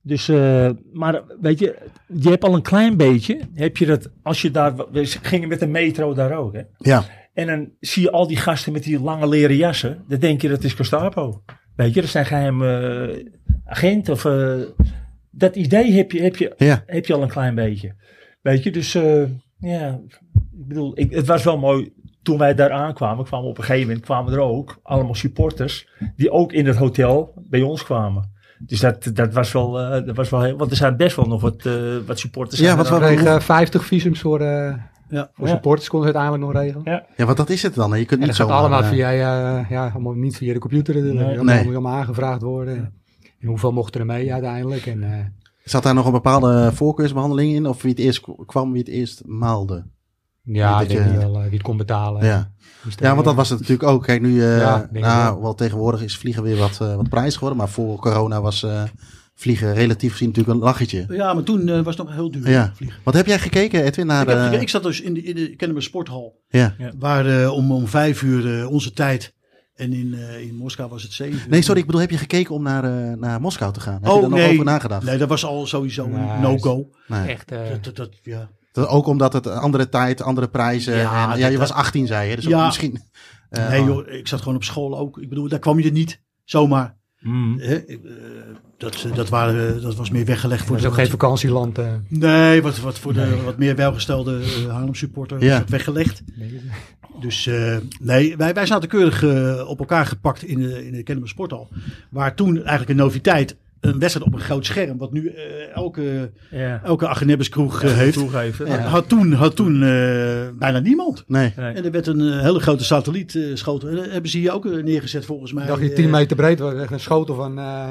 Dus, eh, maar weet je, je hebt al een klein beetje, heb je dat, als je daar, we gingen met de metro daar ook, hè. ja. En dan zie je al die gasten met die lange leren jassen, dan denk je dat is Gestapo. Weet je, dat zijn geheim eh, agent of, eh, dat idee heb je, heb, je, ja. heb je al een klein beetje. Weet je, dus eh, ja, ik bedoel, ik, het was wel mooi toen wij daar aankwamen. Kwamen we op een gegeven moment kwamen er ook allemaal supporters die ook in het hotel bij ons kwamen. Dus dat, dat was wel, eh, dat was wel heel, want er zijn best wel nog wat, eh, wat supporters. Ja, zijn er wat aan. We kregen eh, 50 visums voor, eh, Ja. voor Ja. supporters, konden ze uiteindelijk nog regelen. Ja. Ja, want dat is het dan. hè. Je kunt En niet dat gaat zo allemaal via, eh, ja, allemaal niet via de computer natuurlijk. Nee. Allemaal- Nee. Moet je allemaal aangevraagd worden. En hoeveel mochten er mee uiteindelijk? En, eh, Zat daar nog een bepaalde voorkeursbehandeling in? Of wie het eerst k- kwam, wie het eerst maalde? ja, dat ik denk je- niet wel eh, wie het kon betalen. Ja. Hoe sterk- ja, want dat was het natuurlijk ook. Kijk, nu, eh, Ja, denk ik nou, wel. wel tegenwoordig is vliegen weer wat, eh, wat prijs geworden. Maar voor corona was eh, vliegen relatief gezien natuurlijk een lachetje. Ja, maar toen eh, was het nog heel duur Ja. eh, vliegen. Wat heb jij gekeken, Edwin, naar Ik, heb, de... ik zat dus in de, in de Kennemer Sporthal. Ja. Waar eh, om, om vijf uur eh, onze tijd. En in, eh, in Moskou was het zeven uur. Nee, sorry, ik bedoel, heb je gekeken om naar, eh, naar Moskou te gaan? Heb je Oh, er nog nee. over nagedacht? Nee, dat was al sowieso Nice. een no-go. Nee. echt. eh, Dat, dat, dat, ja. Dat- Ook omdat het andere tijd, andere prijzen... Ja, Ja, en, ja je dat- was 18, zei je, dus ook Ja. misschien... eh, nee joh, ik zat gewoon op school ook. Ik bedoel, daar kwam je niet zomaar. Mm. Hè? Ik, eh, Dat, eh, dat, waren, eh, dat was meer weggelegd voor dat is ook de... geen vakantieland. eh, Nee, wat, wat voor de wat meer welgestelde eh, Haarlem supporter Ja. was dat weggelegd. Dus eh, nee, wij, wij zaten keurig eh, op elkaar gepakt in de, in de Kennemer Sporthal. Waar toen eigenlijk een noviteit, een wedstrijd op een groot scherm, wat nu eh, elke, Ja. elke Agenebbeskroeg eh, heeft, Toegeven. Ja. had toen, had toen eh, bijna niemand. Nee. Nee. En er werd een eh, hele grote satelliet eh, schoten. En dat hebben ze hier ook eh, neergezet volgens mij. Ik dacht je Eh, 10 meter breed was. Echt een schotel van, eh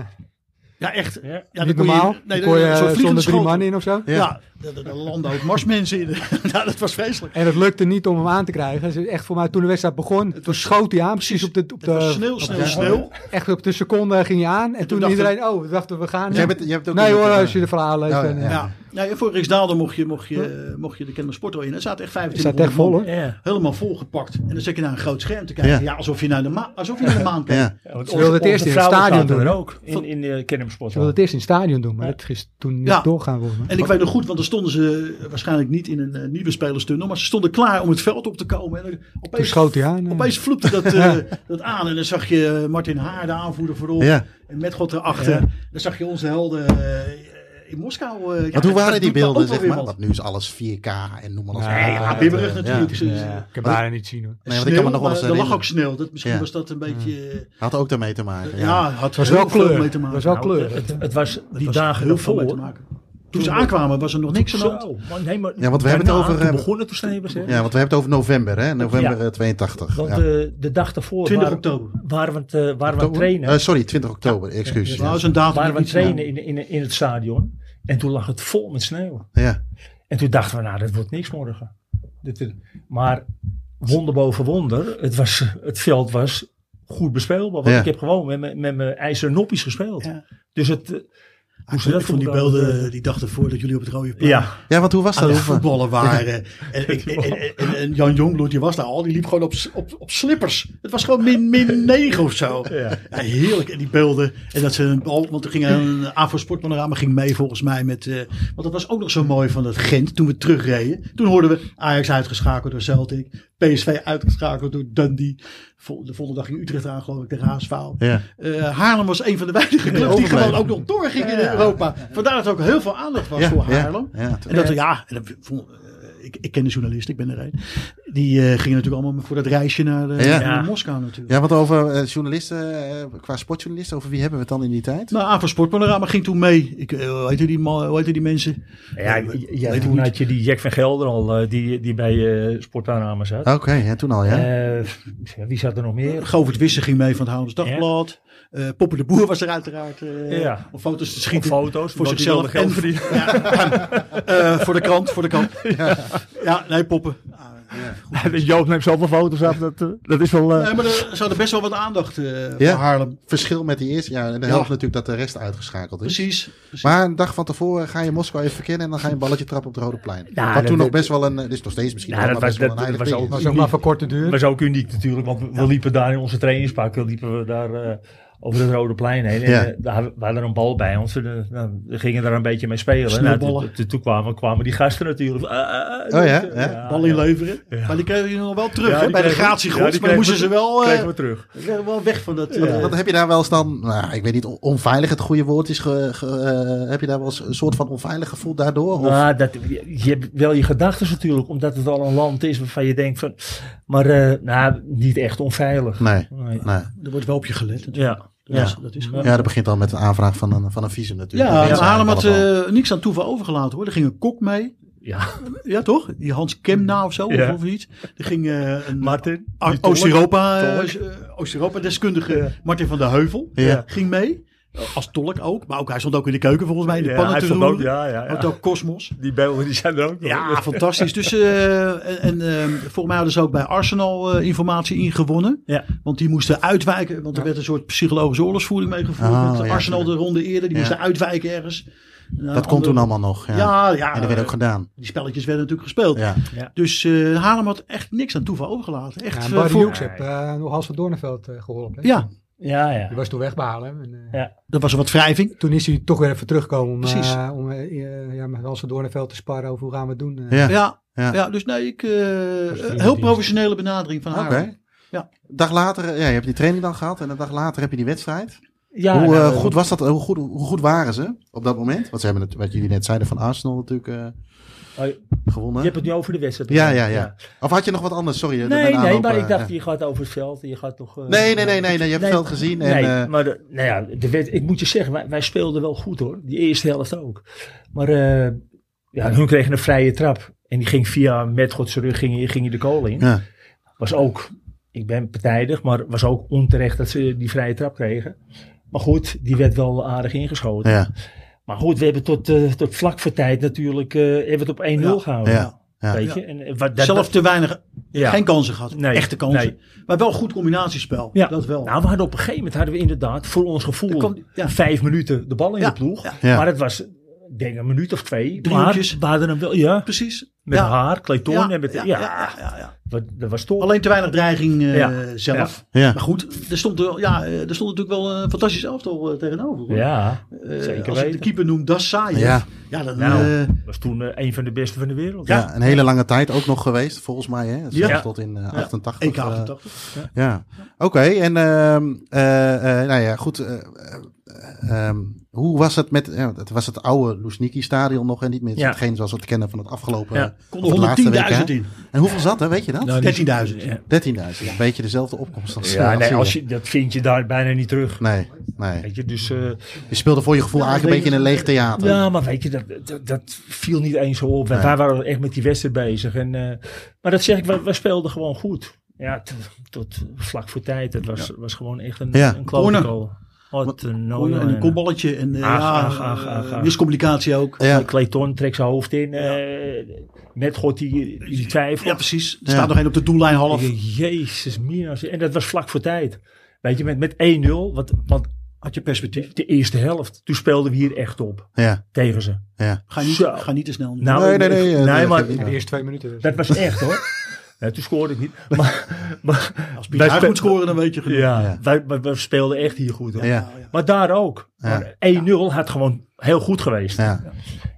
Ja, echt. Ja. Ja, dan niet kon je- normaal. nee, Dan kon je een soort eh, vliegende zonder drie schotel. man in of zo. Ja. Ja, daar daar- daar landen ook marsmensen in. ja, dat was vreselijk. En het lukte niet om hem aan te krijgen. Dus echt voor mij, toen de wedstrijd begon, toen schoot hij aan. Precies op de, Eh, op Het was de, Oh, sneeuw, sneeuw, sneeuw. echt op de seconde ging hij aan. En, toen Dus toen, dachten- iedereen, oh, we dachten we gaan. Jij nu. bent, jij hebt ook nee een- hoor, als je de verhalen leest. Oh, ja, en, eh, ja. Ja. ja, en voor Riksdaalden mocht je, mocht, je, mocht je de Kennemer Sporto in. Er zaten echt Het staat 25 echt vol hoor. Ja. Helemaal volgepakt. En dan zit je naar een groot scherm te kijken. Ja, Ja. alsof je naar de, ma alsof je naar de maan kijkt. Ja. Ja, want Ze wilden het onze- eerst onze in het vrouwen stadion zaten doen, er hè? ook in, in de Kennemersport. Ze wilden het eerst in het stadion doen, maar dat is toen niet Ja. doorgaan volgens mij. En ik weet nog goed, want dan stonden ze eh, waarschijnlijk niet in een eh, nieuwe spelerstunnel. Maar ze stonden klaar om het veld op te komen. En dan Toen opeens, schoot hij aan. eh. opeens vloepte dat, eh, dat aan. En dan zag je eh, Martin Haar, de aanvoerder voorop. Ja. En met God erachter. Dan zag je onze helden eh, in Moskou. eh, ja, Want hoe dat waren die doet me ook beelden, wel zeg weer maar? wat. Want nu is alles 4K en noem maar op. Nee, ja, Ja, bibberig natuurlijk. dus- Ja. Ze- ze- Ja, ik heb bijna niet zien hoor. Nee, want ik kan me nog wel eens Sneeuw, maar er lag ook herinneren. sneeuw. Dat, misschien Ja. was dat een beetje... eh, Had ook daarmee te maken. Ja, Ja. had was heel wel veel kleur. mee te maken. Was wel Nou, kleur. Het, het was die was dagen heel veel mee te ervoor. maken. toen ze aankwamen was er nog niks aan de hand. Zo, maar nee, maar Ja, want we hebben het daarna, over, Toen eh, begonnen toen Snevers, hè? Ja, want we hebben het over november, hè? November Ja. eh, 82. Want ja. eh, de dag daarvoor 20 waren, oktober. waren we, het, eh, waren we aan het Oktober? trainen. Eh, sorry, 20 oktober, excuus. Dat Ja. was een datum. waren die we aan het niet snel- trainen in, in, in het stadion. En toen lag het vol met sneeuw. Ja. En toen dachten we, nou, dat wordt niks morgen. Dit- maar wonder boven wonder, het, was, het veld was goed bespeelbaar. Want Ja. ik heb gewoon met, mijn- met mijn ijzeren noppies gespeeld. Ja. Dus het, eh, Ah, Ik Hoe ze dat vond die voor elkaar beelden hadden. die dag ervoor dat jullie op het rode plein ja, ja, want hoe was aan dat? het Hoe- voetballen waren. En, en, en- en- en Jan Jongbloed, die was daar al, die liep gewoon op, s- op, op slippers. Het was gewoon min, min 9 of zo. ja. Ja, heerlijk, en die beelden. En dat ze een bal, want er ging een AVO Sportpanorama ging mee volgens mij met, eh, want dat was ook nog zo mooi van dat Gent, toen we terugreden. Toen hoorden we Ajax uitgeschakeld door Celtic, PSV uitgeschakeld door Dundee. Vol- De volgende dag ging Utrecht aan, geloof ik, tegen HSV. Ja. Eh, Haarlem was een van de weinige clubs die overbleven. gewoon ook nog doorging in Europa. Vandaar dat er ook heel veel aandacht was Ja, voor ja, Haarlem. ja, En dat, ja, en dat vond- eh, ik, ik ken de journalist, ik ben er een. Die eh, gingen natuurlijk allemaal voor dat reisje naar, eh, Ja. naar Moskou natuurlijk. Ja, want over eh, journalisten, eh, qua sportjournalisten, over wie hebben we het dan in die tijd? Nou, AVO Sportpanorama ging toen mee. Ik, eh, hoe, heette die, man- hoe heette die mensen? ja, Eh, j- ja, weet ik toen niet. had je die Jack van Gelder al, eh, die, die bij eh Sportarama zat. Oké, Nou- ja, toen al, Ah, ja. Eh, ja, wie zat er nog meer? Govert Wissen ging mee van het Houdens Dagblad. Eh Poppen de Boer was er uiteraard eh, Ja. om foto's te Op schieten. foto's, voor want die zichzelf wilde geld en- verdienen. Eh, voor de krant, voor de krant. Ja, nee, Poppen. Ah, Joop neemt zoveel foto's af, dat, eh, dat is wel... eh, nee, maar er ze hadden best wel wat aandacht eh, Ja. voor Haarlem. Verschil met die eerste, ja, en de Ja. helft natuurlijk dat de rest uitgeschakeld is. Precies. precies. Maar een dag van tevoren ga je Moskou even verkennen en dan ga je een balletje trappen op het Rode Plein. Nou, Wat dat- toen nog dat- best wel een, eh, dit is nog steeds misschien Nou, wel, dat maar was- best wel dat- een aardig dat was ding Dat is. was ook maar van korte duur. Maar is ook uniek natuurlijk, want we, we liepen daar in onze trainingspakken, liepen we daar eh, over het Rode Plein heen. En Ja. eh, daar, we hadden een bal bij ons, en, eh, nou, we gingen daar een beetje mee spelen. Nou, Sneeuwballen. toen- toen- toen kwamen, kwamen die gasten natuurlijk. Ah, ah, ah, Oh ja, dus, eh, ja. Bal inleveren. Maar die kregen je nog wel terug Ja, hè, die bij de kregen- gratiegroep. ja, die maar dan moesten ze kregen wel, eh, Kregen we terug. wel weg van dat. Ja. eh, Want heb je daar wel eens dan, nou, ik weet niet, on- onveilig het goede woord is, ge- ge- eh, heb je daar wel eens een soort van onveilig gevoel daardoor? Of? Maar dat, je, je hebt wel je gedachten natuurlijk, omdat het al een land is waarvan je denkt van... Maar eh, nou, niet echt onveilig. Nee, Nee. nee. er wordt wel op je gelet. natuurlijk. Ja. Dat is- Ja. dat is Ja, dat begint al met een aanvraag van een, van een visum natuurlijk. Ja, Dat maar weten ze Haarlem had eigenlijk eh, niks aan toeval overgelaten hoor. Er ging een kok mee. Ja. Ja, toch? Die Hans Kemna of zo, Ja. of, of iets. Er ging eh, een Martin? Ar- die tolk. Oost-Europa Tolk. eh, eh, Oost-Europa-deskundige Martin van der Heuvel eh, Ja. ging mee. Als tolk ook. Maar ook, hij stond ook in de keuken volgens mij in de Ja, pannen hij te stond ook- roeren. ja, ja, ja. Hotel Cosmos. Die beelden die zijn er ook nog. Ja, fantastisch. Dus, eh, en, en eh, volgens mij hadden ze ook bij Arsenal eh, informatie ingewonnen. Ja. Want die moesten uitwijken. Want er werd een soort psychologische oorlogsvoering mee gevoerd. Oh, met ja, Arsenal de ronde eerder. Ja. Die moesten uitwijken ergens. eh, Dat kon toen allemaal nog. Ja. Ja, ja. en dat werd ook eh, gedaan. die spelletjes werden natuurlijk gespeeld. Ja. Dus eh Haarlem had echt niks aan toeval overgelaten. Ja, Echt en eh, Barry voor- Hoeks heeft eh, nog Hans van Doornenveld eh, geholpen. hè? Ja, ja, ja. Die was toen wegbehalen. En, eh, Ja. dat was er wat wrijving. Toen is hij toch weer even teruggekomen om, Precies. eh, om eh, eh, ja, met Hans van Doornenveld te sparren over hoe gaan we het doen. eh. Ja. Ja, Ja. ja. dus nee, ik, eh, is eh, heel dienst. professionele benadering van Haarlem. Oké. Ja. Dag later, eh, ja, je hebt die training dan gehad en een dag later heb je die wedstrijd. Ja, hoe, eh, nou, goed was dat, hoe, goed, hoe goed waren ze op dat moment? Want ze hebben het, wat jullie net zeiden van Arsenal natuurlijk eh, oh, je gewonnen. hebt het nu over de wedstrijd. Ja, ja, ja. Of had je nog wat anders? Sorry. eh, Nee, daarna nee, ook, maar eh, ik dacht, ja. je gaat over het veld. en Je gaat nog, eh, Nee, nee, nee, nee, nee, je hebt het veld gezien en, nee, eh, maar de- nou ja, de wet, ik moet je zeggen, wij, wij speelden wel goed hoor. Die eerste helft ook. Maar eh, ja, hun kregen een vrije trap. En die ging via Metgods rug ging, ging je de kool in. Ja. Was ook, ik ben partijdig, maar was ook onterecht dat ze die vrije trap kregen. Maar goed, die werd wel aardig ingeschoten. Ja, Maar goed, we hebben tot, eh, tot vlak voor tijd natuurlijk eh, hebben we het op 1-0 Ja. gehouden. ja, ja. Weet je? En, eh, wat- dat- Zelf te weinig, ja. geen kansen gehad. Nee, Echte kansen. nee. Maar wel goed combinatiespel. Ja. Dat wel. Nou, we hadden op een gegeven moment hadden we inderdaad voor ons Er gevoel kwam- ja. vijf minuten de bal in Ja, de ploeg. ja. Ja. Maar het was, ik denk een minuut of twee. Driehoekjes. Maar we hadden hem wel, ja, Precies. met Ja. haar, Clayton Ja, en met, ja, ja, ja, ja, ja. Wat, dat was toch. Alleen te weinig dreiging eh, Ja. zelf. Ja. Maar goed, er stond, wel- ja, eh, er stond natuurlijk wel een fantastisch elftal eh, tegenover. hoor. ja, Eh, zeker als ik de weten. keeper noem, dat saai. Ja. Ja. ja, dan... Nou, eh, was toen eh, een van de beste van de wereld. Ja, een hele lange tijd ook nog geweest, volgens mij. Hè? Het is Ja. zelfs Tot in eh, 88. EK eh, 88. Ja, oké. en ehm, eh, eh, nou ja, goed. eh, eh, ehm, hoe was het met, eh, het was het oude Loesniki stadion nog en niet meer Ja. hetgeen zoals we het kennen van het afgelopen. Ja. of het laatste week, hè? Kon 110.000 in. En hoeveel zat er, weet je dat? Nou, niet- 13.000. Ja, 13.000, een beetje dezelfde opkomst als Ja, eh, nee, Algeria. als je, dat vind je daar bijna niet terug. Nee, nee. Weet je, dus, eh, Je speelde voor je gevoel Ja, eigenlijk een beetje in een leeg theater. ja, maar weet je, dat, dat, dat viel niet eens zo op. Want Nee. wij waren echt met die wedstrijd bezig. En, eh, maar dat zeg ik, wij, wij speelden gewoon goed. Ja, t- tot vlak voor tijd. Het was, was gewoon echt een, Ja. een Corner. klote Wat een Oh, ja, en een nood. kopballetje en eh, Ach, ja, ach, ach, ach, ach. miscommunicatie ook. Ja. Clayton trekt zijn hoofd in. eh, met God die, die twijfel. Ja, precies. Er Ja. staat nog één op de doellijn half. Ik denk, Jezus, mina. En dat was vlak voor tijd. Weet je, met, met 1-0. Want, want had je perspectief? De eerste helft. Toen speelden we hier echt op. Ja, Tegen ze. ja. Ga niet, Zo. ga niet te snel. nu. Nou, Nee, nee, nee, ik- eh, nee, maar dat In Ja. de eerste twee minuten. dus. dat was echt hoor. Ja, toen scoorde ik niet. Maar, maar Als Piet wij Huygens spe- moet scoren, dan weet je genoeg. ja, Ja. Wij, wij- wij speelden echt hier goed. Hoor. ja. Nou, Maar daar ook. Ja. Maar 1-0 had gewoon heel goed geweest. Ja,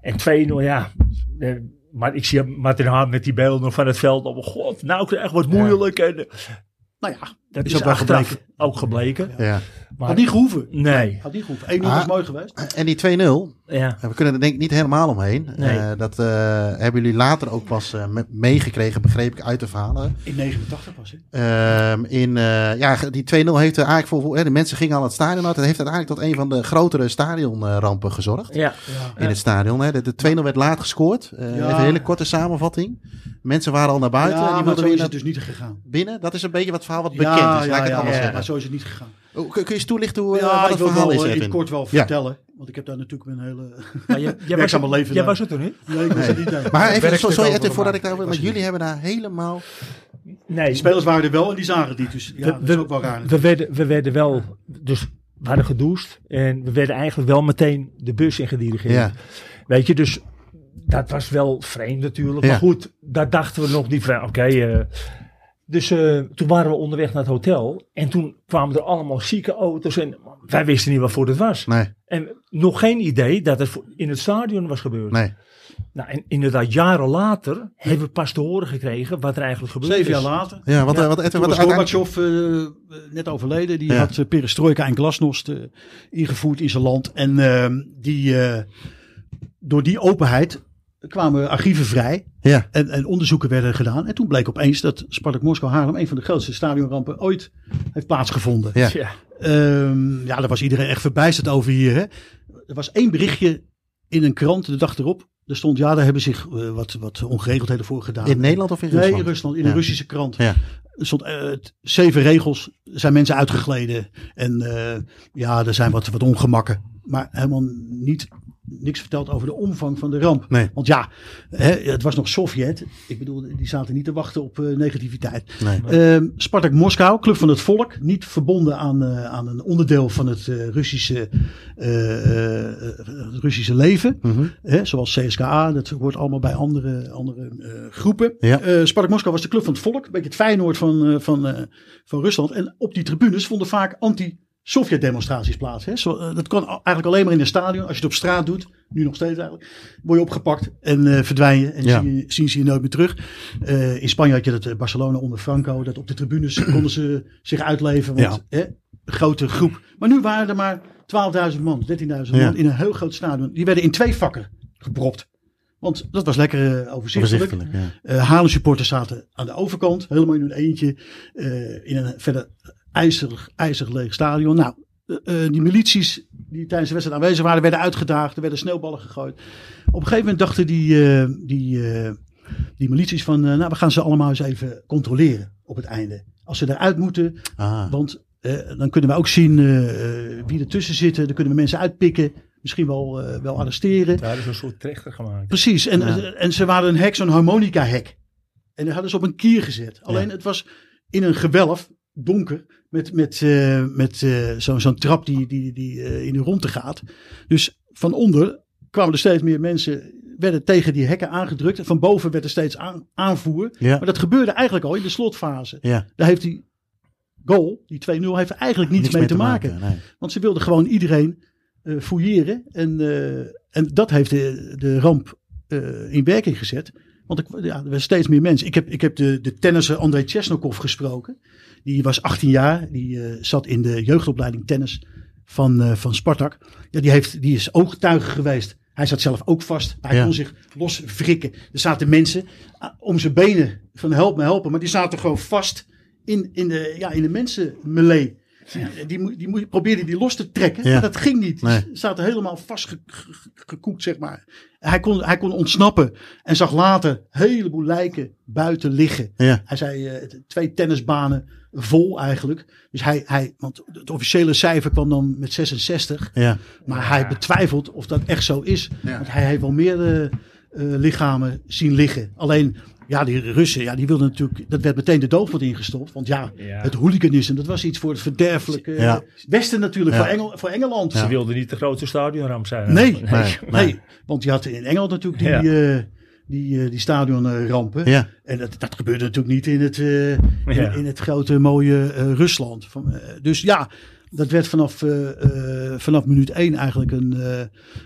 En 2-0, ja. Eh, Maar ik zie Martin Haan met die beelden nog van het veld. Oh, god, nou krijg ik wat moeilijk. En, eh, Nou ja, dat Is is, ook wel achteraf gebleken. ook gebleken. ja. Maar, had niet gehoeven. nee. Had niet gehoeven. 1-0 Ah. was mooi geweest. En die 2-0, eh, Ja. we kunnen er denk ik niet helemaal omheen. Nee. Eh, dat eh, hebben jullie later ook pas eh, me- meegekregen, begreep ik uit de verhalen. In 89 was het. Ehm, in, eh, ja, die 2-0 heeft er eigenlijk voor... Hè, de mensen gingen al het stadion uit. Dat heeft uiteindelijk tot een van de grotere stadionrampen eh, gezorgd. Ja. Ja. In het stadion. Hè. De, de 2-0 werd laat gescoord. Eh, Ja. Even een hele korte samenvatting. Mensen waren al naar buiten. en die ja, maar wilden zo weer is naar het dus niet gegaan. binnen. Dat is een beetje wat verhaal wat Ja, bekend is. Laat ja, ik het ja, anders ja, zeggen. maar zo is het niet gegaan. Oh, Kun kun je eens toelichten hoe, eh, Ja, wat ik het wil verhaal wel, is, eh, in het Edwin? kort wel vertellen. Want ik heb daar natuurlijk mijn hele... Maar jij- jij was, Werkzame het- leven jij daar. was het er niet? Nee, ik was er niet bij. Maar Het even, werkstuk sorry over Edwin, voordat ik gemaakt. daar... Want jullie hebben daar helemaal... Nee. De spelers waren er wel en die zagen die. Dus ja, We- dat is we- ook wel raar. We werden, we werden wel, dus we hadden gedoucht en we werden eigenlijk wel meteen de bus ingedirigeerd. Ja. Weet je, dus dat was wel vreemd natuurlijk. Ja. Maar goed, daar dachten we nog niet van, oké. eh, dus eh, toen waren we onderweg naar het hotel en toen kwamen er allemaal zieke auto's en wij wisten niet waarvoor het was. Nee, En nog geen idee dat het voor- in het stadion was gebeurd. nee. Nou, en inderdaad, jaren later hebben we pas te horen gekregen wat er eigenlijk gebeurd Zeven jaar is. later. Ja, want, Ja, eh, want Edwin, Toen wat was uiteindelijk... Gorbachev eh, eh, net overleden. Die Ja. had eh, perestroika en glasnost eh, ingevoerd in zijn land. En ehm, die, eh, door die openheid kwamen archieven vrij. Ja, En, en onderzoeken werden gedaan. En toen bleek opeens dat Spartak Moskou Haarlem... een van de grootste stadionrampen ooit heeft plaatsgevonden. ja. Ja. Ehm, ja, daar was iedereen echt verbijsterd over hier. Hè? Er was één berichtje in een krant de dag erop. Er stond, ja, daar hebben zich eh, wat, wat ongeregeldheden voor gedaan. In Nederland of in Nee, in Rusland? Rusland, in Ja. een Russische krant. Ja. Er stond eh, het- zeven regels, zijn mensen uitgegleden. En eh, ja, er zijn wat, wat ongemakken. Maar helemaal niet, niks verteld over de omvang van de ramp. Nee. Want ja, hè, het was nog Sovjet. Ik bedoel, die zaten niet te wachten op eh, negativiteit. Nee. Ehm, Spartak Moskou, Club van het Volk. Niet verbonden aan, eh, aan een onderdeel van het eh, Russische, eh, eh, het Russische leven. Mhm. Hè, zoals CSKA, dat hoort allemaal bij andere, andere eh, groepen. Ja. Eh, Spartak Moskou was de Club van het Volk. Een beetje het Feyenoord van, eh, van, eh, van Rusland. En op die tribunes vonden vaak anti Sovjet demonstraties plaats. Hè. Zo, eh, dat kan a- eigenlijk alleen maar in een stadion. Als je het op straat doet, nu nog steeds eigenlijk, word je opgepakt en eh, verdwijn je. En Ja. zien, je- zien ze je nooit meer terug. Eh, in Spanje had je dat eh, Barcelona onder Franco, dat op de tribunes konden ze zich uitleven. Want hè, grote groep. Maar nu waren er maar 12.000 man, 13.000 Ja. man in een heel groot stadion. Die werden in twee vakken gepropt. Want dat was lekker eh, overzichtelijk. Voorzichtig, ja. Eh Haarlem supporters zaten aan de overkant, helemaal in hun eentje, eh, in een verder ijzig, ijzig leeg stadion. Nou, eh, eh, die milities die tijdens de wedstrijd aanwezig waren, werden uitgedaagd, er werden sneeuwballen gegooid. Op een gegeven moment dachten die, eh, die, eh, die milities van, eh, nou we gaan ze allemaal eens even controleren op het einde. Als ze eruit moeten, Ah, want eh, dan kunnen we ook zien eh, eh, wie ertussen zitten, dan kunnen we mensen uitpikken, misschien wel, eh, wel arresteren. Daar is een soort trechter gemaakt. Precies, en, Ja. en ze waren een hek, zo'n harmonica-hek. En dat hadden ze op een kier gezet. Alleen het was in een gewelf, donker, met, met, eh, met eh, zo'n zo'n trap die, die, die eh, in de ronde gaat. Dus van onder kwamen er steeds meer mensen, werden tegen die hekken aangedrukt. En van boven werd er steeds aan- aanvoer. ja. Maar dat gebeurde eigenlijk al in de slotfase. Ja. Daar heeft die goal, die 2-0, heeft er eigenlijk niets, mee, te maken. nee. Want ze wilden gewoon iedereen eh fouilleren. En, eh, en dat heeft de, de ramp eh, in werking gezet. Want ik, ja, er waren steeds meer mensen. Ik heb, ik heb de, de tennisser André Chesnokov gesproken. Die was 18 jaar. Die eh, zat in de jeugdopleiding tennis van, eh, van Spartak. Ja, die, heeft, die is ooggetuige geweest. Hij zat zelf ook vast. Hij Ja. kon zich los wrikken. Er zaten mensen ah, om zijn benen van help me helpen. Maar die zaten gewoon vast in, in de, ja, in de mensenmelee. Die, die, mo- die mo- probeerde die los te trekken. Ja. Maar dat ging niet. Nee. Ze zaten helemaal vastgekoekt, zeg maar. Hij kon, hij kon ontsnappen en zag later een heleboel lijken buiten liggen. Ja. Hij zei eh, t- twee tennisbanen vol eigenlijk. Dus hij, hij, want het officiële cijfer kwam dan met 66. Ja. Maar hij betwijfelt of dat echt zo is. Want hij heeft wel meer eh, eh, lichamen zien liggen. Alleen, ja, die Russen, ja, die wilden natuurlijk... Dat werd meteen de doofpot ingestopt. Want ja, Ja. het hooliganisme, dat was iets voor het verderfelijke Ja. Westen natuurlijk. Ja. Voor, Engel, voor Engeland. Ze wilden niet de grootste stadionramp zijn. Nee, nee, eigenlijk. nee. nee. Want je had in Engeland natuurlijk die, Ja. eh, die, eh, die stadionrampen. Ja. En dat, dat gebeurde natuurlijk niet in het, eh, in, Ja. in het grote mooie eh, Rusland. Van, eh, dus ja, dat werd vanaf, eh, eh, vanaf minuut één eigenlijk een, eh,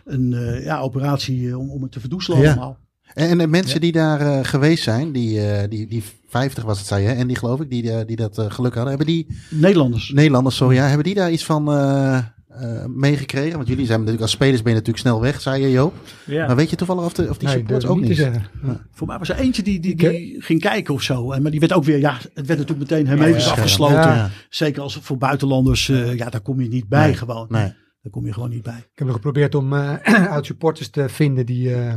een eh, ja, operatie eh, om, om het te verdoezelen Ja. allemaal. En, en de mensen die daar eh, geweest zijn, die, eh, die, die 50 was het, zei je, en die geloof ik, die, eh, die dat eh, geluk hadden, hebben die, Nederlanders. Nederlanders, sorry, ja, hebben die daar iets van eh, eh, meegekregen? Want jullie zijn natuurlijk, als spelers ben je natuurlijk snel weg, zei je Joop. Ja. Maar weet je toevallig of, de, of die Nee, supporters durf ook ik niet? te zeggen. Voor mij was er eentje die, die, Ik, hè? die ging kijken of zo. En, maar die werd ook weer, ja, het werd natuurlijk meteen hermetisch Ja. afgesloten. Ja. Ja. Zeker als voor buitenlanders, eh, ja, daar kom je niet bij Nee, gewoon. Nee. Daar kom je gewoon niet bij. Ik heb nog geprobeerd om eh oud-supporters te vinden die... eh,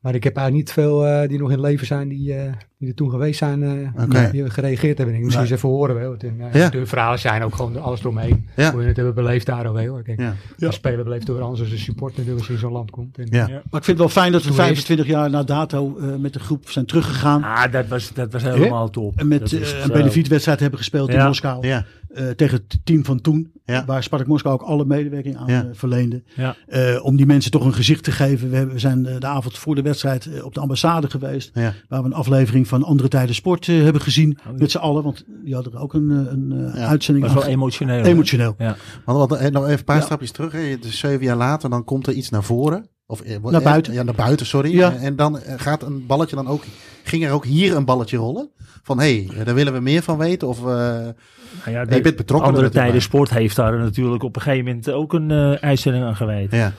maar ik heb eigenlijk niet veel eh, die nog in leven zijn, die, eh, die er toen geweest zijn, eh, Oké. die gereageerd hebben. Ik moet Nee. eens even horen. Wel. Het, eh, nou, Ja. De verhalen zijn ook gewoon alles eromheen. Ja. Hoe je het hebben beleefd daar alweer. Hoor. Kijk, Ja. Ja. Als speler beleefd door anders als een supporter natuurlijk als je in zo'n land komt. En, Ja. Maar ik vind het wel fijn dat we Toerist. 25 jaar na dato eh, met de groep zijn teruggegaan. Ah, dat was, dat was helemaal top. En met Dat eh, is een zo. benefietwedstrijd hebben gespeeld in Ja. Moskou. Ja. eh, tegen het team van toen. Ja. Waar Spartak Moskou ook alle medewerking aan Ja. eh, verleende. Ja. Eh, om die mensen toch een gezicht te geven. We, hebben, we zijn eh, de avond voor de wedstrijd eh, op de ambassade geweest. Ja. Waar we een aflevering van Andere Tijden Sport eh, hebben gezien. Oh, ja. Met z'n allen. Want die hadden er ook een, eh, een eh, Ja. uitzending Dat was wel aan. emotioneel. hè? Emotioneel. Ja. Want, want, eh, nog even een paar Ja. stapjes terug. hè. Dus zeven jaar later, dan komt er iets naar voren. Of, eh, wo- Naar eh, buiten. Ja, naar buiten, sorry. Ja. Eh, En dan eh, gaat een balletje dan ook... Ging er ook hier een balletje rollen? Van, hé, hey, eh, daar willen we meer van weten. Of, eh, Nou ja, je bent betrokken er Andere natuurlijk tijden bij. sport heeft daar natuurlijk op een gegeven moment ook een eh uitzending aan gewijd. ja.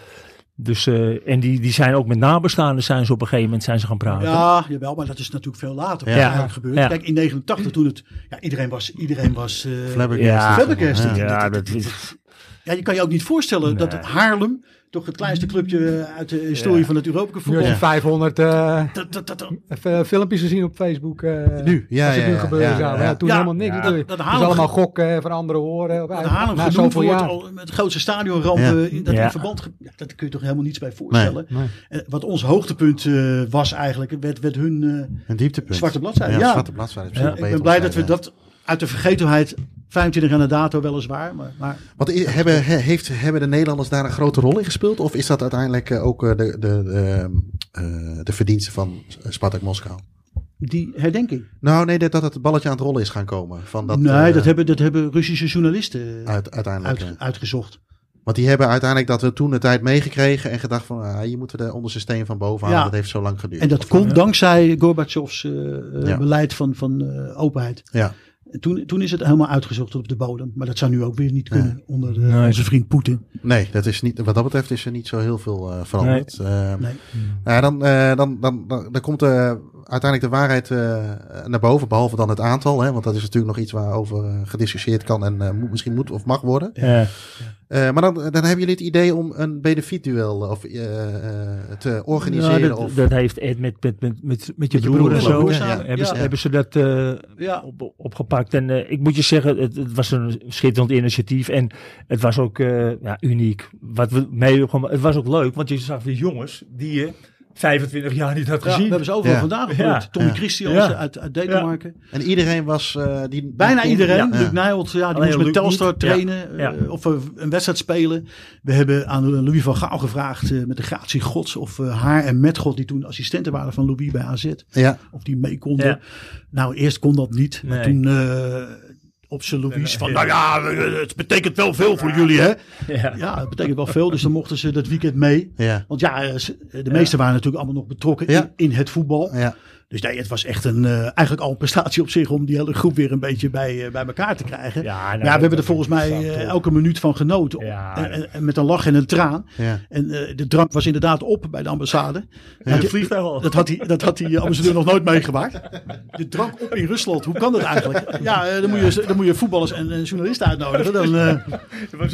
Dus, eh, en die, die zijn ook met nabestaanden zijn ze op een gegeven moment zijn ze gaan praten. Ja, jawel, maar dat is natuurlijk veel later. Ja. Wat eigenlijk gebeurd. Ja. Kijk, in 89 toen het... Ja, iedereen was... Iedereen was eh, Flabbergasted. Ja. Flabbergasted. Ja. Ja, dat is... Ja, je kan je ook niet voorstellen dat Nee. het Haarlem, toch het kleinste clubje eh, uit de historie Ja. van het Europese Nu voetbal. had je 500 eh, Dat, dat, dat, dat, even eh, filmpjes gezien op Facebook. eh, Nu? Ja, als het ja, nu ja, gebeuren ja, zou. Maar ja. ja, toen Ja, helemaal niks. ja. natuurlijk. Dat- dat Dus Haarlem- allemaal gokken eh, van anderen horen. Op, dat Haarlem na genoemd zoveel wordt jaar. al het grootste stadionramp Ja. eh, in- dat Ja. in verband... ge- Ja, dat kun je toch helemaal niets bij voorstellen. Nee. Eh, wat ons hoogtepunt eh, was eigenlijk, werd, werd hun... eh, Een dieptepunt. Zwarte bladzijde, Ja, ja. zwarte bladzijde. is Ja. misschien ik wel ben beter blij dat we bladzijde. dat uit de vergetelheid, 25 jaar na dato weliswaar, maar... maar Want i- hebben, he- heeft, hebben de Nederlanders daar een grote rol in gespeeld? Of is dat uiteindelijk eh, ook eh, de, de, eh, eh, de verdienste van Spartak Moskou? die herdenking. Nou, nee, dat, dat het balletje aan het rollen is gaan komen. Van dat, nee, eh, dat, hebben, dat hebben Russische journalisten eh, uit- uiteindelijk. eh. uit, uitgezocht. Want die hebben uiteindelijk dat we toen de tijd meegekregen en gedacht van, ah, hier moeten we de onderste steen van boven halen. Ja. Dat heeft zo lang geduurd. En dat Of- komt dankzij Gorbachevs eh, eh, Ja. beleid van, van eh, openheid. Ja, En Toen, toen is het helemaal uitgezocht tot op de bodem. Maar dat zou nu ook weer niet kunnen onder de- Nee. onze vriend Poetin. nee, dat is niet, wat dat betreft is er niet zo heel veel eh, veranderd. Eh, Nee. nou ja, dan, eh, dan, dan, dan, dan komt eh, uiteindelijk de waarheid eh, naar boven, behalve dan het aantal. Hè, want dat is natuurlijk nog iets waarover eh, gediscussieerd kan en eh, moet, misschien moet of mag worden. Ja. Eh, maar dan, dan hebben jullie het idee om een benefietduel of, eh, eh, te organiseren. Nou, Ja, Nou, dat, of, dat heeft Ed met, met, met, met, met je je broer, broer en geloof zo. ik, Ja, ja. Hebben, ze, Ja. hebben ze dat eh, Ja. op, opgepakt. En eh, ik moet je zeggen, het, het was een schitterend initiatief. En het was ook eh, ja, uniek. Wat we mee, het was ook leuk, want je zag weer jongens die je 25 jaar niet had Ja, we gezien. hebben ze overal Ja. vandaag gehoord. Ja. Tommy Ja. Christiansen Ja. uit, uit Denemarken. En iedereen was... eh, die, die Bijna kon- iedereen. Ja. Luc Nijholt, ja, die Alleen moest met Luc Telstar niet. trainen. Ja. eh, of eh, een wedstrijd spelen. We hebben aan Louis van Gaal gevraagd eh, met de gratie gods. Of eh, haar en met God, die toen assistenten waren van Louis bij AZ. Ja. Of die mee konden. Ja. Nou, eerst kon dat niet. Maar Nee. toen eh, op zijn Louis van... ja. Nou ja, eh, het betekent wel veel voor jullie hè. Ja. Ja, dat betekent wel veel. Dus dan mochten ze dat weekend mee. Ja. eh, Want ja, eh, ze- de meesten waren natuurlijk allemaal nog betrokken Ja. in, in het voetbal. Ja. Dus nee, het was echt een, eh, eigenlijk al een prestatie op zich om die hele groep weer een beetje bij, eh, bij elkaar te krijgen. Ja, nou, we hebben er dat- volgens mij dat- eh, elke minuut van genoten. Ja, En- en- en met een lach en een traan. Ja. En eh, de drank was inderdaad op bij de ambassade. Ja, het vliegtuig al. Dat had, die, dat had die eh, ambassadeur nog nooit meegemaakt. De drank op in Rusland, hoe kan dat eigenlijk? Ja, eh, dan moet je, dan moet je voetballers en eh, journalisten uitnodigen. Dan, eh,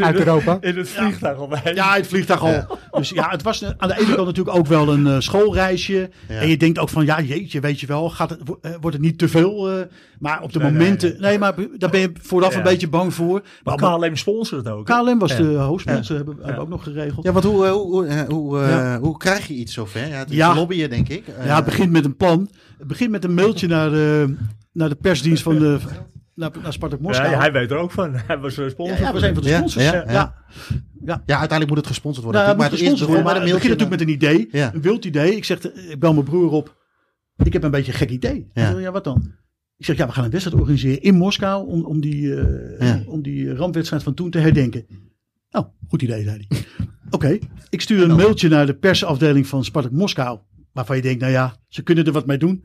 Uit Europa. In het vliegtuig al bij. ja, het vliegtuig al. Dus ja, het was eh, aan de ene kant natuurlijk ook wel een eh, schoolreisje. Ja. En je denkt ook van, ja jeetje, weet je wel, gaat het, wo- eh, wordt het niet te veel? eh, maar op de momenten, nee, maar be- daar ben je vooraf Ja. een beetje bang voor. Maar allemaal- KLM sponsort het ook. hè? KLM was Ja. de hoofdsponsor, hebben, hebben we ook nog geregeld. Ja, want hoe, eh, hoe, eh, hoe, eh, Ja. hoe krijg je iets zover? Ja, het is Ja. lobbyen, denk ik. Eh, Ja, het begint met een plan. Het begint met een mailtje naar de, naar de persdienst van de, naar, naar Spartak Moskou. Ja, hij weet er ook van. Hij was eh, sponsor. Ja, ja, we zijn van de Ja, sponsors. ja, Ja, ja. ja. ja, uiteindelijk moet het gesponsord worden. Nou, natuurlijk, maar moet het is gesponsord begon met worden, maar een het mailtje. begint natuurlijk met een idee, Ja. een wild idee. Ik zeg, te- ik bel mijn broer op, ik heb een beetje een gek idee. Hij Ja. zegt, ja, wat dan? Ik zeg, ja, we gaan een wedstrijd organiseren in Moskou om, om, die, eh, Ja. om die rampwedstrijd van toen te herdenken. Nou, goed idee, zei hij. Oké, ik stuur een mailtje naar de persafdeling van Spartak Moskou, waarvan je denkt, nou ja, ze kunnen er wat mee doen.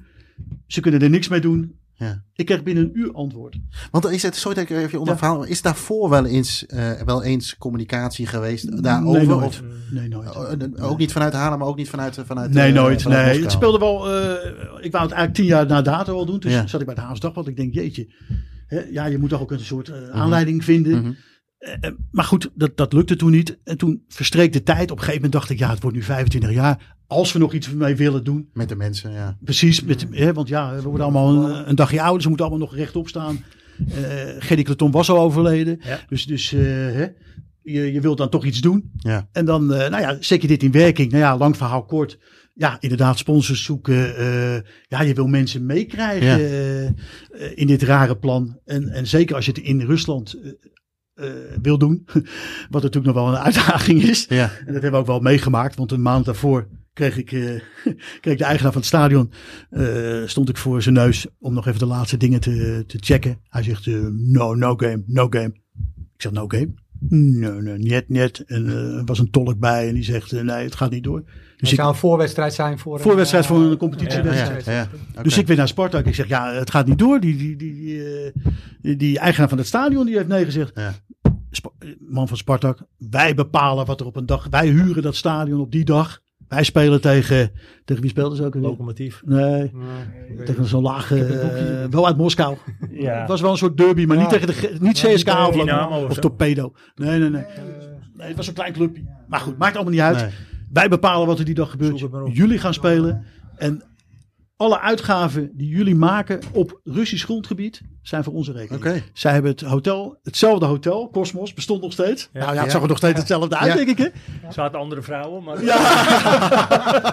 Ze kunnen er niks mee doen. Ja. Ik krijg binnen een uur antwoord. Want is het, sorry dat ik er even onder Ja. verhaal, is daarvoor wel eens, eh, wel eens communicatie geweest daarover? nooit. of, Nee, nooit. eh, eh, ook niet vanuit Haarlem, maar ook niet vanuit... eh, vanuit Nee, eh, nooit. vanuit Nee. Moskou? Het speelde wel. eh, ik wou het eigenlijk tien jaar na dato al doen. Dus Ja. zat ik bij de Haas Dagblad. Ik denk, jeetje. Hè, ja, je moet toch ook een soort eh, aanleiding vinden. Mhm. Eh, eh, maar goed, dat, dat lukte toen niet. En toen verstreek de tijd. Op een gegeven moment dacht ik, ja, het wordt nu 25 jaar. Als we nog iets mee willen doen. Met de mensen, ja. Precies. Met, Mhm. hè, want ja, we worden allemaal een, een dagje ouder. Ze moeten allemaal nog rechtop staan. Eh Gerdy Cleton was al overleden. Ja. Dus, dus eh, hè, je, je wilt dan toch iets doen. ja. En dan, eh, nou ja, zet je dit in werking. Nou ja, lang verhaal kort. Ja, inderdaad, sponsors zoeken. eh, ja, je wil mensen meekrijgen Ja. eh, eh, in dit rare plan. En, en zeker als je het in Rusland eh, eh, wil doen. Wat natuurlijk nog wel een uitdaging is. Ja. En dat hebben we ook wel meegemaakt. Want een maand daarvoor kreeg ik, eh, kreeg de eigenaar van het stadion. eh, stond ik voor zijn neus om nog even de laatste dingen te, te checken. Hij zegt, eh, no, no game, no game. Ik zeg, no game? Nee, nee, net, net. En eh, er was een tolk bij en die zegt, eh, nee, het gaat niet door. Dus Het ik, zou een voorwedstrijd zijn voor een... Voorwedstrijd eh, voor een competitiewedstrijd. Ja, ja. Oké. dus ik weer naar Spartak. Ik zeg, ja, het gaat niet door. Die, die, die, die, eh, die, die eigenaar van het stadion, die heeft nee gezegd. Ja. Spa- man van Spartak, wij bepalen wat er op een dag... Wij huren dat stadion op die dag. Wij spelen tegen... Tegen wie speelden ze ook? alweer? Locomotief. Nee, Nee, ik weet tegen zo'n lage... heb een boekje. eh, wel uit Moskou. Ja. Het was wel een soort derby, maar Ja. niet tegen de... ge- Niet Ja, CSK of, Dynamo of of zo. Torpedo. Nee, nee, nee. niet. Nee, het was een klein clubje. Maar goed, maakt allemaal niet uit. Nee. Wij bepalen wat er die dag Zoek het maar op. gebeurt. Jullie gaan spelen. En alle uitgaven die jullie maken op Russisch grondgebied zijn voor onze rekening. Oké. Zij hebben het hotel, hetzelfde hotel, Cosmos, bestond nog steeds. Nou ja, het Ja. zag er nog steeds hetzelfde uit, Ja. denk ik. Hè? Zaten andere vrouwen, maar...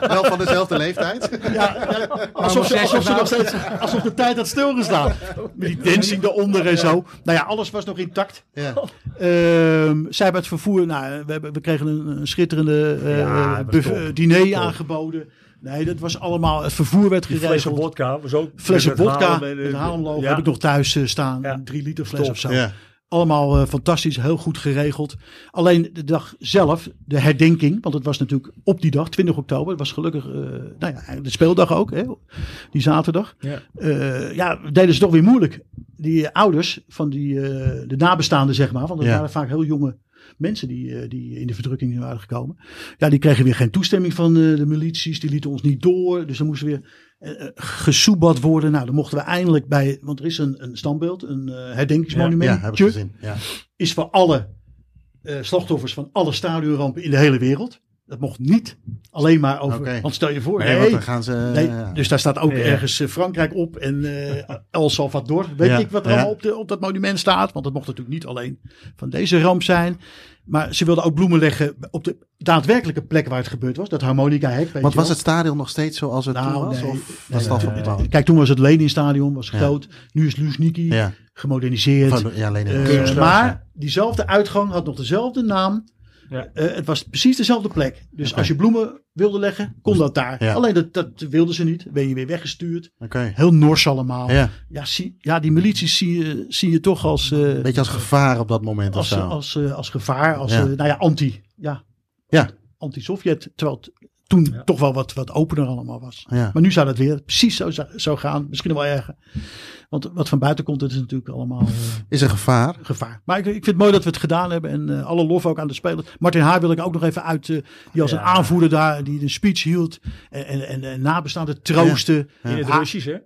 Wel van dezelfde leeftijd. Ja, ja, alsof, ze, alsof, ze nog steeds, alsof de tijd had stilgestaan. Met die dancing eronder en zo. Nou ja, alles was nog intact. Ja. Ehm, zij hebben het vervoer. Nou, we, hebben, we kregen een, een schitterende eh, Ja, dat was buff- top. eh, diner aangeboden. Nee, dat was allemaal. Het vervoer werd Die geregeld. flessen vodka was ook... Flessen met het vodka. Haarlem en, eh, Het Haarlemloog ja. heb ik nog thuis eh, staan. Ja. Een drie liter fles Top. of zo. Ja. Allemaal eh, fantastisch, heel goed geregeld. Alleen de dag zelf, de herdenking, want het was natuurlijk op die dag, 20 oktober, het was gelukkig eh, nou ja, de speeldag ook, hè, die zaterdag. Ja. Eh, ja, deden ze toch weer moeilijk. Die eh, ouders van die, eh, de nabestaanden, zeg maar, want dat Ja. waren vaak heel jonge mensen die, eh, die in de verdrukking waren gekomen. Ja, die kregen weer geen toestemming van eh, de milities, die lieten ons niet door, dus dan moesten we weer eh, eh, gesoebad worden. Nou, dan mochten we eindelijk bij, want er is een, een standbeeld, een eh, ja, heb ik herdenkingsmonumentje gezien. Ja. is voor alle eh, slachtoffers van alle stadionrampen in de hele wereld. Dat mocht niet alleen maar over. Oké. Want stel je voor, Nee, nee, want dan gaan ze... nee, Eh, ja. dus daar staat ook Ja. ergens eh, Frankrijk op en eh, El Salvador. Weet Ja, ik wat er ja. allemaal op, de, op dat monument staat. Want dat mocht natuurlijk niet alleen van deze ramp zijn. Maar ze wilden ook bloemen leggen op de daadwerkelijke plek waar het gebeurd was. Dat harmonica hek. weet Want je wel. was het stadion nog steeds zoals het Nou, toen was? nee. Of Nee, was dat nee, afgebouwd? Kijk, toen was het Leninstadion, was Ja. groot. Nu is Luzhniki Ja, gemoderniseerd. Van- ja alleen Eh, in maar diezelfde uitgang had nog dezelfde naam. Ja. Eh, het was precies dezelfde plek. Dus Oké. als je bloemen wilde leggen, kon dat daar. Ja. Alleen dat, dat wilden ze niet. Ben je weer weggestuurd. Oké. Heel nors allemaal. Ja, Ja, zie, ja die milities zie je, zie je toch als, eh, een beetje als gevaar op dat moment als, of zo. als, eh, als gevaar. Als, Ja. eh, nou ja, anti. Ja. Ja. Anti-Sovjet. Terwijl het toen Ja. toch wel wat, wat opener allemaal was. Ja. Maar nu zou dat weer precies zo, zo gaan. Misschien wel erger. Want wat van buiten komt, dat is natuurlijk allemaal eh, Is een gevaar. gevaar. Maar ik, ik vind het mooi dat we het gedaan hebben. En eh, alle lof ook aan de spelers. Martin Haar wil ik ook nog even uit. eh, die als een Ja. aanvoerder daar, die een speech hield. En, en, en, en nabestaanden troosten. Ja, In het Ah. Russisch, hè?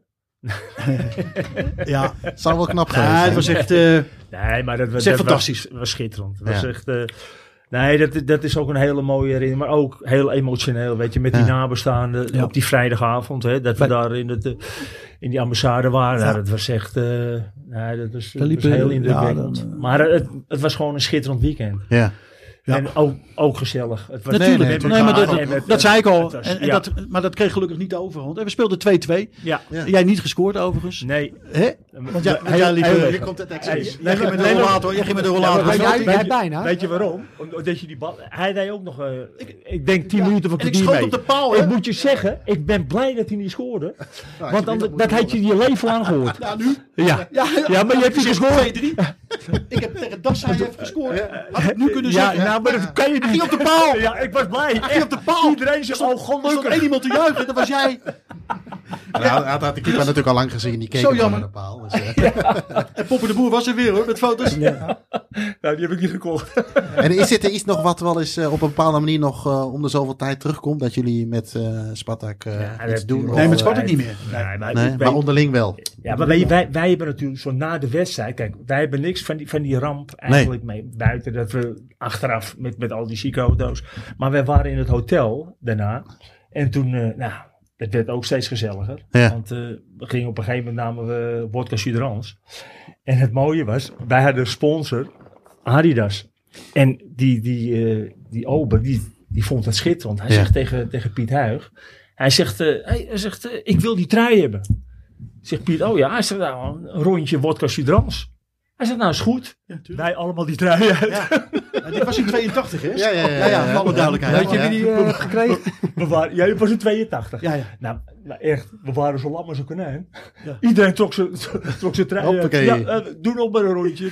ja. Het zou wel knap geweest het zijn. was echt... eh, Nee, maar dat, was- Zeg, dat fantastisch. Was, was schitterend. Dat was Ja. echt, eh, nee, dat, dat is ook een hele mooie herinnering. Maar ook heel emotioneel, weet je. Met Ja. die nabestaanden Ja. op die vrijdagavond. Hè, dat we Bij- daar in, het, eh, in die ambassade waren. Nou, Ja. dat was echt... eh, nee, dat was, dat was liepen- heel ja, indrukwekkend. dan, eh. maar het, het was gewoon een schitterend weekend. ja. Ja. En ook, ook gezellig. Het was nee, Natuurlijk. met nee, maar elkaar dat, en met- dat zei ik al. het was- en, en ja. dat, maar dat kreeg gelukkig niet de overhand. En we speelden 2-2. Ja. Ja. Jij niet gescoord overigens. Nee. Hè? Want jij, want jij liep... heel eh, erg. komt het excuus. Jij ging met de Nee, rollator. Jij ging met de rollator. maar Jij- weet je- jij- weet jij je- bijna. Weet je waarom? Omdat je die bal... Hij deed ook nog, eh, ik, ik denk, 10 minuten van En ik kwartier schoot mee. op de paal. hè? Ik moet je zeggen, ik ben blij dat hij niet scoorde. want dan dan, dat had je je leven lang gehoord. Ja, nu. Ja, Ja, ja maar je hebt niet gescoord. 2-3. Ik heb tegen Dassai even gescoord. Had ik nu kunnen Ja, zeggen. nou, maar dat kan je niet. op de paal. Ja, ik was blij. Echt. op de paal. Iedereen zei, oh, Er stond gelukkig. één iemand te juichen. Dat was jij. Nou, dat had de keeper natuurlijk al lang gezien. Die keek Zo hem gewoon jammer. naar de paal. Dus, eh. En Poppen de Boer was er weer hoor. Met foto's. Nou, die heb ik niet gekocht. En is dit er iets nog wat wel eens eh, op een bepaalde manier nog eh, om de zoveel tijd terugkomt? Dat jullie met eh Spartak eh, Ja, dat iets doen? doen we. Of, Nee, eh, met Spartak niet meer. Nee, maar, nee, ik- maar wij, onderling wel. ja, maar wij, wij, wij hebben natuurlijk zo na de wedstrijd. Kijk, wij hebben niks van die, van die ramp eigenlijk mee. Buiten dat we achteraf met, met al die zieke auto's. Maar wij waren in het hotel daarna. En toen, eh, nou, het werd ook steeds gezelliger. Ja. Want eh, we gingen op een gegeven moment namen we vodka Suderans. En het mooie was, wij hadden een sponsor, Adidas. En die, die, eh, die ober, die, die vond het schitterend. Hij Ja. zegt tegen, tegen Piet Huig, hij zegt, eh, hij, hij zegt eh, ik wil die trui hebben. Zegt Piet, oh ja, hij zegt, nou, een rondje vodka Suderans. Hij zegt, nou is goed. wij allemaal die trui uit. Ja, Dit was in 82 hè? Ja, ja, ja, ja, ja. voor alle duidelijkheid. Weet je wie die eh, hebt gekregen? We waren, ja, het was in 82. Ja, ja. Nou, nou echt, we waren zo lam als een konijn. Ja. Iedereen trok zijn trok zijn trui. uit. Hoppakee. Ja, eh, doe nog maar een rondje.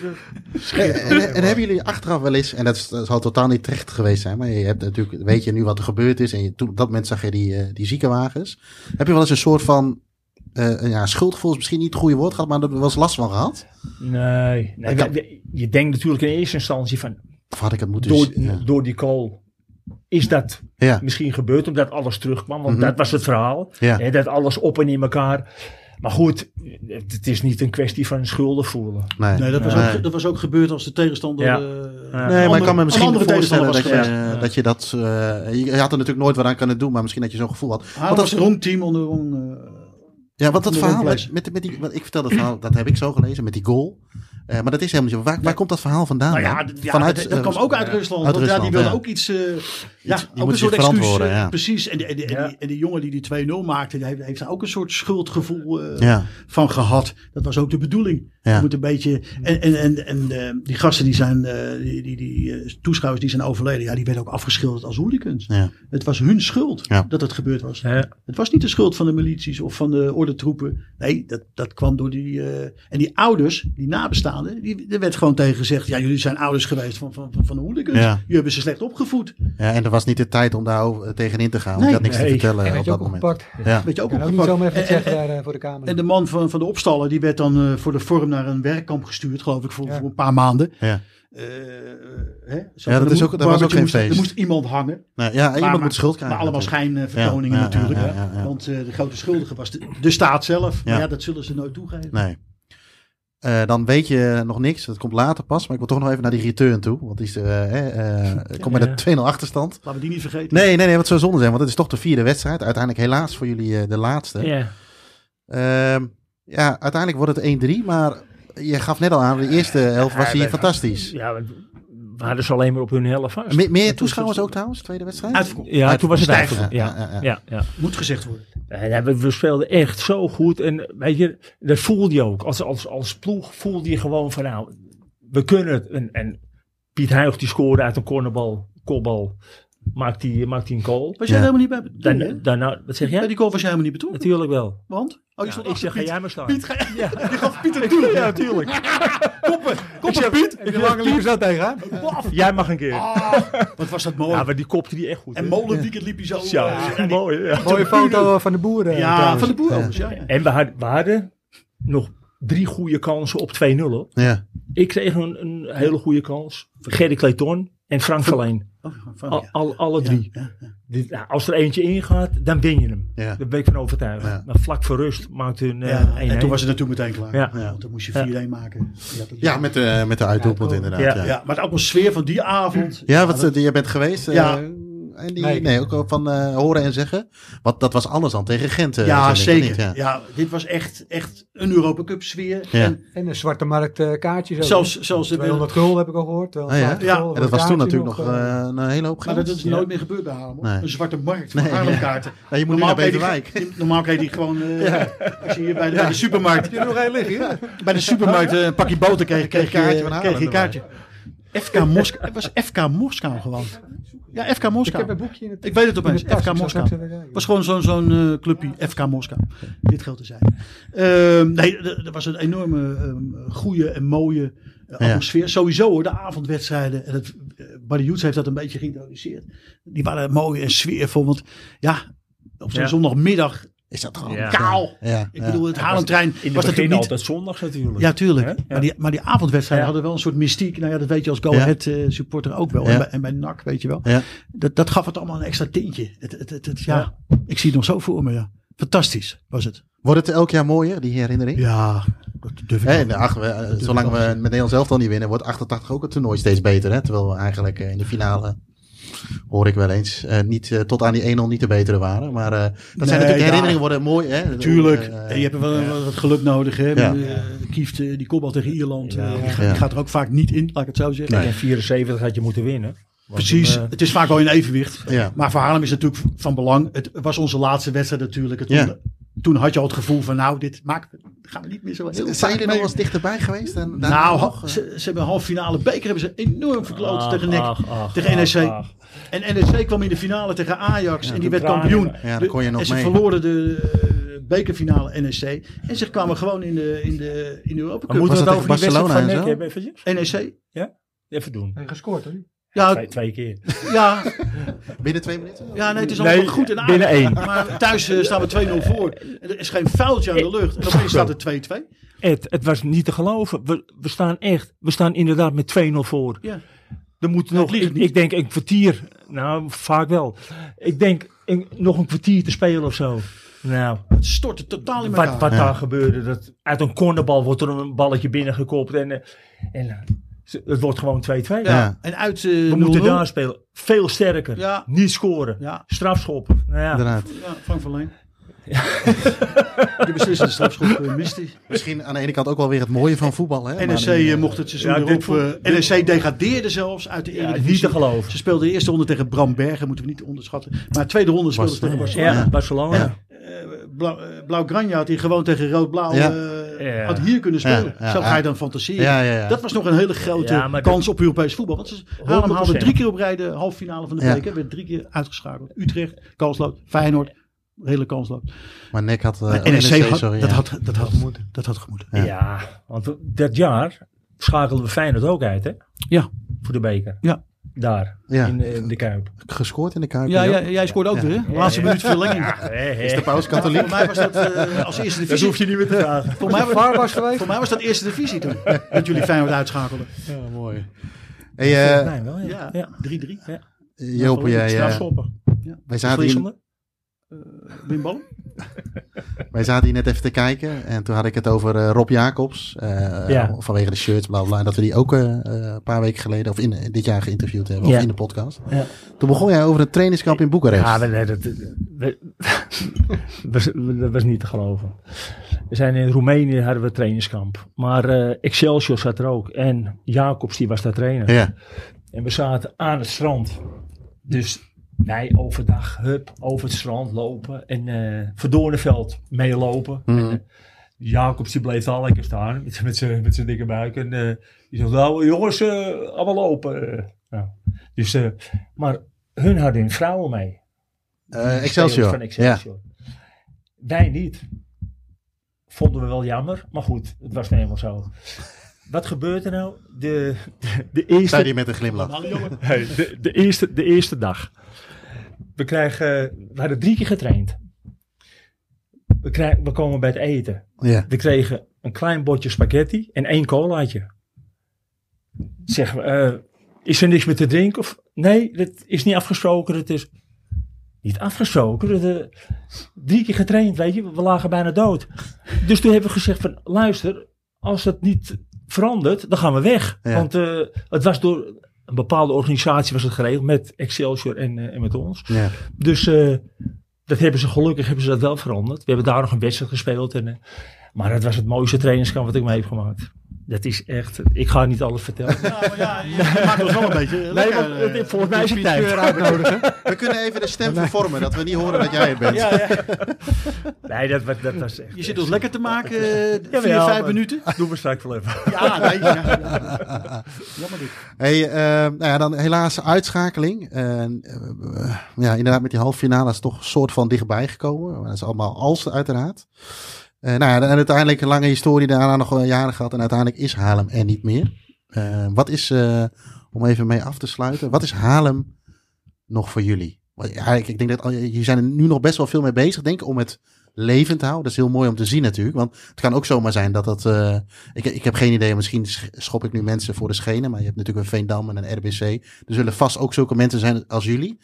En, en- en hebben jullie achteraf wel eens, en dat, is- dat zal totaal niet terecht geweest zijn, maar je hebt natuurlijk, weet je nu wat er gebeurd is en je, toen, op dat moment zag je die, eh, die ziekenwagens. Heb je wel eens een soort van, eh, een- ja, schuldgevoel is misschien niet het goede woord gehad, maar dat er wel eens last van gehad? Nee, nee kan- we- we- je denkt natuurlijk in eerste instantie van, Of had ik het moeten door, zien? Dus, Ja. door die call is dat Ja. misschien gebeurd omdat alles terugkwam. Want Mhm. dat was het verhaal. Ja. Hè, dat alles op en in elkaar. Maar goed, het, het is niet een kwestie van schuldig voelen. Nee, Nee, dat was, Nee. Ook, dat was ook gebeurd als de tegenstander... Ja. eh, Nee, Nee, maar ik andere- kan me een misschien andere voorstellen dat je, tegenstander was geweest. eh, dat je dat... eh, je je had er natuurlijk nooit wat aan kunnen doen, maar misschien dat je zo'n gevoel had. Haarlem Want dat- Ah, was een rond team onder rond... eh, Ja, want dat Onder verhaal met, Romplees. met, met die... want ik vertel dat verhaal, dat heb ik zo gelezen, met die goal. Eh, maar dat is helemaal niet zo. Waar, waar komt dat verhaal vandaan? Nou ja, dan? d- ja, Vanuit, dat, dat eh, kwam ook uit Rusland. Uit want ja, Rusland, die wilden ja. ook iets. eh, ja, die ook moeten een soort zich excuus. verantwoorden, eh, ja. Precies. En, die- en, die- en, Ja. die, en die jongen die die 2-0 maakte, die heeft, heeft daar ook een soort schuldgevoel eh, Ja, van gehad. Dat was ook de bedoeling. Ja. Je moet een beetje. En, en, en, en eh, die gasten die zijn, eh, die, die, die eh, toeschouwers die zijn overleden, ja, die werden ook afgeschilderd als hooligans. ja. Het was hun schuld Ja. dat het gebeurd was. Ja. Het was niet de schuld van de milities of van de ordentroepen. Nee, dat, dat kwam door die. eh, en die ouders, die nabestaanden, die, er werd gewoon tegen gezegd: ja, jullie zijn ouders geweest van, van, van, van de hooligans. Ja. Jullie hebben ze slecht opgevoed. Ja, en er was niet de tijd om daar over- tegenin te gaan. want Nee. ik had niks te Nee. vertellen Heb op je dat ook moment. opgepakt? Ja. Weet je ook Ja, ook niet opgepakt. zomaar even En- en- gezegd daar eh, voor de camera. En de man van, van de opstallen, die werd dan eh, voor de vorm naar een werkkamp gestuurd, geloof ik, voor, Ja. voor een paar maanden. Ja. Eh, hè? Zo, Ja, dat er is moest- ook- dat was ook geen moest, feest. Er moest iemand hangen. Nou, ja, iemand maar- moet schuld krijgen. Maar allemaal natuurlijk. schijnvertoningen Ja, ja, natuurlijk. ja, ja, ja. Want eh, de grote schuldige was de, de staat zelf. Ja. Maar ja, dat zullen ze nooit toegeven. Nee. Eh, dan weet je nog niks, dat komt later pas. Maar ik wil toch nog even naar die return toe. Want die is, eh, eh, eh, komt met Ja. een 2-0 achterstand. Laten we die niet vergeten. Nee, nee, nee, wat zou zonde zijn. Want het is toch de vierde wedstrijd. Uiteindelijk helaas voor jullie eh, de laatste. Ja. Ehm, ja, uiteindelijk wordt het 1-3. Maar je gaf net al aan, de eerste helft was Ja, hier wij- fantastisch. Ja, want we hadden ze alleen maar op hun helft vast. Me- meer toeschouwers ook trouwens, tweede wedstrijd? Uitverkocht. Ja, toen was het Stijf. eigenlijk. Ja, ja, ja. Ja, ja, ja. Moet gezegd worden. En hij- Eh, we, we speelden echt zo goed. En weet je, dat voelde je ook. Als, als, als ploeg voelde je gewoon van nou, we kunnen het. En, en Piet Huig die scoorde uit een cornerbal, kopbal. maakt hij maakt hij een goal. Was jij Ja. er helemaal niet bij? Dan, nee, hè? daarna, wat zeg Bij jij? die goal was jij helemaal niet betrokken. Natuurlijk wel. Want? Oh, je Ja, stond ik achter zeg, ga Piet. jij maar staan. Piet, ga ja. je gaf Piet een doel. ja, tuurlijk. Koppen, koppen, Piet. Heb je lange liefst dat tegen, hè? Jij mag een keer. Oh. Wat was dat mooi. ja, maar die kopte die echt goed. en hè? Molenweekend liep hij zo. Ja, eh, ja, mooi. Ja. Mooie foto van de boeren. eh, ja, trouwens. van de boer. Ja. overigens, Ja. Ja. En we hadden, we hadden nog drie goede kansen op 2-0. hoor. Ja. Ik kreeg een, een hele goede kans. Gerrit Clayton en Frank Verleen. Oh, van- Al, ja. al- alle drie. Dit- nou, als er eentje ingaat, dan win je hem. Ja. Daar ben ik van overtuigd. Ja. Maar vlak voor rust maakte een Ja, eh, 1-1. en toen was het natuurlijk meteen klaar. Ja. Want dan moest je Ja. 4-1 maken. Je had het- Ja, met de, met de uitdoelpunt Ja, inderdaad. ja. Ja, ja. Ja, maar de atmosfeer van die avond. wat dat- eh, je bent geweest. eh, Ja. en die, nee. Nee. ook al van eh, horen en zeggen. Want dat was anders dan tegen Gent. eh, Ja, vind ik, of zeker. niet? ja. dit was echt, echt een Europa Cup sfeer. Ja. En En een zwarte markt eh, kaartjes. ook, zelfs, hè? zelfs de 200 gulden heb ik al gehoord. 250 Ah, ja. gulden En voor dat was een toen kaartje natuurlijk nog eh, een hele hoop Maar geld. dat is nooit meer gebeurd bij Haarlem. hoor. Nee. Een zwarte markt van Nee, ja. Haarlemkaarten. Nee, je moet nu naar kreeg je- Beverwijk. je- normaal kreeg je die gewoon eh, als je hier bij de, bij de supermarkt. Heb je er nog één liggen? hè? Bij de supermarkt eh, een pakje boter kreeg, kreeg, Kreeg je je, eh, kaartje van kreeg je een Haarlem kaartje. FK Moskou. Het was FK Moskou gewoon. Ja, FK Ik Moskou. heb een boekje in het Ik weet het opeens. in de tas. FK Ik zal Moskou. straks even kijken. was gewoon zo'n zo'n eh, clubje, FK Moskou. Dit geldt te zijn. Ehm, nee, d- d- er was een enorme ehm, goede en mooie eh, Ja. atmosfeer. Sowieso hoor, de avondwedstrijden. En het, eh, Barry Joets heeft dat een beetje geïntroduceerd. Die waren mooi en sfeervol. Want ja, op zo'n Ja. zondagmiddag is dat gewoon Ja. kaal. Ja, Ik ja. bedoel, het Haarlemtrein was, in het was begin natuurlijk niet... altijd zondags natuurlijk. Ja, tuurlijk. Hè? Maar, die, maar die avondwedstrijden Ja. hadden wel een soort mystiek. Nou ja, dat weet je als Go Ja. Ahead eh, supporter ook wel. Ja. En, bij, en bij NAC, weet je wel. Ja. Dat, dat gaf het allemaal een extra tintje. Het, het, het, het- ja. ik zie het nog zo voor me. Ja. Fantastisch was het. Wordt het elk jaar mooier, die herinnering? Ja, dat durf ik Hè, wel. en ach, we, eh, zolang we met Nederland zelf dan niet winnen, wordt 88 ook het toernooi steeds beter. Hè? Terwijl we eigenlijk eh, in de finale, hoor ik wel eens, eh, niet, eh, tot aan die 1-0 niet de betere waren. Maar eh, dat zijn natuurlijk de ja. herinneringen worden mooi. Hè? Tuurlijk. Eh, En je hebt wel wel wat geluk nodig. Hè? Ja. Eh, Kieft, eh, die kopbal tegen Ierland. eh, die, gaat, Ja. die gaat er ook vaak niet in, laat ik het zo zeggen. Nee. En in 74 had je moeten winnen. Want Precies. toen, eh, het is vaak wel in evenwicht. Ja. Maar voor Haarlem is het natuurlijk van belang. Het was onze laatste wedstrijd natuurlijk. Het- Ja. Toen had je al het gevoel van nou, dit maakt, gaan we niet meer zo heel zijn vaak jullie nog mee. wel eens dichterbij geweest? En, daarna Nou, nog, ha- eh, ze, ze hebben een halve finale beker hebben ze enorm verkloot ach, tegen NEC. ach, ach, tegen E ach, NEC. ach. En NEC kwam in de finale tegen Ajax en die toen werd draaide- kampioen. Ja, De- dan kon je nog en ze mee. verloren de eh, bekerfinale NEC. En ze kwamen gewoon in de, in de, in de Europa Maar Cup. Was moeten we het dat over die tegen wedstrijd Barcelona van en NEC zo? hebben eventjes? NEC? Even doen. En gescoord, hoor. Ja, Twee, twee keer. ja, binnen twee minuten? ja, nee, het is allemaal Nee, wat goed en aardig. binnen één. Maar thuis eh, staan we 2-0 voor. En er is geen vuiltje aan de lucht. En opeens staat het 2-2. Ed, het was niet te geloven. We, we staan echt, we staan inderdaad met 2-0 voor. Ja. Er moet het nog, liegt ik, niet. ik denk een kwartier, nou vaak wel. Ik denk een- nog een kwartier te spelen of zo. Nou, Het stortte totaal in elkaar. wat, wat Ja. daar gebeurde. Dat, uit een cornerbal wordt er een balletje binnengekopt. En, eh, en eh, ze- het wordt gewoon 2-2. ja. Ja. En uit eh, We moeten daar spelen. Veel sterker. Ja. Niet scoren. Ja, Strafschop. Nou ja. Inderdaad. ja, Frank van Leen. De beslissende strafschop eh, mist hij. Misschien aan de ene kant ook wel weer het mooie van voetbal. Hè? NEC Maar, eh, eh, mocht het seizoen ja, dit erop. voelt- eh, NEC degradeerde zelfs uit de Ja, Eredivisie. niet te geloven. Ze speelden de eerste ronde tegen Bram Bergen, moeten we niet onderschatten. Maar tweede ronde speelden ze tegen Barcelona. Ja, Barcelona. Ja. Eh, Blauw, eh, Blauw Granja had hier gewoon tegen Rood-Blauw Ja. eh, Ja. had hier kunnen spelen. Ja, ja, Zo ja. ga je dan fantaseren. Ja, ja, ja. Dat was nog een hele grote Ja, maar kans op Europees voetbal. Want ze Haarlem haalde 100%. drie keer op rij de halve finale van de Ja. beker. Werd drie keer uitgeschakeld. Utrecht, kansloos. Feyenoord, redelijk kansloos. Maar Nek had... eh, En NEC, had, sorry, dat, ja. had, dat, had, dat had gemoeten. Ja. Ja. want dat jaar schakelden we Feyenoord ook uit, hè? Ja. Voor de beker. Ja. Daar, Ja. in, eh, in de Kuip. gescoord in de Kuip. Ja, ja, jij scoorde ook Ja. weer. Hè? Laatste minuut verlenging. Eh, Is de pauze Voor katholiek? mij was dat eh, als eerste divisie. je niet meer te vragen. Voor mij, De VAR was, was geweest. voor mij was dat eerste divisie toen. Dat jullie Feyenoord uitschakelden. Ja, mooi. Hey, eh, nee, wel, ja. Ja, ja. 3-3. Joop, jij, eh, Strafschoppen. wij, zaten hier, Verliezende. Wim Ballum? wij zaten hier net even te kijken. En toen had ik het over eh, Rob Jacobs. eh, Ja. Vanwege de shirts, bla bla, bla. En dat we die ook eh, eh, een paar weken geleden, of in, eh, dit jaar geïnterviewd hebben. Ja. Of in de podcast. Ja. Toen begon jij over een trainingskamp in Boekarest. Ja, maar nee, dat, we- was, dat was niet te geloven. We zijn in Roemenië, hadden we trainingskamp. Maar eh, Excelsior zat er ook. En Jacobs, die was daar trainer. ja. En we zaten aan het strand. Dus wij overdag, hup, over het strand lopen. En eh Verdornenveld meelopen. Mhm. En, eh, Jacobs die bleef daar lekker staan met, met zijn met zijn dikke buik. En eh, die zegt, nou jongens, eh, allemaal lopen. Eh, nou, dus, eh, maar hun hadden vrouwen mee. Eh, Die spelers Excelsior. Van Excelsior. Wij niet. Vonden we wel jammer, maar goed, het was nou eenmaal zo. Wat gebeurt er nou? De, de, de Ja, zei eerste hij met een glimlach. Hey, de, de, eerste, de eerste dag. We, krijgen, we hadden drie keer getraind. We, krijgen, we komen bij het eten. Ja. We kregen een klein bordje spaghetti en één colaatje. Zeggen we, eh, is er niks meer te drinken? Of, nee, dat is niet afgesproken. Het is niet afgesproken. Dat, eh, drie keer getraind, weet je. We lagen bijna dood. Dus toen hebben we gezegd van, luister, als het niet verandert, dan gaan we weg. Ja. Want eh, het was door een bepaalde organisatie was het geregeld met Excelsior en, eh, en met ons. Ja. Dus eh, dat hebben ze gelukkig hebben ze dat wel veranderd. We hebben daar nog een wedstrijd gespeeld. En, eh, maar dat was het mooiste trainingskamp wat ik mee heb gemaakt. Dat is echt, ik ga niet alles vertellen. ja, je maakt ons wel een beetje Nou, nee, lekker, want, eh, het- volgens mij is het tijd. We kunnen even de stem vervormen, dat we niet horen dat jij het bent. Ja, ja. Nee, dat, was- dat was echt. Je zit ons lekker te maken, eh, vier, Jawel, vijf maar- minuten. Doen we straks wel even. Ja, nee. Ja, ja. Jammer dit. Hey, eh, nou ja, dan helaas uitschakeling. En, eh, eh, ja, inderdaad, met die halve finale is het toch een soort van dichtbij gekomen. Maar dat is allemaal als, uiteraard. Eh, nou ja, en uiteindelijk een lange historie daarna nog wel jaren gehad. En uiteindelijk is Haarlem er niet meer. Eh, wat is, eh, om even mee af te sluiten, wat is Haarlem nog voor jullie? Want Ja, ik, ik denk dat al- jullie zijn er nu nog best wel veel mee bezig, denk ik, om het levend te houden. Dat is heel mooi om te zien natuurlijk. Want het kan ook zomaar zijn dat dat... eh, ik, ik heb geen idee, misschien sch- schop ik nu mensen voor de schenen. Maar je hebt natuurlijk een Veendam en een RBC. Er zullen vast ook zulke mensen zijn als jullie.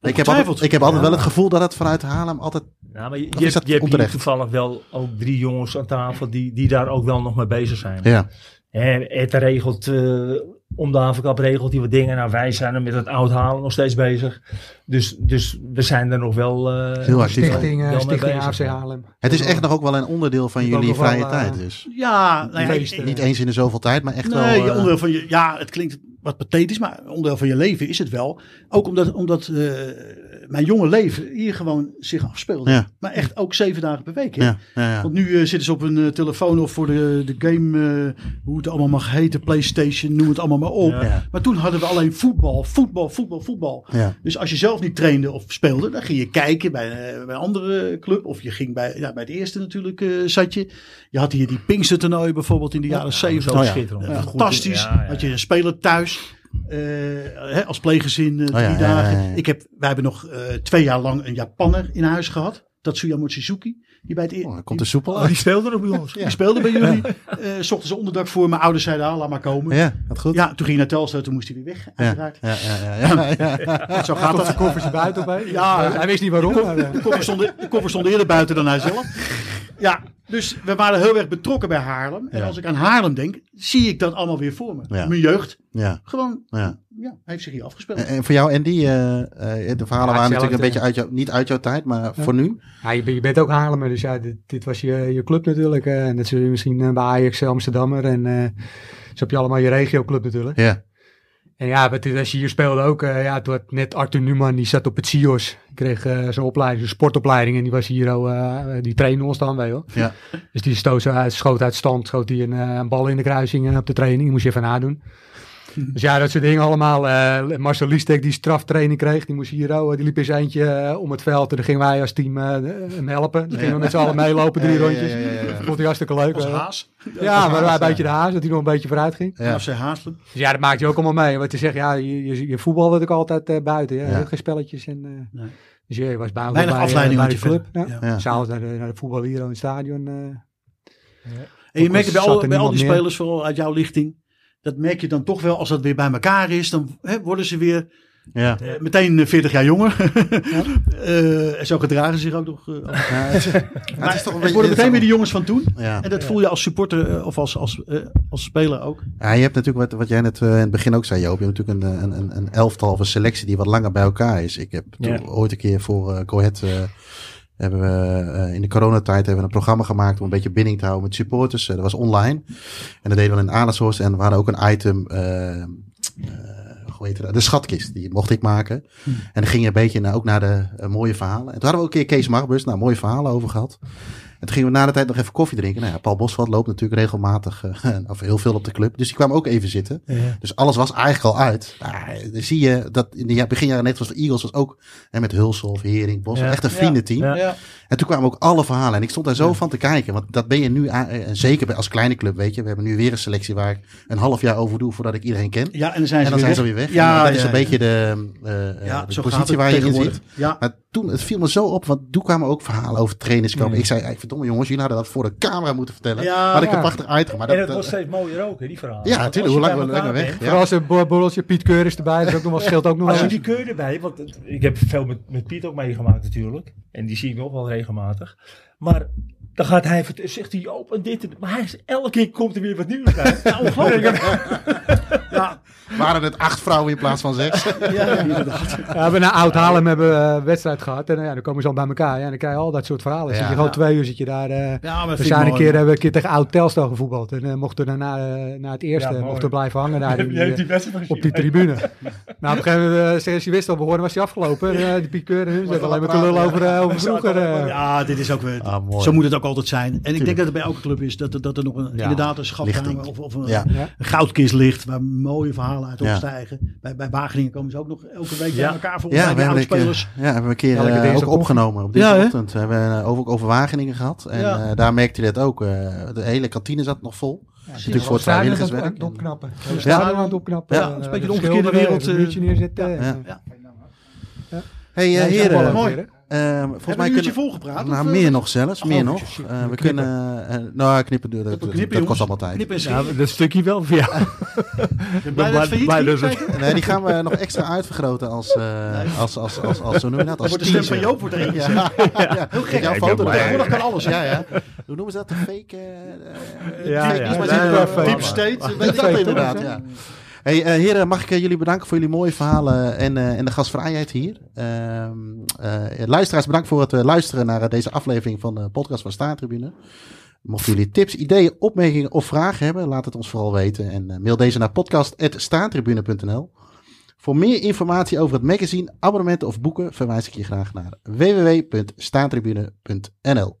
Maar ik heb, altijd, Ongetwijfeld. ik heb altijd Ja. wel het gevoel dat het vanuit Haarlem altijd... Nou, maar je, Of je is dat hebt, je hebt hier onterecht? toevallig wel ook drie jongens aan tafel die, die daar ook wel nog mee bezig zijn. Ja, En het regelt, eh, om de havenkap regelt hij wat dingen. Nou, wij zijn er met het oud halen nog steeds bezig. Dus, dus we zijn er nog wel... eh, Heel actief. Stichting, eh, wel mee Stichting bezig. AFC Haarlem. het is echt nog ook wel een onderdeel van Ik ook jullie nog wel, vrije eh, tijd dus. Ja, nou ja, Feesten. ik- Niet eens in de zoveel tijd, maar echt wel... nee, je eh, onderdeel van je, ja, het klinkt wat pathetisch, maar onderdeel van je leven is het wel. Ook omdat, omdat eh, mijn jonge leven hier gewoon zich afspeelde. Ja. Maar echt ook zeven dagen per week. hè. ja, ja, ja. Want nu eh, zitten ze op hun eh, telefoon of voor de, de game, eh, hoe het allemaal mag heten, PlayStation, noem het allemaal maar op. Ja. Ja, Maar toen hadden we alleen voetbal, voetbal, voetbal, voetbal. ja. Dus als je zelf niet trainde of speelde, dan ging je kijken bij, eh, bij een andere club. Of je ging bij, ja, bij de eerste natuurlijk, eh, zat je. Je had hier die Pinkstertoernooi bijvoorbeeld in de jaren Ja, zeventig. zo Oh ja. schitterend. Ja, Goed. fantastisch. Ja, ja. Had je een speler thuis. eh, hè, als pleeggezin eh, Oh ja, drie ja, ja, dagen. ja. Ik heb, wij hebben nog eh, twee jaar lang een Japanner in huis gehad. Tatsuya Mochizuki. Die bij het eer- Oh, dan komt die, de soepel Oh, die uit. speelde nog bij ons. die speelde bij jullie. Eh, zochten ze onderdak voor. Mijn ouders zeiden, ah, laat maar Oh, komen. Ja. Ja, gaat goed. toen ging hij naar Telstra. Toen moest hij weer weg, ja, uiteraard. ja, ja, ja, ja, ja. Zo gaat dat. De koffers er buiten bij. Ja, hij wist niet waarom. maar, eh, De koffer, stond, de koffer stond eerder buiten dan hij zelf. Ja, dus we waren heel erg betrokken bij Haarlem. En Ja. als ik aan Haarlem denk, zie ik dat allemaal weer voor me. Ja. Mijn jeugd, ja. gewoon, ja. ja, heeft zich hier afgespeeld. En, en voor jou, Andy, eh, eh, de verhalen Ja, waren natuurlijk een hetzelfde. beetje uit jou, niet uit jouw tijd, maar voor nu. Ja, je, bent- je bent ook Haarlemmer, dus ja, dit, dit was je, je club natuurlijk. eh, en dat zul je misschien eh, bij Ajax, Amsterdammer en eh, zo heb je allemaal je regioclub natuurlijk. Ja, En ja, wat- als je hier speelde ook, eh, ja, toen had net Arthur Newman, die zat op het CIO's. Die kreeg eh zijn opleiding, zijn sportopleiding en die was hier al, eh, die trainde ons dan, weet je wel. ja, Dus die stoot zo uit, schoot uit stand, schoot hij een, eh, een bal in de kruising eh, op de training. Die moest je even nadoen. Hm. Dus ja, dat soort dingen allemaal. Eh, Marcel Liestek die straftraining kreeg, die moest hier oh, die liep eens eindje eh, om het veld. En dan gingen wij als team eh, hem helpen. Dan gingen we met z'n allen meelopen, drie Ja, ja, ja, rondjes. ja, ja, ja. Vond hij hartstikke leuk. Als eh. haas. ja, maar een beetje de haas, dat hij nog een beetje vooruit ging. ja. FC Haaslen. Dus ja, dat maakt je ook allemaal mee. Want je zegt, ja, je, je, je voetbalde ook altijd eh, buiten. Ja. Ja. Geen spelletjes. En, eh, Nee. Dus ja, je was bij, Weinig bij, eh, afleiding bij had de je verder. club. Ja. Ja. Ja. S'avonds naar de, naar de voetbal hier in het stadion. eh, En je Ook merkt het al bij zat al, er bij al die niemand meer. spelers, vooral uit jouw lichting, dat merk je dan toch wel als dat weer bij elkaar is. Dan hè, worden ze weer ja. eh, meteen eh, 40 jaar jonger. Eh, en zo gedragen ze zich ook nog. eh, Ja, het, het is toch een het beetje... worden meteen weer die jongens van toen. Ja. En dat voel je als supporter eh, of als, als, eh, als speler ook. Ja, je hebt natuurlijk wat, wat jij net eh, in het begin ook zei, Joop. Je hebt natuurlijk een, eh, een, een, een elftal of een selectie die wat langer bij elkaar is. Ik heb toen Ja. ooit een keer voor eh Go Ahead, eh, hebben we eh, in de coronatijd hebben we een programma gemaakt om een beetje binding te houden met supporters. Eh, dat was online. En dat deden we in Adelshorst. En we hadden ook een item, eh, eh, hoe heet dat? de schatkist. Die mocht ik maken. Hmm. En dan ging je een beetje naar, ook naar de eh, mooie verhalen. En toen hadden we ook een keer Kees Marbus, nou mooie verhalen over gehad. En toen gingen we na de tijd nog even koffie drinken. Nou ja, Paul Bosveld loopt natuurlijk regelmatig, eh, of heel veel op de club. Dus die kwam ook even zitten. Ja. Dus alles was eigenlijk al uit. Nou, dan zie je dat in de ja- begin jaren 90 was de Eagles was ook hè, met Hulshoff, Hering, Bos. Ja. Echt een vriendenteam. Ja. Ja. En toen kwamen ook alle verhalen. En ik stond daar zo van te kijken. Want dat ben je nu, aan- eh, en zeker bij- als kleine club, weet je. We hebben nu weer een selectie waar ik een half jaar over doe voordat ik iedereen ken. Ja, en dan zijn En ze, dan zijn weer, ze weer weg. Ja, En dat is ja, een ja. beetje de, eh, eh, Ja, de zo gaat positie het waar je in tegenwoordig. zit. Ja, Maar toen, het viel me zo op, want toen kwamen ook verhalen over trainers komen. Ja. Ik zei, eigenlijk, verdomme jongens, jullie hadden dat voor de camera moeten vertellen. Ja. Had ik Ja. een prachtig item. Maar dat, En het dat- wordt steeds mooier ook, hè, die verhalen. ja, Want natuurlijk. Hoe als lang je we bij langer elkaar weg. bent, Ja. Vooral als een bor- borreltje Piet Keur is erbij. Dat is ook nog wel, scheelt ook nog wel. Als je eens. die keur erbij, want het- ik heb veel met, met Piet ook meegemaakt natuurlijk. En die zie ik nog wel regelmatig. Maar dan gaat hij, vert- zegt hij, Joop en dit en dat. Maar hij is, elke keer komt er weer wat nieuws uit. Ja, ongelooflijk. Waren het acht vrouwen in plaats van zes? ja, ja, inderdaad. Ja, we hebben naar Oud Haarlem hebben we eh, wedstrijd gehad. En eh, ja, dan komen ze al bij elkaar. Ja, en dan krijg je al dat soort verhalen. Zit Ja. je gewoon twee uur zit je daar. eh, Ja, maar we vind zijn ik een mooi. keer, hebben we een keer tegen Oud Telstar gevoetbald. En eh, mochten we daarna eh, na het eerste Ja, mooi. mochten we blijven hangen daar. in die, eh, die wedstrijd op die tribune. nou, op een gegeven moment, eh, zeggen ze, je wist al behoren, was hij afgelopen. En, eh, die Piet Keur en hun Wordt zeggen wel alleen maar te lullen praten, over, eh, over vroeger. eh. Ja, dit is ook weer. Ah, mooi. zo moet het ook altijd zijn. En ik denk dat het bij elke club is dat, er- dat er nog een, inderdaad een schatkamer lichting. of, of een, Ja. Ja. een goudkist ligt waar mooie verhalen uit Ja. opstijgen. Bij, bij Wageningen komen ze ook nog elke week Ja. bij elkaar voor Ja, we bij de hebben, een keer- oudspelers. ja, hebben we een keer Elke eh, dinsdag ook koffie. opgenomen. Op Ja, hè? dinsdagochtend hebben we eh, over, over Wageningen gehad. En Ja. eh, daar merkte je dat ook. eh, de hele kantine zat nog vol. natuurlijk eh, voor het Stadion aan vrijwilligerswerk. aan het opknappen. Ja. stadion aan het opknappen. Ja, eh, een beetje de de omgekeerde schilderen, wereld, even Een eh, muurtje neerzetten. eh. ja. Nee, hey, eh, dat is ook wel heren. leuk mooi. weer, hè. eh, volgens mij Hebben we een uurtje kunnen... volgepraat? Nou, of, eh, meer nog zelfs, meer oh, nog. shit, shit. Eh, we kunnen, eh, nou, knippen, dat, dat, knippen, dat jongens. kost allemaal tijd. Knip en Ja, schiet. dat stukje wel. Ja. Blij dat het failliet blij ging, dat het- kijk. Nee, die gaan we nog extra uitvergroten als, eh, als, als, als, als, zo noem je dat, als Wordt de stem van teaser. Joop wordt erin gezet. Ja, ja. Heel gek. Jouw Ik foto ben erbij. Tegenwoordig kan alles. Ja, ja. Hoe noemen ze dat? De fake... eh, eh, Ja, fake ja. news, maar Ja, ze- ja, eh, fake. deep state, state. weet Weet ik ik veel, inderdaad, ja. Hey, eh, heren, mag ik eh, jullie bedanken voor jullie mooie verhalen en, eh, en de gastvrijheid hier. Ehm, eh, luisteraars, bedankt voor het eh, luisteren naar eh, deze aflevering van de podcast van Staartribune. Mochten jullie tips, ideeën, opmerkingen of vragen hebben, laat het ons vooral weten. En eh, mail deze naar podcast.staartribune.nl. Voor meer informatie over het magazine, abonnementen of boeken verwijs ik je graag naar www.staantribune.nl.